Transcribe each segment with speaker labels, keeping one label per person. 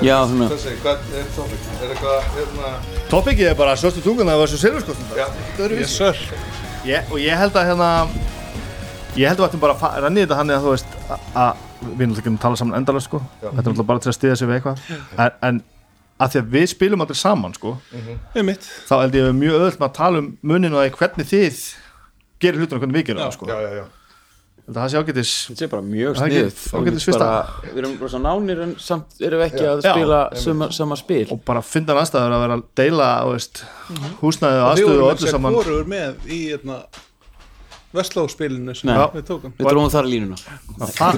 Speaker 1: Já, svona
Speaker 2: Þessi, hvað er tópik? Er eitthvað, hérna,
Speaker 3: Topikið er bara svörstu tungan að það var svo silfurskostundar
Speaker 2: já,
Speaker 3: yes,
Speaker 2: sir.
Speaker 3: ég, Og ég held að hérna Ég held að við ættum bara að renni þetta hann eða þú veist að- að við erum alltaf ekki að tala saman endalaust sko Þetta er alltaf bara til að stiða sig við eitthvað en, en að því að við spilum allir saman sko
Speaker 4: Einmitt.
Speaker 3: þá held ég að við erum mjög öðvöld með að tala um munin og hvernig þið gerir hlutina og hvernig við gerum það sko.
Speaker 2: Já, já, já.
Speaker 3: Held að það sé ágætis
Speaker 1: Þetta er bara mjög
Speaker 3: Það er ekki-
Speaker 1: snið
Speaker 3: þá getur svista.
Speaker 1: Við erum bara svo nánir en samt erum við ekki að
Speaker 3: Já,
Speaker 1: spila sama, sama spil
Speaker 3: og bara finna aðstæður að vera að deila þú veist, húsnæði og
Speaker 4: Við
Speaker 3: aðstöðu og
Speaker 4: vorum
Speaker 3: öllu
Speaker 4: ekki
Speaker 3: saman
Speaker 4: hvorur með í hérna, Vestlóspilinu sem
Speaker 1: Nei.
Speaker 4: við tókum
Speaker 1: Við dróðum þar línuna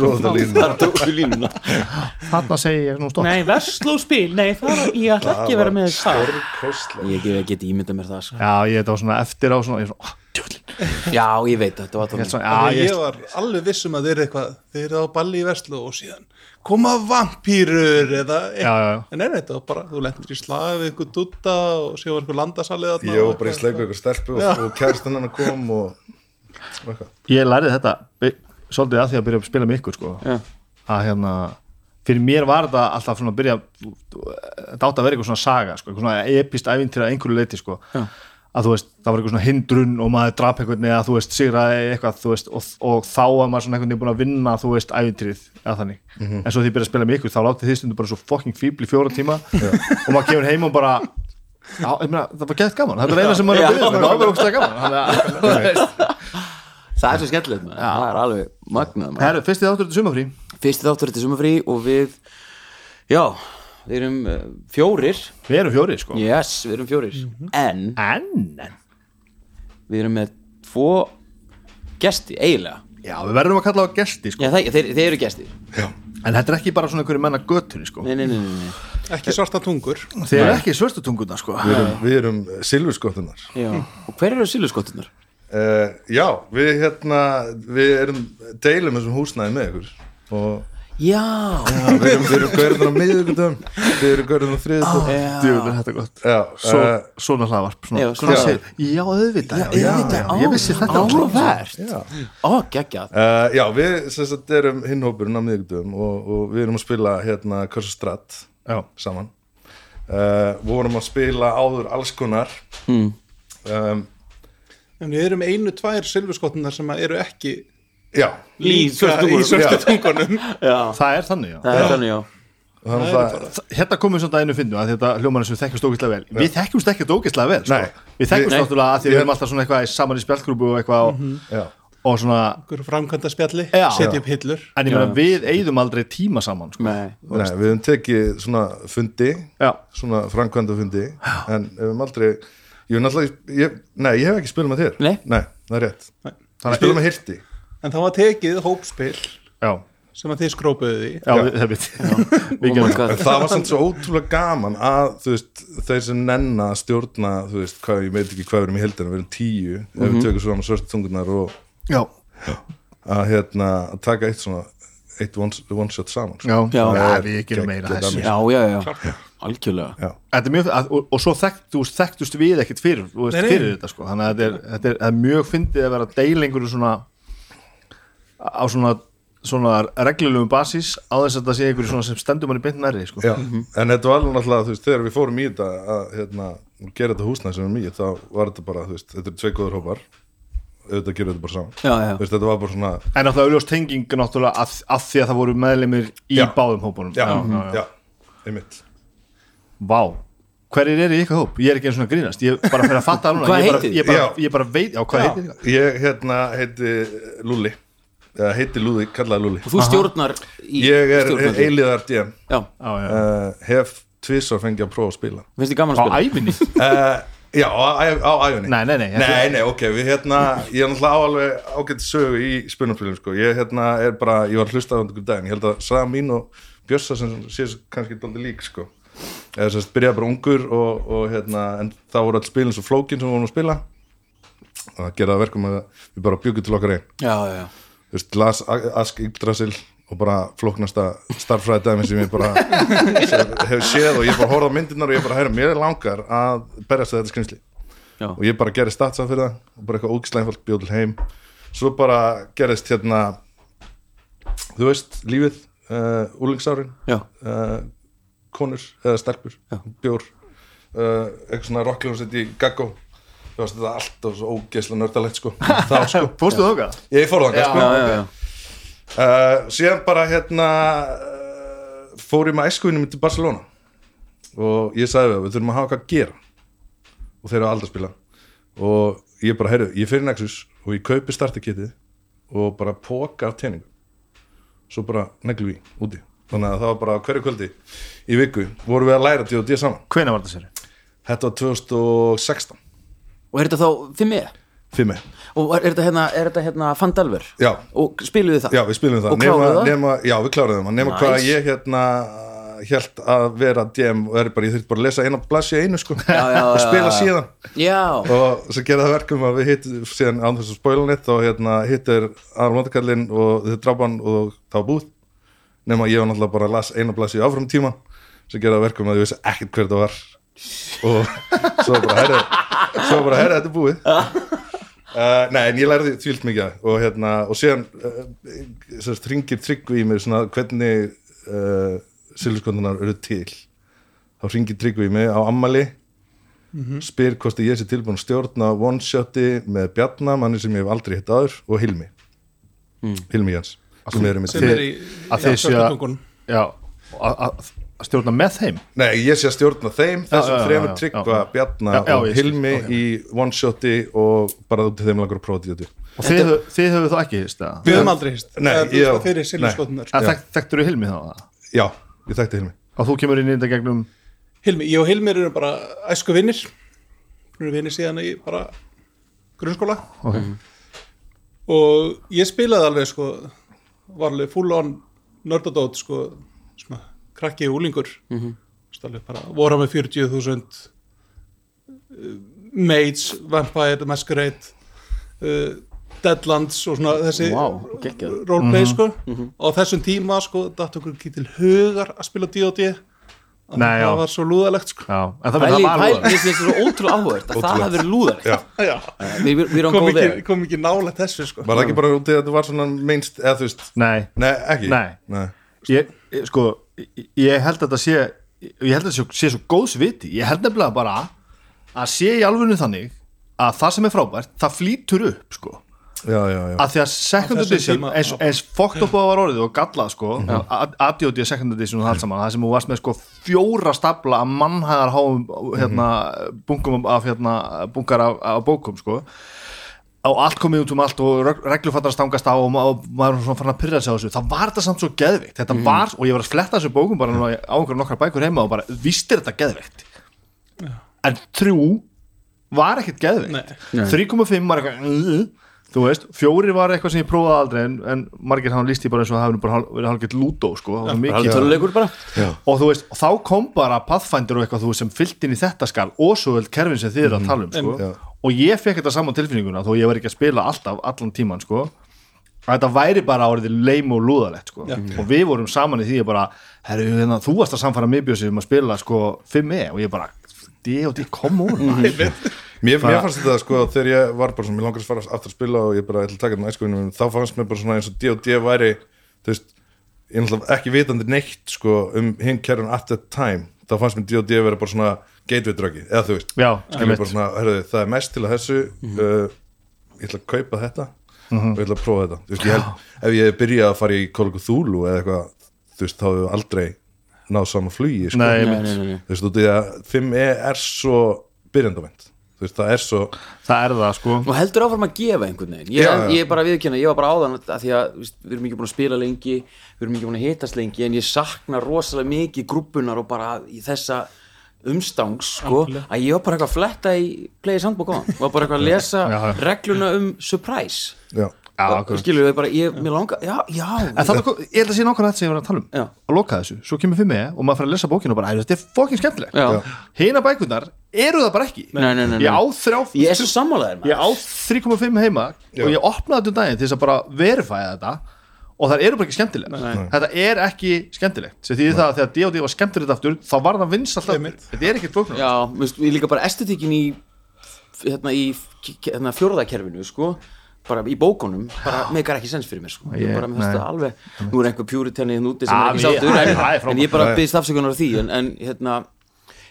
Speaker 2: Róðan línu.
Speaker 1: Þar tókum við línuna
Speaker 3: þarna segi ég nú stopp
Speaker 5: Nei, verslóspil, nei, það var, ég ætla ekki að vera með það
Speaker 2: Kostlega.
Speaker 1: Ég get, ég get ímyndað mér það sko.
Speaker 3: já ég þetta var svona eftir á svona, ég svona, oh,
Speaker 1: Já, ég veit að þetta var
Speaker 3: ég held
Speaker 1: þannig
Speaker 3: svona já,
Speaker 4: ég
Speaker 3: ég,
Speaker 4: var alveg vissum að þeir eru eitthvað þeir eru á balli í Vestló og síðan koma vampýrur eða
Speaker 3: já, já, já.
Speaker 4: en er þetta var bara, þú lendir í slag við einhver dutta og séu einhver landasalið þarna
Speaker 2: Ég
Speaker 4: og
Speaker 2: var bara í
Speaker 4: eitthvað.
Speaker 2: sleiku ykkur stelpu og, og kæristan hennar kom og, og eitthvað.
Speaker 3: ég lærið þetta by- svolítið að því að byrja að spila með ykkur sko.
Speaker 1: Já.
Speaker 3: að hérna fyrir mér var þetta alltaf svona að byrja þetta átti að vera eitthvað svona saga sko, eitthvað svona epist ævintýra að einhverju leiti sko. að þú veist, það var eitthvað svona hindrun og maður drap einhvern eða þú veist, sigraði eitthvað þú veist, og, og þá var maður svona einhvern veginn búin að vinna þú veist, ævintýrið, eða þannig en svo því ég byrja að spila með ykkur, þá láti þið stundum bara svo fucking fíbl í fjóra tíma og maður kemur heim og bara Já, ég meina, það var gett gaman, þetta er eina sem maður er að byrja um, þetta var bara ógstlega gaman Þannig að-
Speaker 1: Það er svo skemmtilegt maður, það er alveg magnað maður.
Speaker 3: Herru, fyrsti þáttur þetta sumafrí
Speaker 1: Fyrsti þáttur þetta sumafrí og við Já, við erum uh, fjórir
Speaker 3: Við erum fjóri, sko
Speaker 1: Yes, við erum fjórir
Speaker 3: Mhm.
Speaker 1: En
Speaker 3: En, en
Speaker 1: við erum með tvo gesti, eiginlega
Speaker 3: Já, við verðum að kalla á gesti, sko
Speaker 1: Já, þeir, þeir, þeir eru gestir
Speaker 3: En þetta er ekki bara svona einhverju menna göttunni, sko
Speaker 1: Nei, nei, nei, nei, nei.
Speaker 4: ekki svarta tungur
Speaker 3: Þeir eru ekki svörstu tunguna, sko
Speaker 2: Við erum, við erum eh, silfurskottunar.
Speaker 1: Já. Og hver eru siluskottunar?
Speaker 2: Uh, já, við hérna, við erum, deilum þessum húsnæði með ykkur. Og
Speaker 1: Já,
Speaker 2: við erum, við erum gaurðan á miðugutum, við erum gaurðan á
Speaker 1: Ah.
Speaker 2: þriðutum.
Speaker 3: Djöfn er þetta gott
Speaker 2: Já,
Speaker 3: Svo,
Speaker 2: eh,
Speaker 3: Svona hlaðvarp, svona
Speaker 1: Já,
Speaker 3: Hvað
Speaker 1: svona-
Speaker 3: segir- Já, auðvitað, já, já, já,
Speaker 1: á,
Speaker 3: Ég vissi þetta
Speaker 1: Áhugavert Ó, geggjað
Speaker 2: Uh, já, við sem sagt, erum hinnhópurinn á miðvíkdöfum og, og við erum að spila hérna Curse of Strat
Speaker 3: Já.
Speaker 2: saman uh, Við vorum að spila áður alls konar mm. um,
Speaker 4: en við erum einu tvær silfurskottunar sem að eru ekki
Speaker 2: Já,
Speaker 1: Í svörtu
Speaker 4: í
Speaker 1: tungunum.
Speaker 4: svörstu tungunum
Speaker 3: Það er þannig, já
Speaker 1: Það er þannig, já
Speaker 2: þannig að það
Speaker 3: Þa- Hérna komum við svona að einu fyndu að þetta hljómaður sem við þekkjumst ógeðslega vel Við þekkjumst ekki ógeðslega vel, sko
Speaker 2: Nei.
Speaker 3: Við þekkjumst
Speaker 1: Nei. Mhm.
Speaker 3: náttúrulega að því
Speaker 2: Ég-
Speaker 3: við erum alltaf svona eitthvað í- saman í spjallgrúpu og eitthvað og,
Speaker 2: já,
Speaker 3: og svona
Speaker 4: einhver framkvæmda spjalli,
Speaker 3: Já.
Speaker 4: setja upp hillur
Speaker 3: En ég meina, við eigðum aldrei tíma saman, sko
Speaker 1: Nei
Speaker 2: Nei, Við höfum tekið svona fundi
Speaker 3: Já,
Speaker 2: svona framkvæmda fundi en við höfum aldrei ég, hef náttúrulega- ég, Nei, ég hef ekki spilað með þér
Speaker 1: Nei.
Speaker 2: það er rétt
Speaker 4: Nei.
Speaker 2: Ég spilað með Hirti
Speaker 4: en það var tekið hópspil
Speaker 3: já,
Speaker 4: sem að þið skrópuðu því
Speaker 3: já, við- það er við Við
Speaker 1: Oh my
Speaker 3: gerum
Speaker 1: god.
Speaker 2: En það var samt svo ótrúlega gaman að þú veist, þeir sem nenna að stjórna þú veist, hvað, ég veit ekki hvað við erum í heldina við erum tíu, ef við tökum svona svörstu tungunar og
Speaker 3: Já,
Speaker 2: að hérna, að taka eitt svona eitt one, one shot saman sko.
Speaker 3: já, já,
Speaker 1: Já.
Speaker 3: við gerum meira
Speaker 2: Geggjað
Speaker 3: þessu
Speaker 2: dæmi.
Speaker 1: Já, já, já, algjörlega
Speaker 2: Já.
Speaker 3: Þetta er mjög, að, og, og svo þekkt, þú veist, þekktust við ekkert fyrir, þú veist,
Speaker 4: Nei, nei.
Speaker 3: fyrir þetta sko. þannig að þetta er, þetta er, þetta er mjög fyndið að vera að deila einhverju svona á svona, svona reglulegum basis á þess að þetta sé einhverju svona sem stendur manni beint nærri sko.
Speaker 2: Já.
Speaker 1: Mhm.
Speaker 2: en þetta var alveg náttúrulega, þú veist, þegar við fórum í þetta að hérna, gera þetta húsnæð sem er mjög þá var þetta bara, þú veist, þetta er tvei góður hópar auðvitað gerum þetta bara saman
Speaker 1: Já, já.
Speaker 2: Þú veist, þetta var bara svona já,
Speaker 3: en náttúrulega auðljóst tenging náttúrulega að, að því að það voru meðlimir í
Speaker 2: Já.
Speaker 3: báðum hópunum
Speaker 2: já, Mhm. já, einmitt
Speaker 3: Vá, hverjir eru í ykkar hóp? Ég er ekki eins og svona að grínast, ég bara fyrir að fatta það núna
Speaker 1: Hvað
Speaker 3: ég bara,
Speaker 1: heitið þið?
Speaker 3: ég bara,
Speaker 2: Já.
Speaker 3: ég bara veit, já, hvað heitir
Speaker 2: ég hérna heiti Lúli eða heiti Lúði, kallaði Lúli
Speaker 1: og þú stjórnar í
Speaker 2: ég er
Speaker 1: stjórnar því.
Speaker 2: eiliðar DM
Speaker 1: Já,
Speaker 3: já, já.
Speaker 2: uh, hef tvisvar fengið að prófa að spila
Speaker 1: finnst þið gaman
Speaker 3: á
Speaker 1: að spila
Speaker 3: æminni
Speaker 2: uh, já, á, á, á æfinni
Speaker 3: Nei, nei, nei, ég-
Speaker 2: nei, nei, ok, við hérna ég er náttúrulega á alveg ágætt sögu í spunumfélum sko. ég hérna er bara, ég var hlustað um daginn, ég held að Saga mín og Bjössa sem sé kannski dálítið lík sko. eða sem sagt, byrjaði bara ungur og, og hérna, en þá voru all spilin svo flókin sem við vorum að spila og það gera það verkum að við bara bjögum til okkar einn
Speaker 1: Já, já, já
Speaker 2: þú veist, las A- Ask Yggdrasil og bara flóknasta starffræði dæmi sem ég bara sem hef séð og ég bara horfði á myndirnar og ég bara herra, mér langar að berjast við þetta skrimsli
Speaker 1: Já.
Speaker 2: og ég bara gerði statsa fyrir það og bara eitthvað ógislega einfalt bjóð til heim svo bara gerðist hérna þú veist, lífið uh, úlingsárin
Speaker 1: Já.
Speaker 2: uh, konur eða stelpur, bjór uh, eitthvað svona rockljónsett í gaggó þú veist, þetta allt og svo ógislega nördalegt sko, þá sko
Speaker 3: fórstu þóka?
Speaker 2: ég fór það sko
Speaker 1: já, já, já.
Speaker 2: uh, síðan bara hérna uh, fór ég með æskuvinni mitt til Barcelona og ég sagði við að við þurfum að hafa hvað að gera og þeir eru aldrei að spila og ég bara, heyrðu, ég fyrir Nexus og ég kaupi startakitið og bara póka af teiningum svo bara neglum við úti þannig að það var bara á hverju kvöldi í viku vorum við að læra til og dýja saman
Speaker 3: hvena var það sér?
Speaker 2: þetta var 2016
Speaker 1: Og er þetta þá fimm eða?
Speaker 2: fyrir mig
Speaker 1: Og er þetta hérna, er þetta hérna Fandalver?
Speaker 2: Já.
Speaker 1: Og spiluðu það?
Speaker 2: Já, við spilum það,
Speaker 1: Og kláruðu það?
Speaker 2: Nema, Já, við kláruðum það Nefna
Speaker 1: Nice.
Speaker 2: hvað ég hérna held að vera DM og er bara, ég þurft bara að lesa eina blassi einu sko
Speaker 1: já, já,
Speaker 2: og
Speaker 1: já,
Speaker 2: spila
Speaker 1: já.
Speaker 2: síðan
Speaker 1: Já,
Speaker 2: og svo gera það verkum að við hittum síðan án þess að spóla neitt og hérna hittir aðra vandakallinn og þið drápan og þá búð nema ég var náttúrulega bara að las eina blassi í áfram tíma sem gera það verkum að ég vissi ekkert hver það var og svo bara herra svo bara herra þetta er búið uh, nei en ég lærði tvílt mikið af því og hérna og síðan uh, sérst ringir tryggvi í mig svona hvernig uh, silfurskondurnar eru til þá ringir tryggvi í mig á ammali spyr hvort að ég sé tilbúin að stjórna one-shoti með Bjarna manni sem ég hef aldrei hitt aður og Hilmi
Speaker 3: Mm.
Speaker 2: Hilmi Jans sem eru mitt
Speaker 4: sem er í
Speaker 3: að þið séu að
Speaker 4: Hjörtungunum.
Speaker 3: já, að- að að stjórna með þeim
Speaker 2: Nei, ég sé að stjórna
Speaker 3: Já, já,
Speaker 2: þeim,
Speaker 3: já,
Speaker 2: þessum þremur
Speaker 3: já,
Speaker 2: tryggva,
Speaker 3: já.
Speaker 2: Bjarna
Speaker 3: Já, já,
Speaker 2: og
Speaker 3: ég skil,
Speaker 2: Hilmi
Speaker 3: ok.
Speaker 2: í one-shoti og bara út til þeim langar að prófa þetta
Speaker 3: og þið, höfðu- þið höfðu þá ekki hist, að,
Speaker 4: Við höfum aldrei hist
Speaker 2: Nei,
Speaker 4: Eða, þú
Speaker 2: já.
Speaker 4: veist, það Fyrir silfurskotnar
Speaker 3: að þekkt, þekktur þú Hilmi þá að?
Speaker 2: Já, ég þekkti Hilmi
Speaker 3: og þú kemur inn í þetta gegnum
Speaker 4: Hilmi, ég og Hilmi erum bara æsku vinnir Við erum vinnir síðan í bara grunnskóla
Speaker 3: okay.
Speaker 4: og ég spilaði alveg sko var alveg full on nördadót sko svona, krakki og úlingur mm -hmm. bara, voru með 40.000 uh, Maids, uh, Vampire, Masquerade uh, Deadlands og svona þessi
Speaker 1: Vá, geggjað.
Speaker 3: Mhm.
Speaker 4: roleplay sko og á þessum tíma sko datt okkur ekki til hugar að spila D&D Að
Speaker 3: Nei, já.
Speaker 4: það var svo lúðalegt sko
Speaker 3: já, en það
Speaker 1: pæli,
Speaker 3: verður
Speaker 1: pæli,
Speaker 3: alveg
Speaker 1: mér finnst þetta svo ótrúlega áhugavert að það
Speaker 2: Ótrúlegt.
Speaker 1: hafi verið lúðar
Speaker 2: Já.
Speaker 4: Já,
Speaker 1: Við við erum
Speaker 4: kom
Speaker 1: góð
Speaker 4: ekki,
Speaker 1: veg
Speaker 4: kom ekki nálega þessu sko
Speaker 2: Var það ekki bara út í að þetta var svona minnst, eða þú veist
Speaker 3: nei,
Speaker 2: Nei, ekki
Speaker 3: Nei.
Speaker 2: Nei.
Speaker 3: ég, ég- sko ég- ég held að þetta sé ég held að þetta sé, sé svo góðs viti ég held nefnilega bara að sé í alvöru þannig að það sem er frábært það flýtur upp sko
Speaker 2: Já, já, já
Speaker 3: að því að second
Speaker 4: þessum
Speaker 3: edition
Speaker 4: tíma-
Speaker 3: eins, eins fokkt upp á að var orðið og gallað sko
Speaker 2: Mhm.
Speaker 3: aðjóti að second edition og það allt saman það sem þú varst með sko fjóra stapla að mannhæðar háum hérna,
Speaker 2: Mhm.
Speaker 3: bunkum af hérna, bunkar af, af bókum sko og allt komið út um allt og reg- reglur fattar að stangast á og, ma og maður var svona farin að pyrra sig á þessu það var þetta samt svo geðvikt þetta
Speaker 2: Mhm.
Speaker 3: var, og ég var að fletta þessu bókum bara núna á einhverjum nokkar bækur heima og bara, víst er þetta geðvikt en þrjú var ekkert geðveikt 3,5 var eitthvað "Ugh", þú veist, fjóri var eitthvað sem ég prófaði aldrei en, en margir hann lísti bara eins og það hefur bara hál- verið hálfgett lúdó sko, það var svo
Speaker 1: Haldi
Speaker 3: mikið
Speaker 1: tölulegur bara
Speaker 3: og þú veist, og þá kom bara Pathfinder og eitthvað þú veist, sem fyllt inn í þetta skal og svo öll kerfin sem þið eru
Speaker 1: Mhm.
Speaker 3: að tala um sko. og ég fekk þetta saman tilfinninguna þó ég var ekki að spila alltaf, allan tíman sko. að þetta væri bara orðið leim og lúðalegt sko. og við vorum saman í því að bara, herru, hérna, þú varst að samfara mig bjössi um að spila sko, 5e og ég bara, D og D, come on maður."
Speaker 2: Mér, mér fannst þetta sko þegar ég var bara svona, mér langar að fara aftur að spila og ég bara ætla að taka þetta með æskuvinni þá fannst mér bara svona eins og D&D væri þú veist, ég er náttúrulega ekki vitandi neitt sko um hinn kerfin at that time þá fannst mér D&D vera bara svona gateway druggi, eða þú veist
Speaker 3: Já,
Speaker 2: skilur
Speaker 3: einmitt.
Speaker 2: bara svona, herrðu, Hérna, það er mest til að þessu uh, ég ætla að kaupa þetta og ég ætla að prófa þetta þú veist, ég held, ef ég byrjaði að fara í Kolgu Þúlu eða eitthvað, þú veist, þá hefur aldrei náð sama flugi, sko
Speaker 3: Nei,
Speaker 1: Nei,
Speaker 3: einmitt.
Speaker 1: nei, nei, nei.
Speaker 2: E þú veist, út í að 5E er svo byrjandavend þú veist, það er svo
Speaker 3: það er það sko
Speaker 1: og heldur áfram að gefa einhvern veginn ég,
Speaker 2: Já, já.
Speaker 1: ég er bara viðkynna, ég var bara áðan að því að víst, við erum ekki búin að spila lengi við erum ekki búin að hitast lengi en ég sakna rosalega mikið grúppunar og bara í þessa umstangs sko, að ég var bara eitthvað að fletta í Players Handbook á hann, var bara eitthvað að lesa
Speaker 3: Já, já.
Speaker 1: regluna um surprise
Speaker 2: já,
Speaker 3: Já,
Speaker 1: og skilur þau bara, ég, mér langar já, já,
Speaker 3: En þannig, ég held að sé nákvæmlega þetta sem ég var að tala um
Speaker 1: Já.
Speaker 3: að loka þessu, svo kemur fyrir mig og maður fyrir að lesa bókinu og bara, "Æ, þetta er fokkin skemmtilegt
Speaker 1: já.
Speaker 3: Hina bækurnar eru það bara ekki
Speaker 1: Nei, nei, nei, nei.
Speaker 3: Ég á þrjá
Speaker 1: ég er svo sammálaður
Speaker 3: ég á 3,5 heima og ég opnaði þetta um daginn til þess að bara verifæða þetta og það eru bara ekki skemmtilegt þetta er ekki skemmtilegt sem því það að þegar D.O.D. var skemmtilegt aftur þá var það vins alltaf
Speaker 4: Einmitt.
Speaker 3: þetta er ekki flóknar
Speaker 1: Já, mér finnst- ég líka bara estetikin í hérna í k- k- hérna, fjórðakerfinu sko bara í bókunum, bara megar ekki sens fyrir mér sko. ég
Speaker 3: Ég-
Speaker 1: bara með þetta
Speaker 3: nei.
Speaker 1: alveg nú er einhver pjúritjarni hérna úti sem
Speaker 3: Ah,
Speaker 1: er ekki
Speaker 3: ég- æ,
Speaker 1: sáttur
Speaker 3: æ,
Speaker 1: en,
Speaker 3: frábært.
Speaker 1: en ég bara byrðist afsökunar á því en, en hérna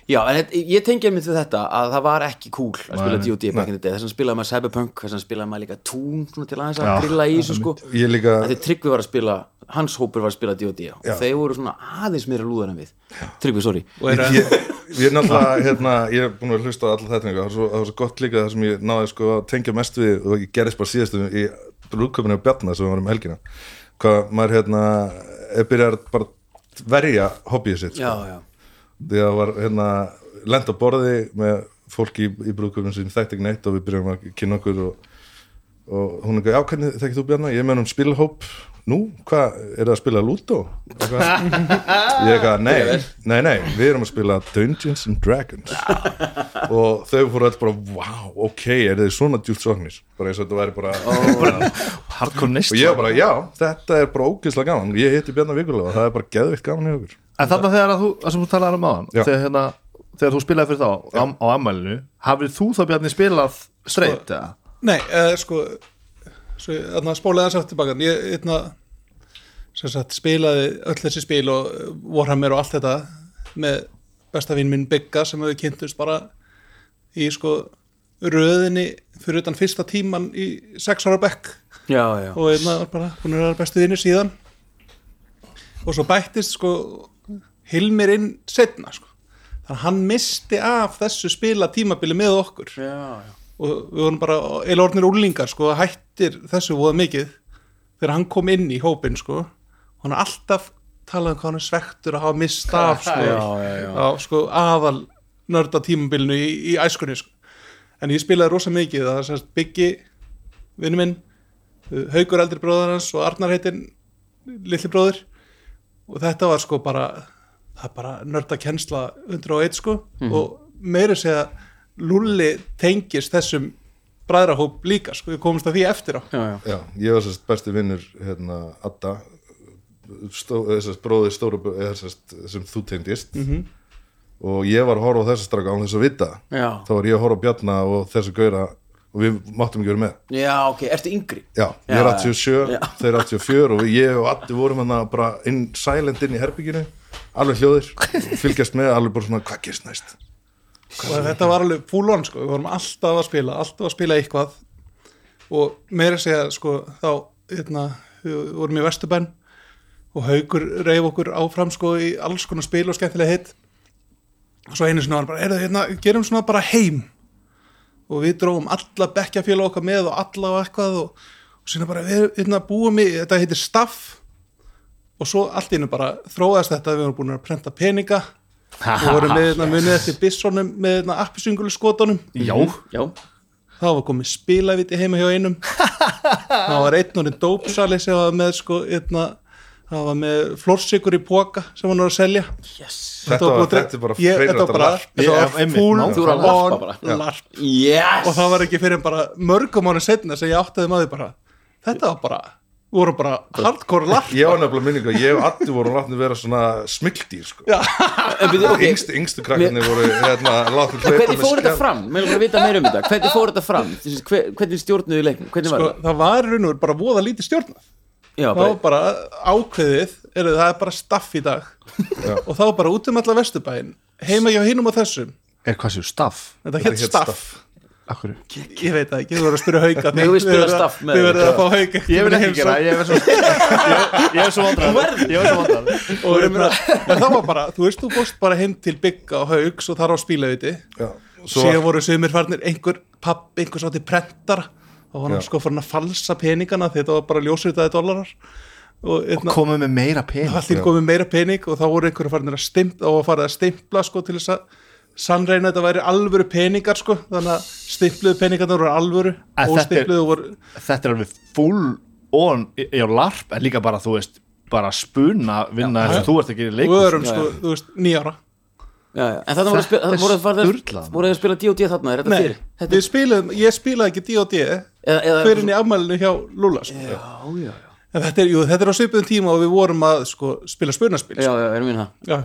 Speaker 1: Já, en þetta- ég tengi einmitt við þetta að það var ekki cool að spila D.O.D. back in the day þess að spilaði maður Cyberpunk, þess að spilaði maður líka Tún svona til aðeins að
Speaker 3: Já,
Speaker 1: grilla í þessu sko
Speaker 2: ég líka
Speaker 1: að því Tryggvi var að spila, hans hópur var að spila D.O.D. og þeir voru svona aðeins meira lúðar en við Tryggvi, sorry
Speaker 4: og er að
Speaker 2: ég, ég er náttúrulega, hérna, ég er búin að hlusta á alla þetta, það var svo, það var svo gott líka það sem ég náði sko að tengja mest við og ég gerðist bara síðast um í lúkköpunni á Bjarna sem við varum um helgina hvað maður hérna er byrjar bara að verja hobbyið sitt sko.
Speaker 1: Já, já,
Speaker 2: því að það var hérna lent á borði með fólki í, í brúðköpunum sem þekkti ekki neitt og við byrjum að kynna okkur og, og hún er ekki, já hvernig þekkir þú Bjarna ég er með um spilhóp, nú, hvað er það að spila Ludo? Eitthvað. ég eitthvað, nei, nei, nei við erum að spila Dungeons and Dragons og þau fóru alls bara wow, ok, er þið svona djúlt sóknir bara eins og þetta væri bara
Speaker 3: hardcore neist
Speaker 2: og ég var bara, já, þetta er bara ógeðslega gaman ég hitti Bjarna vikulega og það er bara geðvikt gaman hjá okkur
Speaker 3: En þarna þegar að þú, að sem þú talaði um aðan
Speaker 2: Já.
Speaker 3: þegar, hérna, þegar þú spilaði fyrir þá á, á ammælinu, hafið þú þá bjarni spilað straight eða?
Speaker 4: Nei, uh, sko svo, þarna spólaði aðeins aftur bakan ég þarna, sem sagt, spilaði öll þessi spil og eh, Warhammer og allt þetta með besta vinn minn Bigga sem við kynntust bara í sko röðinni fyrir utan fyrsta tíman í sex ára bekk
Speaker 1: já, já
Speaker 4: og einna var bara, hún er að bestu vinni síðan og svo bættist sko Hilmir inn setna sko þannig að hann misti af þessu spila tímabili með okkur
Speaker 1: já, já.
Speaker 4: og við vorum bara eila orðnir úlingar sko, hættir þessu voða mikið þegar hann kom inn í hópin sko, og hann er alltaf talað um hvað hann er svektur að hafa mist af sko,
Speaker 1: Já, já, já.
Speaker 4: Á, sko, aðal nörda tímabilinu í, í æskunni sko. en ég spilaði rosa mikið það er semst Biggi, vinnu minn Haugur eldri bróðar hans og Arnar heitinn litli bróður og þetta var sko bara það er bara nörda kennsla 101 sko og meira segja Lulli tengist þessum bræðrahóp líka sko, við komumst að því eftir á
Speaker 1: já, já.
Speaker 2: Já, ég var sérst besti vinnur hérna, Adda stó, sérst, bróðir stóru eða, sérst, sem þú tengdist
Speaker 1: Mhm.
Speaker 2: og ég var að horfa á þessu straka án þess að vita
Speaker 1: Já.
Speaker 2: þá var ég að horfa á Bjarna og þessu gauðra og við máttum ekki vera með
Speaker 1: Já, ok, ertu yngri?
Speaker 2: Já, ég er
Speaker 1: Já,
Speaker 2: 87,
Speaker 1: já.
Speaker 2: þeir er 84 og ég og Addi vorum hann bara inn, silent inn í herbygginu alveg hljóðir, fylgjast með alveg bara svona hvað gerst næst
Speaker 4: og þetta var alveg fúlón sko, við vorum alltaf að spila, alltaf að spila eitthvað og meira að segja sko þá, hérna, við vorum í Vesturbæn og Haugur reyf okkur áfram sko í alls konar spil og skemmtilega hitt og svo einu sinni var hann bara, "Heyrðu, hérna, gerum svona bara heim og við drófum alla bekkjafélag okkar með og alla og eitthvað og, og síðan bara, við hérna, búum í, þetta heitir staff og svo allt í einu bara þróaðist þetta, við vorum búin að prenta peninga og vorum með hérna munið eftir Bissonum með hérna appisungulu skotunum
Speaker 3: Já,
Speaker 1: Já,
Speaker 4: þá var komið spilaviti heima hjá einum þá var einn orðin dópsali sem var með sko hérna það var með flórsikur í póka sem hann var að selja
Speaker 1: yes
Speaker 2: Þetta var, þetta er bara
Speaker 4: ég,
Speaker 2: hreinræktað
Speaker 4: þetta var bara,
Speaker 2: larp.
Speaker 4: þetta
Speaker 3: Já,
Speaker 4: var
Speaker 3: einmitt, nákvæmlega.
Speaker 1: Þú voru að larpa
Speaker 4: full
Speaker 1: bara.
Speaker 4: on larp
Speaker 1: Yes!
Speaker 4: og það var ekki fyrir en bara mörgum árið setna sem ég áttaði maður bara þetta var bara, við vorum bara hardcore sko. larp
Speaker 2: Ég var nefnilega minningu að ég og Addi vorum látni vera svona smiltýr sko.
Speaker 1: En byrju, ok,
Speaker 2: yngstu, yngstu krakkarnir voru hérna, látni hlaupa
Speaker 1: Hvernig
Speaker 2: með
Speaker 1: fór þetta
Speaker 2: skell.
Speaker 1: fram? Mér erum að vita meira um þetta Hvernig fór þetta fram? Þessi, hver, hvernig stjórnuðu leiknum? Hvernig var
Speaker 4: sko, það var raun og veru bara voða lítið stjórnað
Speaker 1: það? Já,
Speaker 4: þá
Speaker 1: bara,
Speaker 4: bara ákveðið er það er bara staff í dag og þá bara út um alla vesturbæin heima hjá hinum og þessum
Speaker 3: er hvað séu staff
Speaker 4: þetta hétt
Speaker 2: hét
Speaker 4: staff
Speaker 2: staff.
Speaker 3: Akkur
Speaker 4: ég veit það ekki, þú verður að spyrja hauka
Speaker 1: Megum við spila staff með
Speaker 4: þið verður
Speaker 1: þér?
Speaker 4: að fá hauka
Speaker 3: Ég vil ekki gera, það, ég er svo ég- Ég er svo vandrar Ég er svo vandrar
Speaker 4: og hérna, en það var bara, þú veist, þú fórst bara heim til bygga og haug svo þar á spílaviti
Speaker 2: Já, svo,
Speaker 4: síðan voru sumir farnir, einhver papp, einhver sátti prentar og hann
Speaker 2: Já.
Speaker 4: sko farin að falsa peningana því þetta var bara ljósritaði dólarar og hérna,
Speaker 3: Komum með meira pening
Speaker 4: allir komið meira pening og þá voru einhverju farnir að stimpla og að fara að stimpla sko til þess að sannreina þetta væri alvöru peningar sko þannig að stimpluðu peningarnar voru alvöru
Speaker 3: Að
Speaker 4: og
Speaker 3: þetta er-
Speaker 4: stimpluðu voru
Speaker 3: þetta er alveg full on í í á larp en líka bara þú veist bara spuna vinna eins og þú ert að gera í leikur
Speaker 4: vörum sko, þú veist, nýjára
Speaker 1: já, já. en þannig voru, að spila,
Speaker 3: Þetta er
Speaker 1: voru, voru, voru,
Speaker 3: sturlað.
Speaker 1: voru að spila D&D þarna er þetta
Speaker 4: Nei,
Speaker 1: fyrir þetta,
Speaker 4: við spilaðum, ég spilaði ekki D&D
Speaker 1: eða, eða,
Speaker 4: fyrir inn í afmælinu hjá Lúla sko.
Speaker 1: já, já, já,
Speaker 4: en þetta er, jú, þetta er á svipuðum tíma og við vorum að sko, spila spurnaspil
Speaker 1: já,
Speaker 4: sko.
Speaker 1: já, erum við hérna. það
Speaker 4: Já.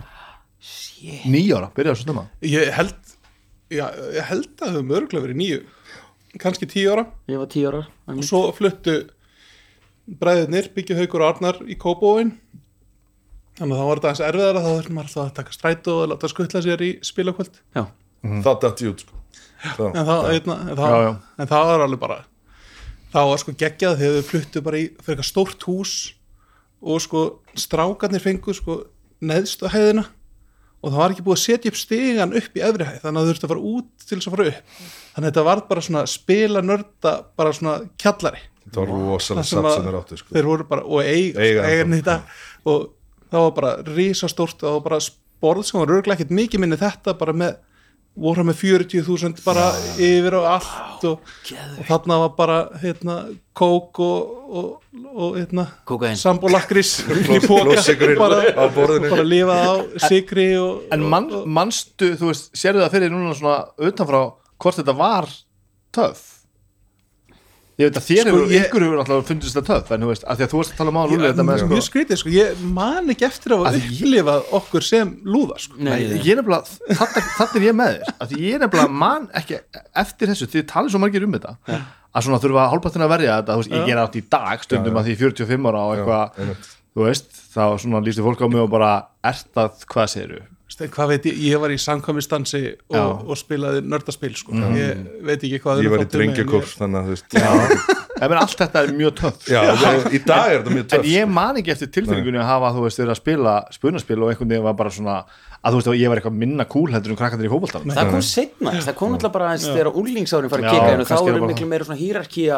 Speaker 3: nýjára, byrjaðu svo snemma
Speaker 4: ég held já, ég held að það höfum örgulega verið nýju kannski tíu ára
Speaker 1: ég var tíu ára en-
Speaker 4: og svo fluttu bræðirnir, Byggju Haukur og Arnar í Kóbóin þannig að það var þetta aðeins erfiðara þá þurftum maður alltaf að taka strætó og láta skutla sér í spilakvöld
Speaker 1: já,
Speaker 2: þá datt ég út sko. Þá.
Speaker 4: en það, eitna, en, það,
Speaker 3: Já, já.
Speaker 4: en það var alveg bara það var sko geggjað þegar þau fluttu bara í fyrir eitthvað stórt hús og sko strákarnir fengu sko neðstu hæðina og það var ekki búið að setja upp stigan upp í efri hæð þannig að þau þurftu að fara út til þess að fara upp þannig að þetta var bara svona spila nörda bara svona kjallari
Speaker 2: Þetta var
Speaker 4: Það
Speaker 2: rosalega
Speaker 4: sem
Speaker 2: satt
Speaker 4: að-
Speaker 2: sem þeir áttu sko.
Speaker 4: þeir voru bara og eiga,
Speaker 2: Eiga
Speaker 4: eiga
Speaker 2: ennþá.
Speaker 4: þetta og það var bara risastórt og það var bara borð sem var örglega ekkert mikið minni þetta bara með voru með 40.000 bara yfir og allt og, og þarna var bara hérna, kók og, og, og hérna,
Speaker 1: Kókaín.
Speaker 4: sambólakris í
Speaker 2: Blóð-
Speaker 4: póka
Speaker 2: blóðsykurinn
Speaker 4: bara,
Speaker 2: á borðinu.
Speaker 4: bara lifað á sigri og,
Speaker 3: en man, manstu, þú veist, sérðu það fyrir núna svona utanfrá hvort þetta var töff ég veit að þér
Speaker 4: Sko,
Speaker 3: hefur,
Speaker 4: ég-
Speaker 3: ykkur hefur alltaf fundist það töff en þú veist, að því að þú varst að tala um áður lúlega þetta með
Speaker 4: mjög
Speaker 3: sko
Speaker 4: skrítið sko, ég man ekki eftir að
Speaker 3: Að
Speaker 4: hafa
Speaker 3: ég-
Speaker 4: upplifað okkur sem lúða sko
Speaker 1: nei,
Speaker 3: Nei,
Speaker 1: nei,
Speaker 3: ég er nefnilega, þarna þarna er ég með þér að því ég er nefnilega mann ekki eftir þessu þið talið svo margir um þetta að svona þurfa hálpatina að verja þetta þú veist, ég gera átt í dag stundum að því ég er 45 ára og eitthvað,
Speaker 2: einmitt.
Speaker 3: þú veist þá svona lístu fólk á mig og bara ert að hvað segiru,
Speaker 4: Steinn, hvað veit ég, ég var í samkvæmistansi
Speaker 3: Já.
Speaker 4: og, og spilaði nördaspil sko. ég veit ekki hvað
Speaker 2: Ég
Speaker 4: þeir
Speaker 2: var í
Speaker 4: áttu með, en
Speaker 2: drengjakurs þannig að þú veist
Speaker 3: ég meina allt þetta er mjög töff
Speaker 2: Já, ég- í dag er þetta mjög
Speaker 3: en
Speaker 2: töff sko.
Speaker 3: ég man ekki eftir tilfinningunni að hafa þú veist þeirra að spila spunaspil og einhvern veginn var bara svona að þú veist að ég var eitthvað minna kúl heldur en krakkandir í fókbaltan
Speaker 1: það kom setna það kom alltaf bara aðeins þegar úlingsárin fara
Speaker 3: Já,
Speaker 1: að kika inn og þá
Speaker 3: kannski er
Speaker 1: eru
Speaker 3: bara-
Speaker 1: miklu meira svona hýrarkía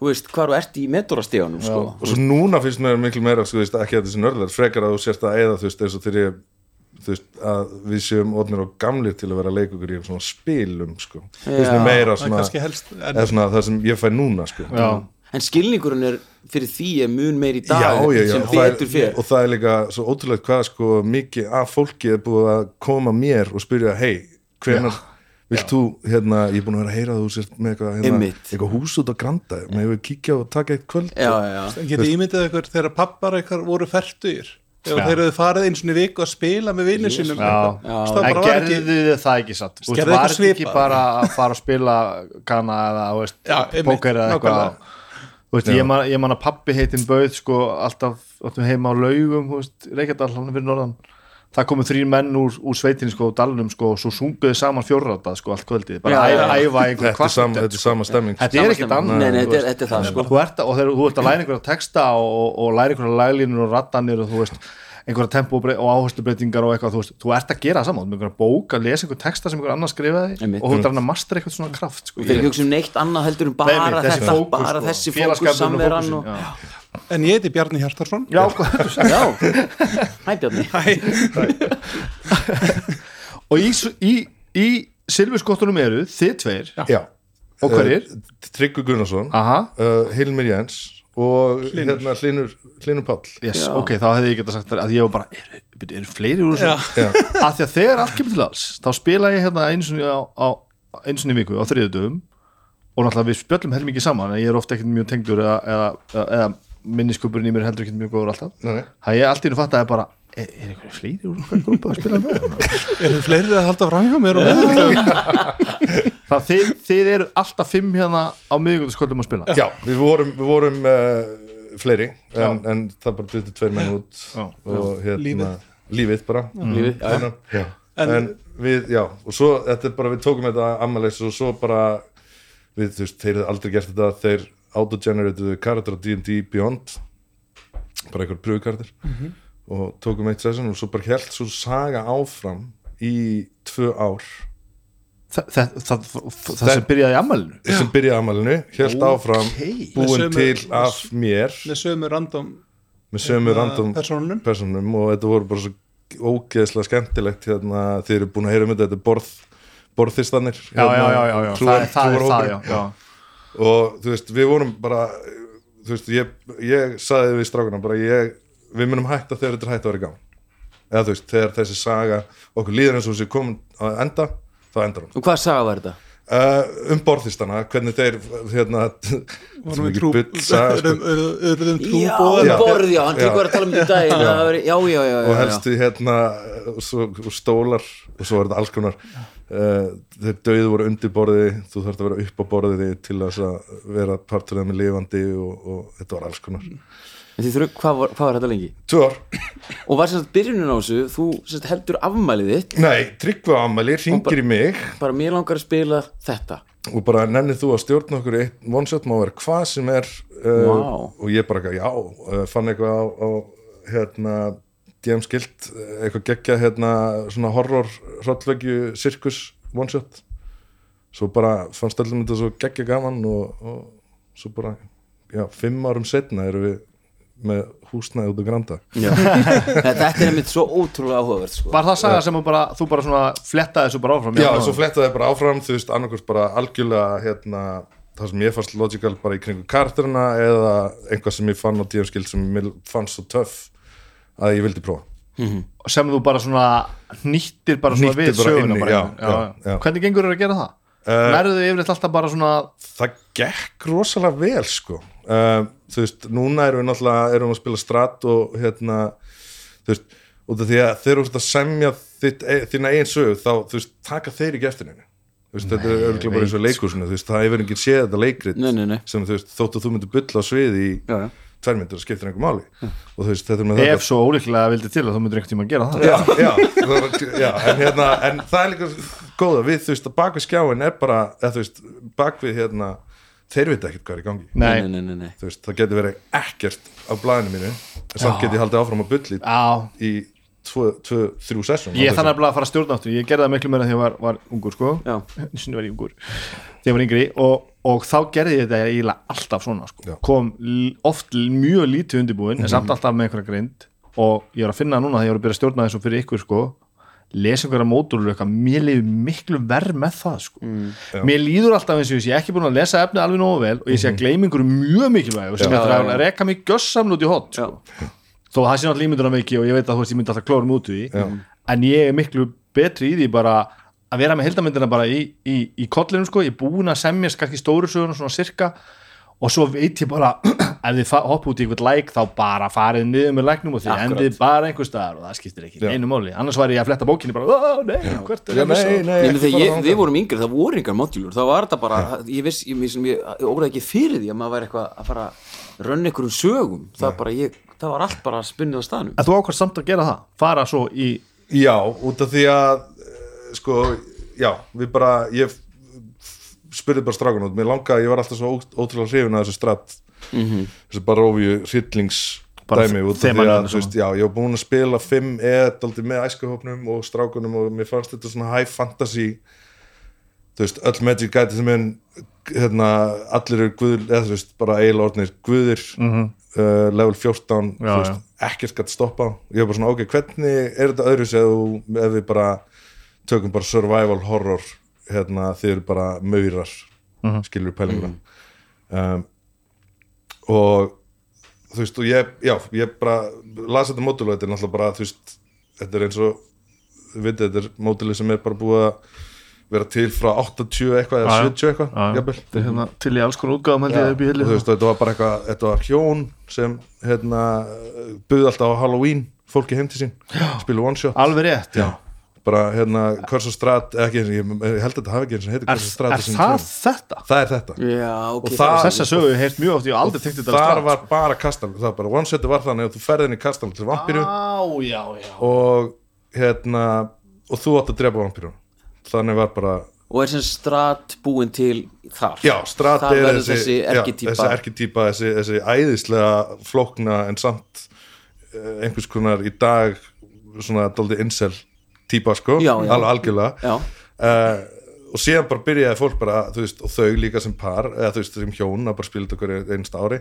Speaker 1: þú veist, hvar þú ert í metorastíðanum sko.
Speaker 2: og svo núna finnst mér miklu meira sko, þú veist, ekki að þessi nörðlar, frekar að þú sérst að eða þú veist, eins og þegar ég þú veist, að við séum orðnir og gamlir til að vera leikugur í svona spilum sko. þú veist,
Speaker 1: Já,
Speaker 2: mér meira
Speaker 4: það er
Speaker 2: svona,
Speaker 4: kannski helst en,
Speaker 2: eða svona það sem ég fæ núna sko. já,
Speaker 1: en skilningurinn er fyrir því er mun meir í dag
Speaker 2: já, já,
Speaker 1: sem
Speaker 2: og það
Speaker 1: betur
Speaker 2: er,
Speaker 1: fyrir
Speaker 2: og það er líka svo ótrúlegt hvað sko, mikið af fólki er búið að koma mér og spyrja, hei, hvenar Vilt þú, hérna, ég er búin að vera að heyra að þú sért með eitthvað, hérna,
Speaker 1: Einmitt.
Speaker 2: eitthvað hús út á granda, með hefur kíkja og taka eitt kvöld
Speaker 1: já, já, já.
Speaker 4: getið ímyndið ykkur þegar pappar ykkar voru færtugir ef þeir hefðu farið eins og viku að spila með vinnir sínum
Speaker 3: Já.
Speaker 4: Veist, það
Speaker 3: en
Speaker 4: bara var
Speaker 3: gerðu
Speaker 4: ekki
Speaker 3: þið það ekki satt Þú veist,
Speaker 4: Gerðu
Speaker 3: var
Speaker 4: eitthvað
Speaker 3: þetta ekki
Speaker 4: svipað?
Speaker 3: bara að fara að spila kanna eða þú veist,
Speaker 4: Já, einmitt,
Speaker 3: póker eða eitthvað
Speaker 4: nákvæmlega.
Speaker 3: Þú veist, ég, man, ég man að pappi heitinn bauð sko, alltaf áttum heima á laugum þú veist, Reykjadal, hann er fyrir norðan það komu þrýr menn úr, úr sveitinni sko, og dalnum sko, og svo sunguðu saman fjórráta sko, allt kvöldið, bara
Speaker 1: Já,
Speaker 3: æfa,
Speaker 1: já.
Speaker 3: æfa einhver
Speaker 2: Þetta er sama,
Speaker 3: kvartett
Speaker 2: þetta er sama stemming
Speaker 3: Þetta er ekkert
Speaker 1: Samastemming.
Speaker 3: annað
Speaker 1: Nei,
Speaker 3: þú
Speaker 1: nei, þetta er-
Speaker 3: veist.
Speaker 1: þetta er það, sko.
Speaker 3: Þú ert, að- og þegar þú ert að læra einhverja texta og, og, og læra einhverja laglínur og rattanir og þú veist einhverja tempo og áherslubreytingar og eitthvað þú, veist, þú ert að gera það saman, þú ert með einhverja bók að lesa einhverja texta sem einhverja annar skrifaði
Speaker 1: Einmitt. Mm.
Speaker 3: og þú ert að reyna að mastra eitthvað svona kraft sko.
Speaker 1: þeir ekki hugsa um neitt annað heldur um bara
Speaker 3: Nei, nei, þessi
Speaker 1: þetta,
Speaker 3: fókus,
Speaker 1: bara
Speaker 3: sko.
Speaker 1: þessi
Speaker 3: Félagsskapurinn
Speaker 1: fókus
Speaker 3: og
Speaker 1: samveran
Speaker 3: fókusinn,
Speaker 1: og...
Speaker 3: já.
Speaker 4: en ég heiti Bjarni Hjartarsson
Speaker 3: Já, sko. hvað-
Speaker 1: já, hæ Bjarni
Speaker 3: og í, í, í silfurskottunum eru þið tveir
Speaker 2: Já.
Speaker 3: og hverjir?
Speaker 2: Uh, Tryggvi Gunnarsson,
Speaker 3: Aha,
Speaker 2: uh, Hilmir Jens og hérna Hlynur, Hlynur Pall
Speaker 3: yes, ok, þá hefði ég geta sagt þér að ég var bara, eru, byrju, eru fleiri úr þessu?
Speaker 2: Já.
Speaker 3: að því að þegar allt kemur til alls þá spila ég hérna eins og á, á, eins og í viku á þriðutöfum og náttúrulega við spjöllum helmingi saman en ég er ofta ekkert mjög tengdur eða, eða, eða, eða minniskupurinn í mér er heldur ekkert mjög góður alltaf
Speaker 2: Nei, nei.
Speaker 3: það ég allt í nú fatt að ég bara er, er einhverju fleiri úr okkar grúpa að spila með
Speaker 4: eru fleiri að halda fram hjá mér og meðan?
Speaker 3: það þið, þið eru alltaf fimm hérna á miðvíkundaskvöldum að spila
Speaker 2: Já, við vorum, við vorum uh, fleiri en, en það bara dutti tveir menn út
Speaker 3: Já.
Speaker 2: og hérna
Speaker 4: Lífið.
Speaker 2: lífið bara
Speaker 1: Lífið, já, já.
Speaker 2: Þannig, já. En, við, já, og svo þetta er bara, við tókum þetta ammælis og svo bara við, þú veist, þeir hefðu aldrei gert þetta þeir autogeneratuðu karakter á D&D Beyond bara einhver pröfukartir og tókum eitt session og svo bara held svo saga áfram í tvö ár
Speaker 3: það, það, það, það, sem byrjaði í ammælinu
Speaker 2: sem byrjaði amalinu, held áfram
Speaker 4: Með
Speaker 2: búin
Speaker 4: sömu-
Speaker 2: til af mér
Speaker 4: með sömu random
Speaker 2: með
Speaker 3: Hérna
Speaker 2: sömu random
Speaker 4: persónunum.
Speaker 2: personum og þetta voru bara svo ógeðslega skemmtilegt hérna þeir eru búin að heyra um þetta, þetta er borð borðistannir
Speaker 3: já, já, já, já, já. það,
Speaker 2: trúar-
Speaker 3: er- það er það,
Speaker 2: trúarhópur.
Speaker 3: já, já.
Speaker 2: og þú veist, við vorum bara þú veist, ég, ég saði við strákuna bara ég, við munum hætta þegar þetta er hætt að vera í gang eða þú veist, þegar þessi saga okkur líður eins og þessi komin að enda þá endar hún
Speaker 1: Og hvað saga var þetta?
Speaker 2: uh, um borðistana, hvernig þeir hérna,
Speaker 4: vorum
Speaker 2: sem
Speaker 4: við trú um
Speaker 2: saga, sko,
Speaker 4: urðum urðum
Speaker 1: Já,
Speaker 4: trúbóðar
Speaker 2: Já.
Speaker 1: borð, já, hann
Speaker 2: Já.
Speaker 1: líka var að tala um þetta í dag já. Var, já, já, já, já,
Speaker 2: og
Speaker 1: já,
Speaker 2: helstu hérna og, svo, og stólar og svo er þetta alls konar uh, þeir döið voru undir borði þú þarf að vera upp á borði til þess að vera partur af með lifandi og, og þetta var alls konar
Speaker 1: En þið þurfum, hvað var, hvað var þetta lengi?
Speaker 2: tvö ár
Speaker 1: Og var sérst byrjunin á þessu, þú sérst heldur afmælið þitt
Speaker 2: Nei, Tryggva Amali ringir í mig
Speaker 1: Bara mér langar að spila þetta
Speaker 2: og bara nennið þú að stjórna okkur í eitt one-shot má vera hvað sem er uh,
Speaker 1: Vá.
Speaker 2: og ég bara, eitthvað, já, uh, fann eitthvað á, á hérna DM skilt, uh, eitthvað geggja hérna svona horror hrottlegju sirkus one-shot svo bara fannst öllum þetta svo geggja gaman og, og svo bara já, fimm árum setna erum við með húsnaði út á Granda
Speaker 1: Þetta er einmitt svo ótrúlega áhugavert sko.
Speaker 3: var það saga sem þú bara, þú bara svona flettaði þessu bara áfram
Speaker 2: Já, og svo flettaði bara áfram, þú veist, annarkvist bara algjörlega, hérna, það sem ég fannst logical bara í kringum karturna eða einhvað sem ég fann á DM-skil sem mér fannst svo töff að ég vildi prófa.
Speaker 3: sem þú bara svona nýttir bara svona
Speaker 2: Hnýttir
Speaker 3: við
Speaker 2: bara
Speaker 3: söguna
Speaker 2: inn í,
Speaker 3: bara,
Speaker 2: já, já, já.
Speaker 3: hvernig gengur þér að gera það? Uh,
Speaker 2: Eh,
Speaker 3: nærðu þið yfirleitt alltaf bara svona
Speaker 2: Það gekk rosalega vel, sko. Uh, þú veist, núna erum við náttúrulega, erum við að spila strat og hérna, þú veist, út af því að þeir eru að semja þitt, e, þína eigin sögu, þá, þú veist, taka þeir í geftininu. Þú veist, þetta er örgulega bara eins og leikusinu, þú veist, það hefur enginn séð þetta leikrit
Speaker 1: Nei, nei, nei.
Speaker 2: sem þú veist, þóttu þú myndir bylla á sviði í
Speaker 1: Já, já.
Speaker 2: tvær myndir og skiptir einhver máli og þú veist, þetta er með
Speaker 3: ef svo ólíklega vildi til að þú myndir einhvern tíma að gera það
Speaker 2: já, já, það- já, en, hérna, en það er líka góða við, þú veist, að bakvið skjáin er bara eða, þú veist, bakvið hérna þeir veit ekkert hvað er í gangi
Speaker 3: nei,
Speaker 1: nei, nei, nei, nei.
Speaker 2: þú veist, það getur verið ekkert á blæðinu mínu, en samt get ég haldið áfram að bulli
Speaker 3: Já,
Speaker 2: í tvö, tvö, þrjú sessjum
Speaker 3: ég er þannig að fara að stjórna aftur ég gerði það miklu meira þegar ég var, var ungur sko.
Speaker 1: Já.
Speaker 3: sinni var ég ungur þegar ég var yngri og, og þá gerði ég þetta eiginlega alltaf svona sko.
Speaker 2: Já.
Speaker 3: kom l- oft l- mjög lítið undirbúin en samt alltaf með einhverja grind og ég var að finna það núna þegar ég var að byrja að stjórna þessu fyrir ykkur sko lesa einhverja mótúlur eitthvað, mér líður miklu verð með það sko. mér líður alltaf eins og ég sé ekki búin að lesa efni alveg nógu vel og ég sé að gleyma einhverju mjög mikilvæg sem
Speaker 1: Já,
Speaker 3: ég þarf
Speaker 1: já,
Speaker 3: að
Speaker 1: já.
Speaker 3: reka mig gössamn út í hot sko þó það sé náttúrulega ímynduna mikið og ég veit að þú veist ég myndi alltaf klórum út í því en ég er miklu betri í því bara að vera með heldamyndina bara í, í, í kollinu sko, ég er búin að semja kannski stóru söguna svona cirka og svo veit ég bara ef þið fa- hoppa út í einhvern læk þá bara farið niður með læknum og því
Speaker 1: Akkurat.
Speaker 3: endið bara einhver staðar og það skiptir ekki
Speaker 2: Já.
Speaker 3: einu máli, annars væri ég að fletta bókinni bara, ó nei, hvert er
Speaker 2: já,
Speaker 3: að missa?"
Speaker 2: nei, nei,
Speaker 1: Nei, menn
Speaker 2: ekki
Speaker 1: þegar
Speaker 2: bara
Speaker 1: ég,
Speaker 2: þangað.
Speaker 1: við vorum yngri, það voru yngar modulur það var þetta bara, ég viss ég, ég, ég, ég óraði ekki fyrir því að maður væri eitthvað að fara að rönna einhverjum sögum það, bara, ég, það var allt bara spunnið á staðnum
Speaker 3: en þú ákvæmst samt að gera það, fara svo í
Speaker 2: Já, út af því að eh, sko, já, við bara ég f- f- spurði bara strákan út, mér langaði, ég var alltaf svo ó- ótrúlega hrifin að þessu stratt þessu bara rófju hryllings
Speaker 3: Mhm. Bara
Speaker 2: dæmi út af því
Speaker 3: þemann
Speaker 2: að,
Speaker 3: hennar
Speaker 2: þú veist, já, ég var búin að spila 5 eða daldið með æskuhópnum og strákunum og mér fannst þetta svona high fantasy þú veist, öll magic gæti sem en hérna, allir eru guður eða þú veist, bara eiginlega orðnir guður uh, level 14
Speaker 3: Mhm. Já,
Speaker 2: þú veist, ekkert gæti stoppa ég var bara svona, ok, hvernig er þetta öðru sem ef við bara tökum bara survival horror hérna, þið eru bara maurar mm
Speaker 3: Mhm.
Speaker 2: -hmm. skilur pælinguna um, og þú veist, og ég, já, ég bara las þetta mótul og þetta er náttúrulega bara þú veist, þetta er eins og við veitum, þetta er mótili sem er bara búið að vera til frá 80 eitthvað eða
Speaker 3: Já, já.
Speaker 2: 70 eitthvað,
Speaker 3: Já, já.
Speaker 2: jafnvel
Speaker 3: Þetta er hérna, til í alls konar útgáðum held
Speaker 2: Já,
Speaker 3: ég upp í
Speaker 2: og þú
Speaker 3: hillu
Speaker 2: veist, og þetta var bara eitthvað þetta var hjón sem hérna, buði alltaf á Halloween fólki heim til sín, spilu one shot
Speaker 3: alveg rétt, já
Speaker 2: bara hérna, Curse of Strat ekki, eins og- ég ég held að þetta hafi ekki eins og heitir
Speaker 3: er,
Speaker 2: Curse of Strat
Speaker 3: er það þetta?
Speaker 2: það er þetta
Speaker 1: Já, ok,
Speaker 2: Og
Speaker 1: það
Speaker 2: það-
Speaker 3: þessa sögu hef ég heyrt mjög oft ég hef aldrei tengt þetta
Speaker 2: þar var bara kastam það var bara one shot var þannig að þú ferði inn í kastam til vampíru
Speaker 3: já, já, já
Speaker 2: og hérna og þú átt að drepa vampíru þannig var bara
Speaker 1: og er sem strat búin til þar
Speaker 2: Já, strat
Speaker 1: Þar
Speaker 2: er
Speaker 1: verður
Speaker 2: þessi,
Speaker 1: þessi
Speaker 2: Já,
Speaker 1: erkitýpa
Speaker 2: þessi erkitýpa, þessi, þessi æðislega flókna en samt eh, einhvers konar í dag svona daldi insel týpa sko,
Speaker 1: Já, já.
Speaker 2: alveg algjörlega
Speaker 1: Já.
Speaker 2: Eh, og síðan bara byrjaði fólk bara, þú veist, og þau líka sem par eða þú veist, sem hjón að bara spila þetta hverju einst ári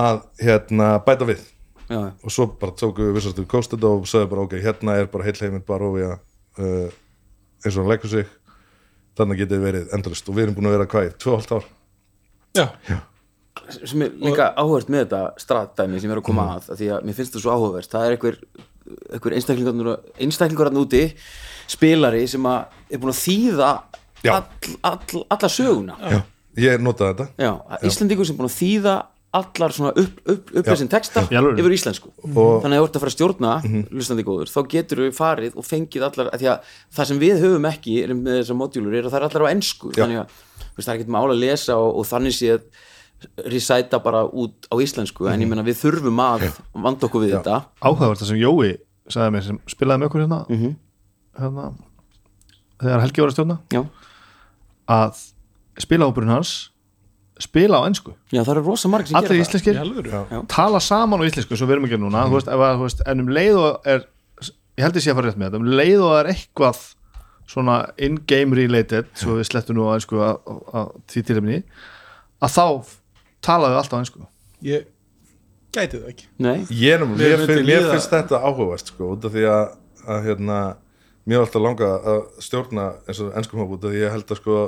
Speaker 2: að hérna bæta við
Speaker 1: Já,
Speaker 2: og svo bara tóku við vissast við kostið og sagði bara ok, hérna er bara heil heiminn bara ofið uh, eins og hann leggur sig þannig getið verið endalist og við erum búin að vera hvað í tvö og hálft ár
Speaker 4: já,
Speaker 1: sem er líka áhugavert með þetta stratdæmi sem er að koma að, að því að mér finnst það svo áhugavert það er einhver, einhver einstaklingar einstaklingar hann úti spilari sem að er búin að þýða
Speaker 2: Já.
Speaker 1: all, all, alla söguna já,
Speaker 2: já, ég notaði þetta
Speaker 1: Íslendingur sem er búin að þýða allar svona upp, upp, upplæsin texta
Speaker 3: Í alvöru?
Speaker 1: yfir íslensku
Speaker 2: Og-
Speaker 1: þannig að þú ert að fara að stjórna mm góður, þá getur við farið og fengið allar, af því að það sem við höfum ekki er með þessar modjúlur er að það er allar á ensku
Speaker 2: Já.
Speaker 1: þannig að þú veist, það er ekkert mála að lesa og, og þannig sé að risæta bara út á íslensku en ég meina við þurfum að vanda okkur við þetta
Speaker 3: áhugavert það sem Jói sagði mér sem spilaði með okkur hérna, hérna þegar Helgi var að stjórna
Speaker 1: já.
Speaker 3: að spilahópurinn hans spila á ennsku
Speaker 1: já, það eru rosa marg sem
Speaker 3: allir
Speaker 1: gera það
Speaker 3: íslenskir,
Speaker 4: í alvöru
Speaker 3: tala saman á íslensku svo við erum að gera núna, þú veist, ef, að, þú veist en um leið og er, ég held ég sé að fara rétt með þetta um leið og er eitthvað svona in-game related, svo við slettum nú á ennsku að, að, að því tilhefni að þá talaðu alltaf á ennsku
Speaker 4: ég gæti það ekki
Speaker 1: Nei,
Speaker 2: ég, er nefnilega-
Speaker 4: Mér
Speaker 2: mér,
Speaker 4: myndi
Speaker 2: finn, mér
Speaker 4: líða-
Speaker 2: finnst þetta áhugavert sko, út af því að, að hérna, mér var alltaf langa að stjórna eins og ennskum hóp út af því ég held að sko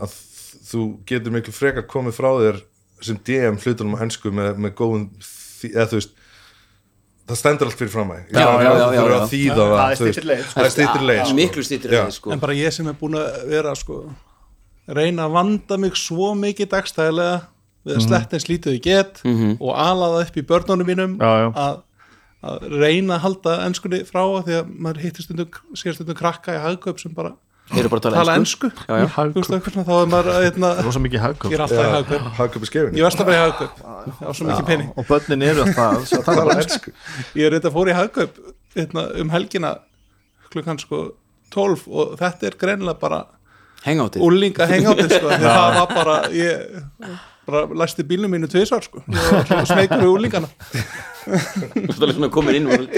Speaker 2: að þú getur miklu frekar komið frá þér sem DM hlutunum á ennsku með, með góðum þý- eða þú veist það stendur allt fyrir framæg
Speaker 1: Já, já, já, já, já.
Speaker 2: þýða það
Speaker 3: Það er
Speaker 2: þú veist.
Speaker 3: styttri leið, sko.
Speaker 2: það er stýttir leið sko.
Speaker 1: miklu stýttir
Speaker 2: Já.
Speaker 1: leið sko.
Speaker 4: en bara ég sem er búin að vera sko reyna að vanda mig svo mikið dagstæðilega við
Speaker 3: Mhm.
Speaker 4: að sletta eins lítið ég get og alaða upp í börnunum mínum
Speaker 3: Já, já.
Speaker 4: Að, að reyna að halda enskunni frá því að maður hittir stundum sér stundum krakka í hagkaup sem bara
Speaker 1: Eru bara að
Speaker 4: tala
Speaker 1: tala ensku
Speaker 4: ensku,
Speaker 1: Já, já.
Speaker 4: Þú veist, eitthvað svona, þá er maður að, hérna,
Speaker 3: rosa mikið
Speaker 4: ég er
Speaker 3: hagkvöld
Speaker 4: alltaf í hagkaup
Speaker 2: hagkaup í skefin
Speaker 4: ég verðst að bara í hagkaup ég á svo mikið pening
Speaker 3: og börnin eru alltaf svo að tala um á ennsku
Speaker 4: ég er reynda fór í hagkaup hérna, um helgina klukkan sko 12 og þetta er greinilega bara
Speaker 1: Hengátið
Speaker 4: úlinga hengáttið sko því það var bara ég bara læsti bílnum mínu tvisvar sko ég var svona smeykur við úlingana
Speaker 1: Þú ert alveg komin inn og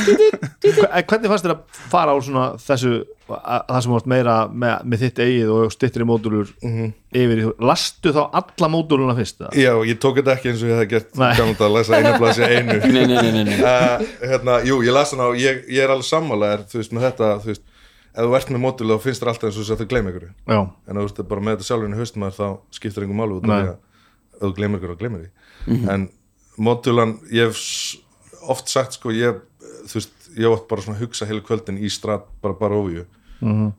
Speaker 3: En hvernig fannst þér að fara á svona þessu, að, það sem vart meira með, með þitt eigið og styttri módulur yfir í þú, lastu þá alla móduluna fyrst það?
Speaker 2: já, ég tók þetta ekki eins og ég hef gert
Speaker 3: Nei.
Speaker 2: gaman að lesa einu blasja einu
Speaker 1: Nei, nei, nei, nei, nei.
Speaker 2: uh, hérna, jú, ég las hana og ég, ég er alveg sammála er, þú veist, með þetta, þú veist ef þú ert með mótulega þá finnst þér alltaf eins og þess að þau gleyma ykkur en
Speaker 3: Já,
Speaker 2: ef þú veist bara með þetta sjálfurinn í haustum þér, þá skiptir einhver málu út af
Speaker 3: Nei.
Speaker 2: því að ef þú gleyma ykkur þá gleyma því en mótulan, ég hef s- oft sagt sko, ég þú veist, ég átt bara svona að hugsa heilu kvöldin í strat bara bara ofju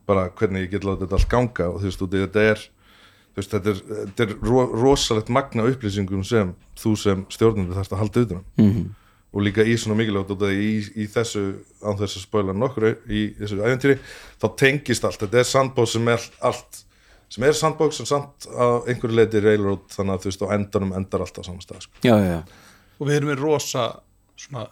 Speaker 2: bara hvernig ég get látið þetta allt ganga og þú veist, út í þetta er þú veist, þetta er, þetta er ro rosalegt magna af upplýsingum sem þú sem stjórnandi þarfst að halda utan mm -hmm. og líka í svona mikilvægt út af því í, í þessu, án þess að spoila nokkru í þessu æventýri, þá tengist allt þetta er sandbók sem er allt sem er sandbók sem samt á einhverju leiti railroad þannig að þú veist á endanum endar allt á saman stað sko.
Speaker 1: Já, já, já
Speaker 4: og við erum með rosa svona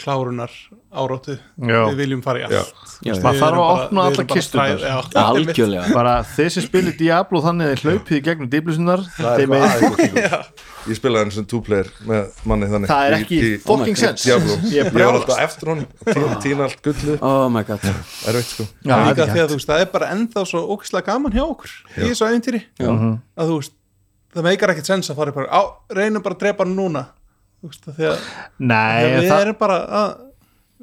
Speaker 4: klárunar áróttu
Speaker 3: Já.
Speaker 4: við viljum fara í allt
Speaker 2: Já.
Speaker 1: Já, já.
Speaker 4: Við
Speaker 3: Maður þarf
Speaker 4: erum
Speaker 3: að
Speaker 4: bara-
Speaker 3: opna
Speaker 4: við
Speaker 3: allar
Speaker 4: erum bara
Speaker 3: kisturnar.
Speaker 4: þræð- já.
Speaker 1: Algjörlega
Speaker 3: bara þeir sem spilir Diablo þannig að þeir hlaupið í gegnum dýblusunar
Speaker 2: það
Speaker 3: það,
Speaker 2: er hvað aðeins ég spilaði hann sem two-player með manni þannig
Speaker 3: það er
Speaker 2: í-
Speaker 3: ekki
Speaker 2: í,
Speaker 3: fucking
Speaker 1: Oh my God.
Speaker 3: sense
Speaker 2: Diablo,
Speaker 3: Ég
Speaker 2: ég
Speaker 3: er
Speaker 2: var
Speaker 3: brjálast
Speaker 2: alltaf eftir honum tí- tína allt gullu,
Speaker 1: Oh my god
Speaker 2: erfitt sko
Speaker 3: Já, það er
Speaker 4: líka
Speaker 3: ekki
Speaker 4: því
Speaker 3: hægt.
Speaker 4: að þú veist, það er bara ennþá svo ókislega gaman hjá okkur í þessu æfintýri
Speaker 2: Mhm.
Speaker 4: að þú veist, það meikar ekkert sens að fara bara, á, reynum bara að drepa hann núna þú veist, af því að
Speaker 3: Nei,
Speaker 4: við
Speaker 3: það-
Speaker 4: erum bara að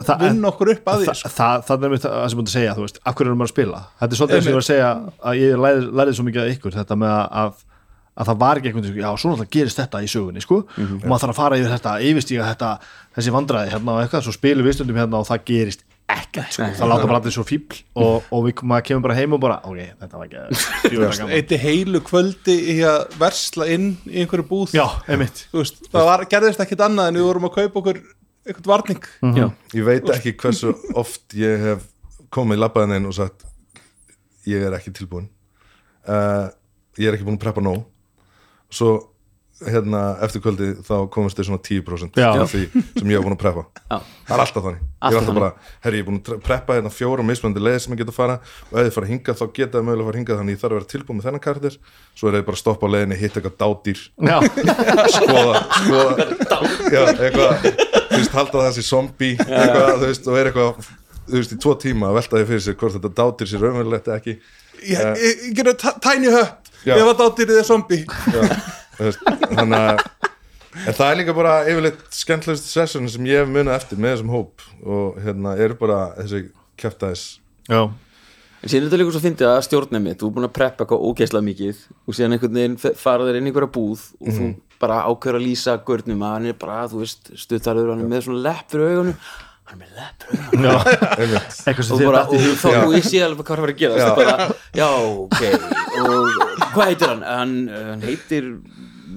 Speaker 3: það-
Speaker 4: vinna okkur upp að því
Speaker 3: Þa,
Speaker 4: sko.
Speaker 3: það, það er mér það sem búin að segja, þú veist, af hverju erum maður að spila þetta er svolítið sem ég var að segja að ég lærið, lærið svo mikið af ykkur þetta með að, að það var ekki einhvern veginn, já, svo náttúrulega gerist þetta í sögunni, sko, og maður þarf að fara yfir þetta yfirstíga þetta, þessi vandræði hérna og eitthvað, svo spilum við stundum hérna og það gerist ekkert, sko, það láta bara allir svo fíbl og, og við, maður kemur bara heim og bara ok, þetta var ekki djöfull var gaman."
Speaker 4: eitt heilu kvöldi í að versla inn í einhverju búð
Speaker 3: já, einmitt,
Speaker 4: Þú veist, það var, gerðist ekkert annað en við vorum að kaupa okkur eitthvað varning
Speaker 3: Mm.
Speaker 2: Ég veit ekki hversu oft ég hef komið labbaðin einn og sagt Eh, ég er ekki tilbúin uh, ég er ekki búin að preppa nóg svo hérna, eftir kvöldi þá komist þau svona 10%
Speaker 3: Já.
Speaker 2: af því sem ég var búin að preppa
Speaker 1: Já.
Speaker 2: það er alltaf þannig, ég
Speaker 1: Alltaf
Speaker 2: er alltaf bara herri, ég er búin að tre- preppa hérna fjóra mismunandi leið sem ég geta að fara og ef þið fara hingað þá geta þið mögulega að fara hingað þannig ég þarf að vera tilbúin með þennan karakter svo er þið bara að stoppa á leiðinni, hitta eitthvað dádýr
Speaker 3: Já,
Speaker 2: skoða, skoða Sko, já, eitthvað, þú veist, halda þessi zombi eitthvað, þú veist, og er eitthvað þú veist, í tvo tíma að velta því fyrir sér hvort þetta dátir sér raunverulegt eða ekki
Speaker 4: ég, ég, ég gera tiny hut
Speaker 2: Eh. Já.
Speaker 4: ef að dátýrið er zombi
Speaker 2: Þú veist, þannig að en það er líka bara yfirleitt skemmtlegust session sem ég hef munið eftir með þessum hóp og hérna er bara þessi kæftæðis
Speaker 3: já,
Speaker 1: En síðan er þetta líka svo fyndið að stjórna mitt, þú er búin að preppa eitthvað ógeðslega mikið og síðan einhvern veginn fe- fara þeir inn í einhverja búð og
Speaker 2: Mhm.
Speaker 1: þú bara ákveður að lýsa gurnum að hann er bara, þú veist, stuttarður hann er með svona lepp fyrir augunum hann er með lepp fyrir augunum
Speaker 3: já
Speaker 2: einmitt
Speaker 3: eitthvað
Speaker 1: og,
Speaker 3: sem þér
Speaker 1: bara,
Speaker 3: datt í
Speaker 1: og
Speaker 3: hug.
Speaker 1: þá og ég sé alveg hvað er að fara að gera já, bara, já ok, og hvað heitir hann? Hann, hann heitir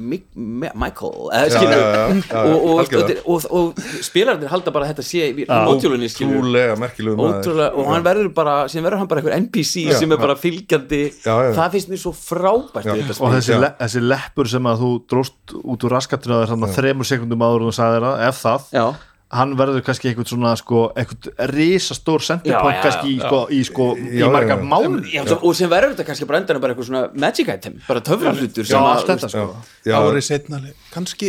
Speaker 1: Mik Mi- Michael eða, skilur,
Speaker 2: já, já, já, já,
Speaker 1: og, og, og,
Speaker 2: algjörlega.
Speaker 1: og, og spilarnir halda bara að þetta sé í mótjólunni skilur
Speaker 2: trúlega merkilegu
Speaker 1: Ótrúlega, og hann verður bara, síðan verður hann bara einhver NPC sem er bara fylgjandi
Speaker 2: Já, já.
Speaker 1: það finnst mér svo frábært já. þetta
Speaker 3: og
Speaker 1: spil
Speaker 3: þessi,
Speaker 2: Já.
Speaker 3: le, þessi leppur sem að þú dróst út úr raskatur að þér þarna þremur sekundum áður og þú sagði það, ef það
Speaker 1: Já.
Speaker 3: hann verður kannski einhvern svona sko, einhvern risastór
Speaker 1: Já,
Speaker 3: sendirpók
Speaker 1: já,
Speaker 3: kannski í, sko, í, sko,
Speaker 2: Já,
Speaker 3: í margar
Speaker 2: já, já.
Speaker 3: mánuði
Speaker 1: Já, og sem verður þetta kannski bara endan bara eitthvað svona magic item, bara töfrahlutur
Speaker 3: Já, allt þetta sko
Speaker 2: já,
Speaker 4: árið setna kannski,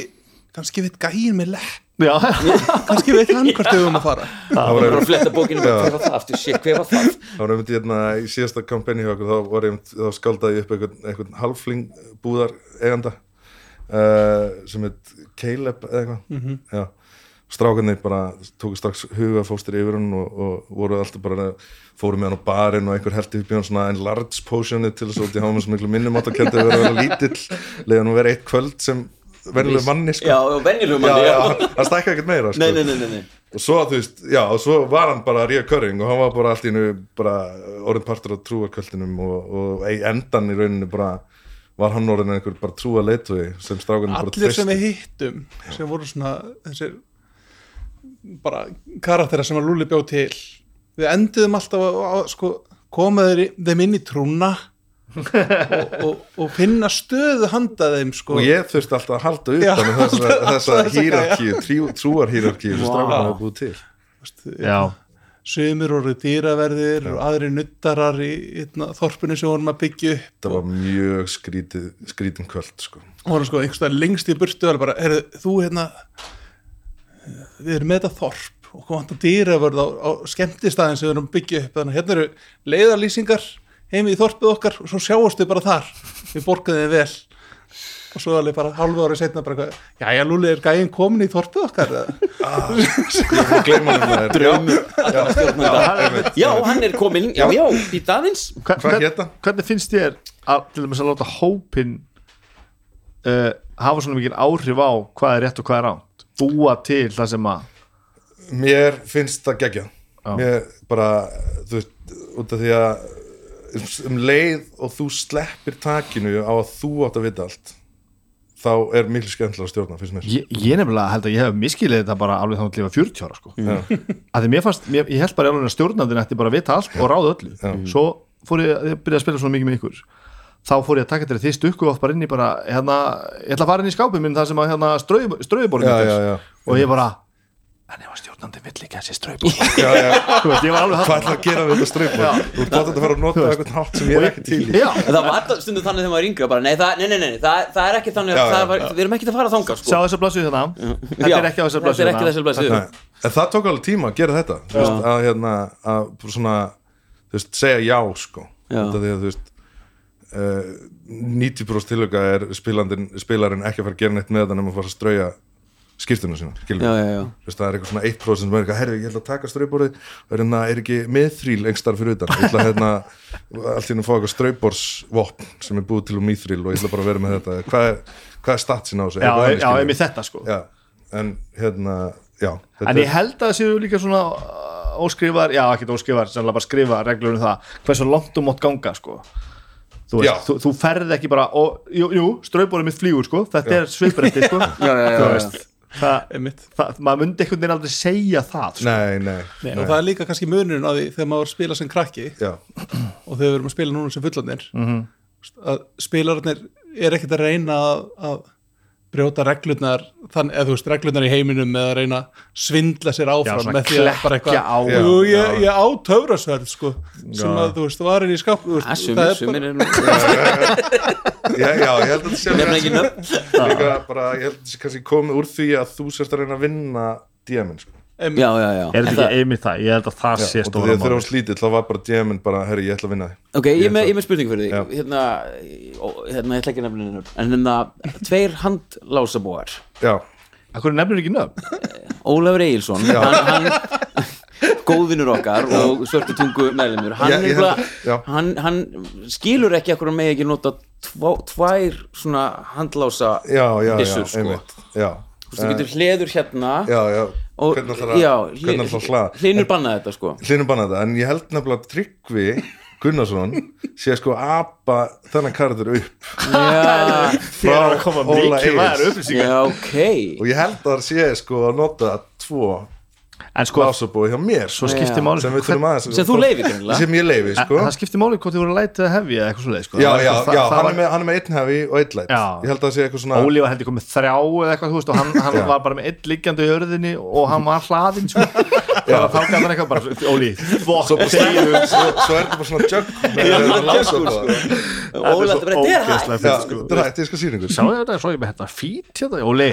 Speaker 4: kannski veit gæin með lepp
Speaker 3: Já,
Speaker 4: kannski veit hann hvort við höfum að fara
Speaker 2: það
Speaker 1: bara
Speaker 2: var
Speaker 1: að fletta bókinu, bara, hver var það aftur, shit, hver var það
Speaker 2: Það var einmitt hérna í síðasta kampenni hjá okkur, þá var einmitt, þá skaldaði ég upp einhvern, einhvern halfling búðar eiganda uh, sem heit Caleb eða eitthvað, já. Strákarnir bara tóku strax hugafóstir yfir hann og, og voru alltaf bara, fóru með hann á barinn og einhver heldur upp í hann svona en large potionu til þess að út í háma sem miklu minnum átt að kenda að vera lítill, leiði hann að vera eitt kvöld sem verðileg manni sko.
Speaker 1: Já, og venjulegum
Speaker 2: Já,
Speaker 1: manni, já,
Speaker 2: já, hann stækka ekkert meira sko
Speaker 1: Nei, nei, nei, nei, nei.
Speaker 2: og svo þú veist, já, og svo var hann bara Ríða Köring og hann var bara allt í hennu bara orðin partur á trúarkvöldinum og, og í endan í rauninu bara var hann orðin einhver bara trúa leituði sem strákunum bara
Speaker 4: allir sem
Speaker 2: treystu.
Speaker 4: við hittum sem voru svona þessir bara karakterar sem að Lúli bjó til við enduðum alltaf að, að sko, koma þeir, í- þeim inn í trúna og, og, og finna stöðu handa þeim sko.
Speaker 2: og ég þurfti alltaf að halda
Speaker 4: Já,
Speaker 2: utan um þessa,
Speaker 4: alltaf-
Speaker 2: þessa
Speaker 4: alltaf þessa
Speaker 2: hýrarkíu, trúarhýrarkíu sem
Speaker 1: Vá.
Speaker 2: strákunum hafa búið til
Speaker 4: Veist, ég-
Speaker 3: já,
Speaker 4: sumir voru dýraverðir og aðri nuttarar í eitna, þorpinu sem vorum að byggja upp
Speaker 2: það var mjög skrítið, skrítin kvöld sko.
Speaker 4: og voru sko einhverstað lengst í burtu alveg bara, heyrðu, þú hérna við erum með þetta þorp og hvað vantar dýravörð á, á skemmtistæðin sem við erum að byggja upp þannig að hérna eru leiðarlýsingar heimi í þorpið okkar og svo sjáumst við bara þar við borgaðum þið vel og svo alveg bara halvu ári setna bara eitthvað, jæja Lúli er gæinn komin í þorpið okkar eða?"
Speaker 2: ég gleyma hann það er
Speaker 1: Draumur allra stjórnmynda Já, hann er kominn, já, já, í dagins
Speaker 3: Hva-
Speaker 2: Hvað
Speaker 3: hvern-
Speaker 2: hét hann?
Speaker 3: Hvernig finnst þér að, til dæmis að láta hópin uh, hafa svona mikið áhrif á hvað er rétt og hvað er ránt búa til það sem að
Speaker 2: mér finnst það geggja
Speaker 3: Já.
Speaker 2: mér bara, þú veist út af því að um leið og þú sleppir takinu á að þú átt að vita allt þá er miklu skemmtilega að stjórna finnst mér
Speaker 3: Ég, ég nefnilega held að ég hef miskilið þetta bara alveg þá að lifa 40 ára sko. að því mér fannst, mér, ég held bara í alveg að stjórnandinn ætti bara að vita allt og ráða öllu svo fór ég, ég byrjaði að spila svona mikið með ykkur þá fór ég að taka þetta því stukku oft bara inn í bara, hérna, ég ætla að fara inn í skápin minn þar sem að hérna ströðuborðin
Speaker 2: Já, já, já.
Speaker 3: og ég bara en ef að stjórnandinn vill ekki að sé ströðuborðin
Speaker 2: já, já.
Speaker 3: þú veist, ég var alveg
Speaker 2: hvað ætlaði að gera við þetta streypa þú ert bótt að fara að nota eitthvað nátt sem ég er ekki til í
Speaker 3: já,
Speaker 1: En Það var alltaf stundum þannig þegar maður yngra bara, nei, það, nei, nei, nei, það, það er ekki þannig
Speaker 2: Já, já,
Speaker 1: það var, við erum ekki að fara þangað,
Speaker 3: sjá
Speaker 1: sko
Speaker 3: þessa blassu þarna þetta er ekki á þessa hérna. blassu
Speaker 1: Þetta er ekki á þessar blæsju
Speaker 2: Nei, en það tók alveg tíma að gera þetta þú veist, að hérna að bara svona, þú veist, segja já sko
Speaker 1: Já.
Speaker 2: Út af því að þú veist uh, 90% tilöka er spilandin, spilarinn ekki að fara að gera neitt með þetta nema að fara að strauja skýrtuna sína skilur
Speaker 1: Já,
Speaker 2: við.
Speaker 1: já, já
Speaker 2: Þú veist, það er eitthvað svona 1% sem er eitthvað, herru, ég ætla að taka strauborðið og er, hérna, er ekki meðþrýl engstar fyrir utan ég ætla að hérna, allt í henni að fá eitthvað strauborsvopn sem er búið til um meðþrýl og ég ætla bara að vera með þetta hvað er, hvað er statsin á þessu
Speaker 3: já, já,
Speaker 2: Eitthvað þannig, skilur við.
Speaker 3: einmitt þetta sko
Speaker 2: Já, en hérna, já þetta
Speaker 3: En
Speaker 2: er-
Speaker 3: ég held að það séu líka svona uh, óskrifar, já ekkert óskrifar sem bara skrifa reglur um það, hversu langt þú mátt ganga sko þú,
Speaker 2: Já.
Speaker 3: veist, þú, þú ferð ekki bara, og, jú, jú ströybórið mitt flýgur sko, þetta er sviprætti sko
Speaker 1: Já, já, já,
Speaker 3: þú
Speaker 1: já.
Speaker 3: veist það,
Speaker 4: Einmitt.
Speaker 3: það, maður myndi einhvern veginn aldrei segja það sko.
Speaker 2: Nei, nei,
Speaker 4: og það er líka kannski munurinn á því þegar maður spila sem krakki
Speaker 2: Já,
Speaker 4: og þegar við erum að spila
Speaker 3: Mhm.
Speaker 4: núna sem fullanir að spilararnir er ekkert að reyna að, að brjóta reglurnar þann, eða þú veist, reglurnar í heiminum með að reyna að svindla sér áfram
Speaker 3: svona
Speaker 4: með því að bara
Speaker 3: klekkja á.
Speaker 4: eitthvað Jú, ég, ég á töfrasverð sko, sem að þú veist, varin í skáp þú veist,
Speaker 1: að sumir, sumir er nú
Speaker 2: já, já, ég held að þetta sé
Speaker 1: nefna ekki
Speaker 2: líka
Speaker 1: nöfn
Speaker 2: bara, ég held að þetta sé kannski komið úr því að þú sérst að reyna að vinna DM-in sko.
Speaker 1: já, já, já
Speaker 3: er þetta ekki einmitt það, ég held að það
Speaker 2: Já,
Speaker 3: sé
Speaker 2: og
Speaker 3: stóra
Speaker 2: þegar þegar
Speaker 3: mál
Speaker 2: hún slítið þá var bara DM-in bara, herri, ég ætla að vinna þig
Speaker 1: ok, ég er með, ég er með spurningu fyrir
Speaker 2: Já.
Speaker 1: þig hérna, ó, hérna, ég ætla ekki að nefna nefnir en hérna, tveir handlásabóar
Speaker 2: já,
Speaker 3: Akkur nefnir ekki nöfn?
Speaker 1: Ólafur Egilson hann, hann góðvinur okkar og svörtu tungu meðlumur hann,
Speaker 2: Já, ég held
Speaker 1: nefnilega-
Speaker 2: að- já.
Speaker 1: hann, hann skilur ekki akkur að megi ekki nota tvá, tvær svona handlása
Speaker 2: já, já, já,
Speaker 1: byssur sko.
Speaker 2: einmitt já,
Speaker 1: Þú veist, þú getur hleður hérna
Speaker 2: já, já,
Speaker 1: og,
Speaker 2: hvernig ætlar að
Speaker 1: já,
Speaker 2: hvernig ætlar að hlaða
Speaker 1: hlinur bannaði þetta sko
Speaker 2: hlinum banna þetta, en ég held nefnilega að Tryggvi Gunnarsson sé sko apa þennan karður upp
Speaker 1: já,
Speaker 3: Frá
Speaker 2: frá Óla Eils
Speaker 1: já, ok
Speaker 2: og ég held að það sé sko að nota tvo
Speaker 3: En sko,
Speaker 2: lásabói hjá mér
Speaker 3: svo skiptir
Speaker 1: Já.
Speaker 3: máli
Speaker 2: sem við þurfum aðeins
Speaker 1: sem þú leifir greinilega.
Speaker 2: sem ég leifi
Speaker 3: A-
Speaker 2: sko
Speaker 3: Það skiptir máli hvort þið voru lætið að hefja eitthvað svo leið sko.
Speaker 2: já,
Speaker 3: Það var
Speaker 2: já,
Speaker 3: eitthvað-
Speaker 2: já,
Speaker 3: það- það
Speaker 2: hann
Speaker 3: var-
Speaker 2: er með, hann er með einn hefi og einn læt
Speaker 3: Já.
Speaker 2: ég held að það sé eitthvað svona
Speaker 3: Óli var heldur komið þrjá eða eitthvað, þú veist, og hann, hann
Speaker 2: Já.
Speaker 3: var bara með einn liggjandi í örðinni og hann var hlaðinn, sko. Það var þannig að hann eitthvað bara, Óli,
Speaker 2: svo,
Speaker 3: þvokk,
Speaker 2: bara slæðum, svo, svo er þetta bara svona jök með þennan lásabói
Speaker 1: Óla, þetta er bara, þetta er hægt
Speaker 3: ógeðslega
Speaker 2: já,
Speaker 3: fyrir, sko.
Speaker 2: þetta er hægt, ég skal sýningur
Speaker 3: Sjáðu þetta, svo ég með þetta fít hérna, Óli.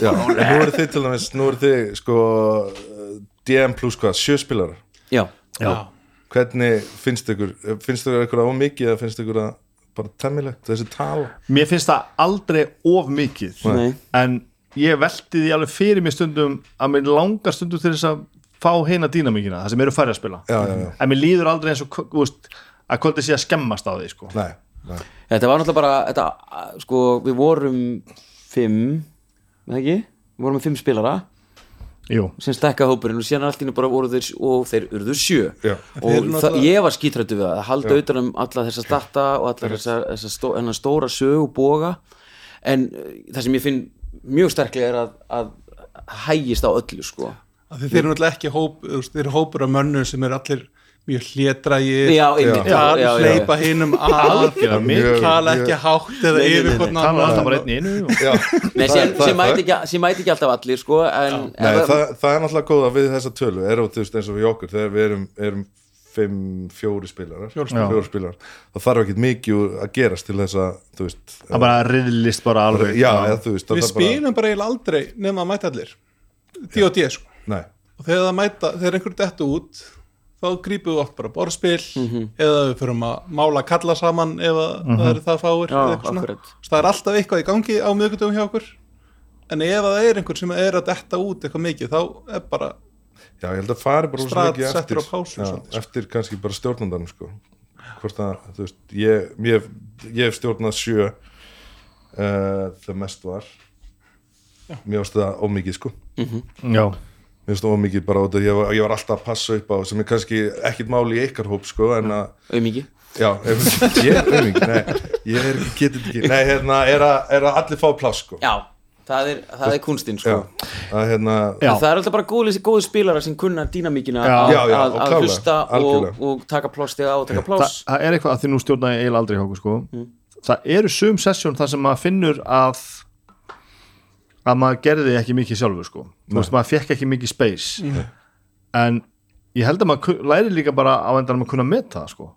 Speaker 2: Já, en nú eru þið til dæmis, nú eru þið sko eh, DM plus hvað, sjöspilar
Speaker 1: já,
Speaker 3: Já.
Speaker 2: hvernig finnst ykkur eh, finnst ykkur eitthvað á mikið eða finnst ykkur að bara temmilegt, þessi tal
Speaker 3: Mér finnst það aldrei of mikið,
Speaker 1: Nei.
Speaker 3: en ég velti því alveg fyrir mér stundum að mér langar stundum til þess að fá heina dýnamíkina, það sem eru færri að spila.
Speaker 2: já, já, já,
Speaker 3: En mér líður aldrei eins og, þú veist, að kvöldið sé að skemmast á því, sko.
Speaker 2: nei, nei.
Speaker 1: þetta var náttúrulega bara þetta, sko, við vorum fimm, eða ekki við vorum með fimm spilara
Speaker 3: Jú.
Speaker 1: sem stekka hópurinn og síðan allt í einu bara voru þeir og þeir urðu sjö
Speaker 2: Já.
Speaker 1: og það, ég var skítrættu við það að halda auðvitað um alla þessa starta og alla þessa, þessa stó, þennan stóra sögu boga en uh, það sem ég finn mjög sterklega er að, að hægist á öllu sko
Speaker 4: að þeir eru náttúrulega ekki hóp, þú veist, þeir eru hópur af mönnum sem eru allir mjög hlétrægir
Speaker 1: Já, einmitt, já, já, já, já.
Speaker 4: hleypa hinnum að
Speaker 3: Algjörlega mikið.
Speaker 4: tala ekki hátt eða yfir hvort
Speaker 3: Talar alltaf bara einn í einu og...
Speaker 2: Já,
Speaker 1: Nei,
Speaker 2: það
Speaker 1: sem,
Speaker 2: er- það er
Speaker 1: sem, mæti
Speaker 2: það.
Speaker 1: ekki, sem mæti ekki alltaf allir sko en,
Speaker 2: Nei,
Speaker 1: en
Speaker 2: það, það er náttúrulega góða við þessa tölu er óttist eins og við okkur þegar við erum, erum fimm, fjóri spilarar
Speaker 4: Fjórir
Speaker 2: Já. fjórir spilarar það þarf ekkit mikið úr að gerast til þess að þú veist
Speaker 3: Það bara riðlist bara alveg
Speaker 2: já, eða, þú veist það
Speaker 4: við
Speaker 2: þarf bara-
Speaker 4: spilum bara eiginlega aldrei nefn að mæta allir D.O.D. sko
Speaker 2: Nei,
Speaker 4: og þegar það mæta, þegar einhver dettu út þá grípum við oft bara borðspil eða við förum að mála kalla saman ef að það eru það fáir
Speaker 1: Já,
Speaker 4: eða eitthvað svona.
Speaker 1: akkurat.
Speaker 4: Svo það er alltaf eitthvað í gangi á miðvikudöfum hjá okkur en ef að það er einhver sem er að detta út eitthvað mikið þá er bara
Speaker 2: já, ég held að fari bara rosa
Speaker 4: Strat
Speaker 2: mikið
Speaker 4: settur
Speaker 2: eftir,
Speaker 4: á pásu
Speaker 2: já,
Speaker 4: svolítið, sko.
Speaker 2: eftir kannski bara stjórnandanum sko. hvort að, þú veist, ég ég, hef- ég hef stjórnað sjö uh, það mest var mér varst það ómikið sko
Speaker 3: já.
Speaker 2: mér finnst það ómikið bara út að ég var, ég var alltaf að passa upp á sem er kannski ekkit máli í ykkar hóp sko, en að,
Speaker 1: auðmiki
Speaker 2: já, ef, ég er uming nei, ég er, get þetta ekki nei, hérna, er að, er að allir fá pláss sko.
Speaker 1: Já, það er, það er kunstinn sko
Speaker 2: já, að hérna
Speaker 3: Já.
Speaker 1: En það er alltaf bara góði, góði spilarar sem kunna dýnamíkina
Speaker 3: Já.
Speaker 1: að,
Speaker 2: Já, já,
Speaker 1: að,
Speaker 2: og
Speaker 1: að
Speaker 2: klárlega,
Speaker 1: hlusta og,
Speaker 2: algjörlega.
Speaker 1: og taka pláss þegar á að taka
Speaker 3: Það,
Speaker 1: pláss
Speaker 3: það er eitthvað að því nú stjórnaði eiginlega aldrei hjá okkur sko Það eru sum sessjón þar sem maður finnur að að maður gerði ekki mikið sjálfur sko Þú veist, maður fekk ekki mikið space en ég held að maður ku- læri líka bara á endanum að kunna meta það sko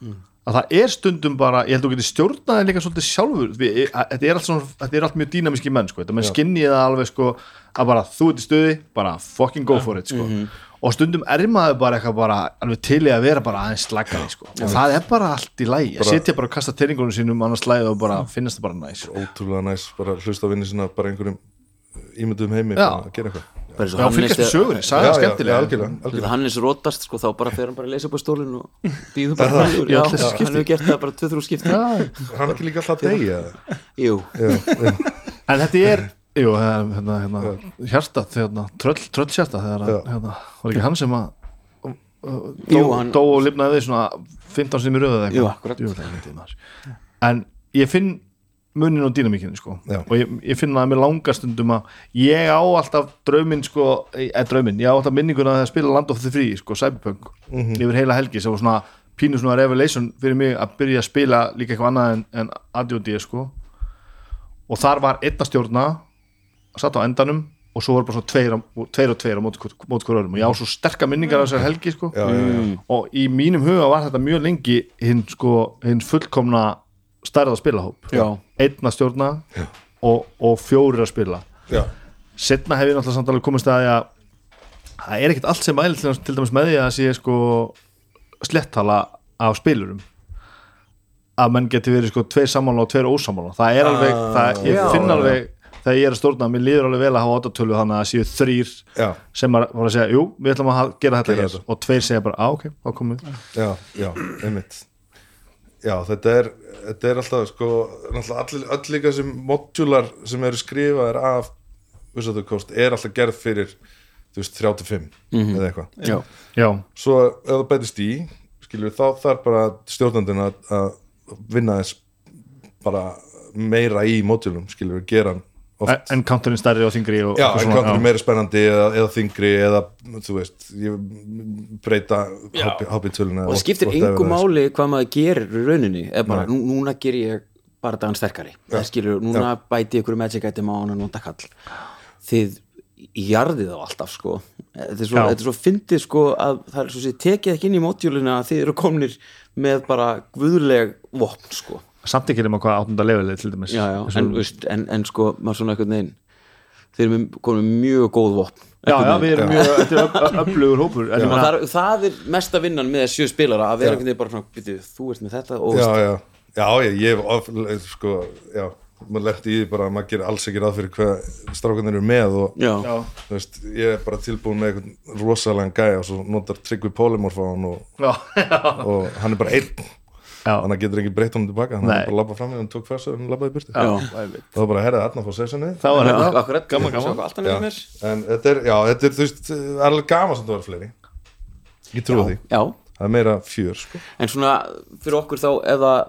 Speaker 2: Mm.
Speaker 3: að það er stundum bara, ég held að þú getur stjórnaði líka svolítið sjálfur Við, að, þetta, er allt svona, þetta er allt mjög dýnamíski menn sko. þetta menn skinni það alveg sko, að bara þú ert í stuði, bara fucking go for it sko.
Speaker 2: Mhm.
Speaker 3: og stundum er maður bara eitthvað bara, alveg til í að vera bara aðeins slagari sko. og það er bara allt í lægi að sitja bara og kasta teiningunum sínum annars lægið og bara finnast það bara næs sko.
Speaker 2: ótrúlega næs, bara hlusta á vinni sinna bara einhverjum ímyndum heimi
Speaker 3: Já.
Speaker 2: bara að gera eitthvað
Speaker 1: Bara eins og
Speaker 3: Já,
Speaker 1: Hannes
Speaker 3: fylgjast með
Speaker 1: er-
Speaker 3: sögunni,
Speaker 2: Já,
Speaker 3: sagan er
Speaker 2: já, já,
Speaker 3: skemmtilega
Speaker 2: algjörlega,
Speaker 1: Þegar
Speaker 2: algjörlega.
Speaker 1: Hannes rótast sko þá bara fer hann bara að leysa upp á stólinn og býður bara fram úr.
Speaker 3: í
Speaker 1: Já,
Speaker 3: öll þessi
Speaker 1: hann
Speaker 3: skipti.
Speaker 1: hefur gert það bara 2-3 skipti
Speaker 2: hann er ekki líka alltaf að deyja
Speaker 1: Jú,
Speaker 3: en þetta er jú, hérna, hérna, hérna, hjarta, hérna, tröll, tröllhjarta þegar að,
Speaker 2: Já.
Speaker 3: hérna, var ekki hann sem að dó,
Speaker 1: Jú, hann-
Speaker 3: dó og lifnaði við svona 15 sem í röðu eða
Speaker 1: Jú,
Speaker 3: eitthvað
Speaker 1: akkurat.
Speaker 3: Jú, það er fyndið, maður. en ég finn munin og dýnamíkinu sko
Speaker 2: Já.
Speaker 3: og ég, ég finn það að mér langar stundum að ég á alltaf drauminn sko eða drauminn, ég á alltaf minninguna að spila Land of the Free sko, Cyberpunk
Speaker 1: Mhm.
Speaker 3: yfir heila helgi sem var svona pínu svona revelation fyrir mig að byrja að spila líka eitthvað annað en, en ADOD sko og þar var einn að stjórna satt á endanum og svo voru bara svona tveir, á- tveir og tveir á móti hvor- móti hver öðrum og ég á svo sterka minningar af þessar helgi sko.
Speaker 2: já, já.
Speaker 3: og í mínum huga var þetta mjög lengi hinn sko, hinn fullkomna stærða spilahóp
Speaker 1: Já.
Speaker 3: einn að stjórna og, og fjórir að spila
Speaker 2: Já.
Speaker 3: setna hef ég náttúrulega samt alveg komist að því að það er ekkert allt sem mælir til, til dæmis með því að sé sko slettala af spilurum að menn geti verið sko tveir sammála og tveir ósammála það er alveg, það, ég
Speaker 2: Ah, já,
Speaker 3: finn
Speaker 2: já.
Speaker 3: alveg þegar ég er að stjórna, mér líður alveg vel að hafa áttatölu þannig að það séu þrýr
Speaker 2: Já.
Speaker 3: sem að, voru að segja, jú, við ætlum að ha- gera þetta
Speaker 2: Gera
Speaker 3: hér
Speaker 2: þetta.
Speaker 3: og tveir segja bara, á ok, þá komum við
Speaker 2: já, já, einmitt Já, þetta er, þetta er alltaf sko, náttúrulega all, all líka sem modular sem eru skrifaðir af Wizard of the Coast er alltaf gerð fyrir þú veist, 35 eða eitthvað
Speaker 1: já,
Speaker 3: Mhm. já,
Speaker 2: Svo ef það bætist í skilur þá þarf bara stjórnandinn að að vinna þess bara meira í modulum skilur, gera hann oft
Speaker 3: en, en counterinn stærri og þingri og,
Speaker 2: Já,
Speaker 3: eitthvað
Speaker 2: en
Speaker 3: svona,
Speaker 2: kantur er
Speaker 3: já.
Speaker 2: meira spennandi eða, eða þingri eða, þú veist, ég breyta hobbitöluna
Speaker 1: og það skiptir engu máli hvað maður gerir í rauninni eða bara, nú, núna ger ég bara dagann sterkari það skilur, núna bæti ykkur magic item á hann að nota kall þið jarðið á alltaf sko þetta er svo,
Speaker 3: Já.
Speaker 1: þetta er svo fyndið sko að það er svo sér tekið ekki inn í mótjúluna að þið eru komnir með bara guðleg vopn sko
Speaker 3: samt ekki nema hvað áttunda lefileg til dæmis
Speaker 1: já, já,
Speaker 3: Eins og-
Speaker 1: en, veist, en, en sko maður svona eitthvað neginn þeir eru með- komnir með mjög góð vopn
Speaker 3: já,
Speaker 1: einhvern
Speaker 3: já,
Speaker 1: veginn.
Speaker 3: við erum mjög þetta er öf- öf- öflugur hópur en ég
Speaker 1: Og
Speaker 3: meina-
Speaker 1: það, er- það er mesta vinnan með sjö spilara að vera einhvern veginn bara svona, "Bíddu, þú ert með þetta og
Speaker 2: Já, já, já, ég, ég hef of, sko, já, maður lendi í því bara að maður gerir alls ekki ráð fyrir hvað strákanir eru með og,
Speaker 1: Já.
Speaker 3: Já.
Speaker 2: þú veist, ég er bara tilbúin með einhvern rosalega gæja og svo notar Tryggvi Polymorf á hann og,
Speaker 3: Já, já.
Speaker 2: og hann er bara einn
Speaker 3: Já.
Speaker 2: þannig að getur ekki breytt honum tilbaka hann
Speaker 3: Nei.
Speaker 2: er bara að labba fram í, hann tók fæssu og hann labbaði í burti
Speaker 1: Já.
Speaker 2: og það var bara að herra þarna að fá sessunni
Speaker 3: Það var
Speaker 1: Já,
Speaker 2: hérna,
Speaker 3: þetta
Speaker 1: akkurat,
Speaker 3: Gaman,
Speaker 1: Sjá
Speaker 3: gaman.
Speaker 1: hvað allt annað
Speaker 2: Já,
Speaker 1: er mér.
Speaker 2: en þetta er, já, þetta er, þú veist, það er alveg gaman sem það var fleiri Ég trúi því
Speaker 1: Já,
Speaker 2: Það er meira fjör, sko
Speaker 1: en svona fyrir okkur þá ef að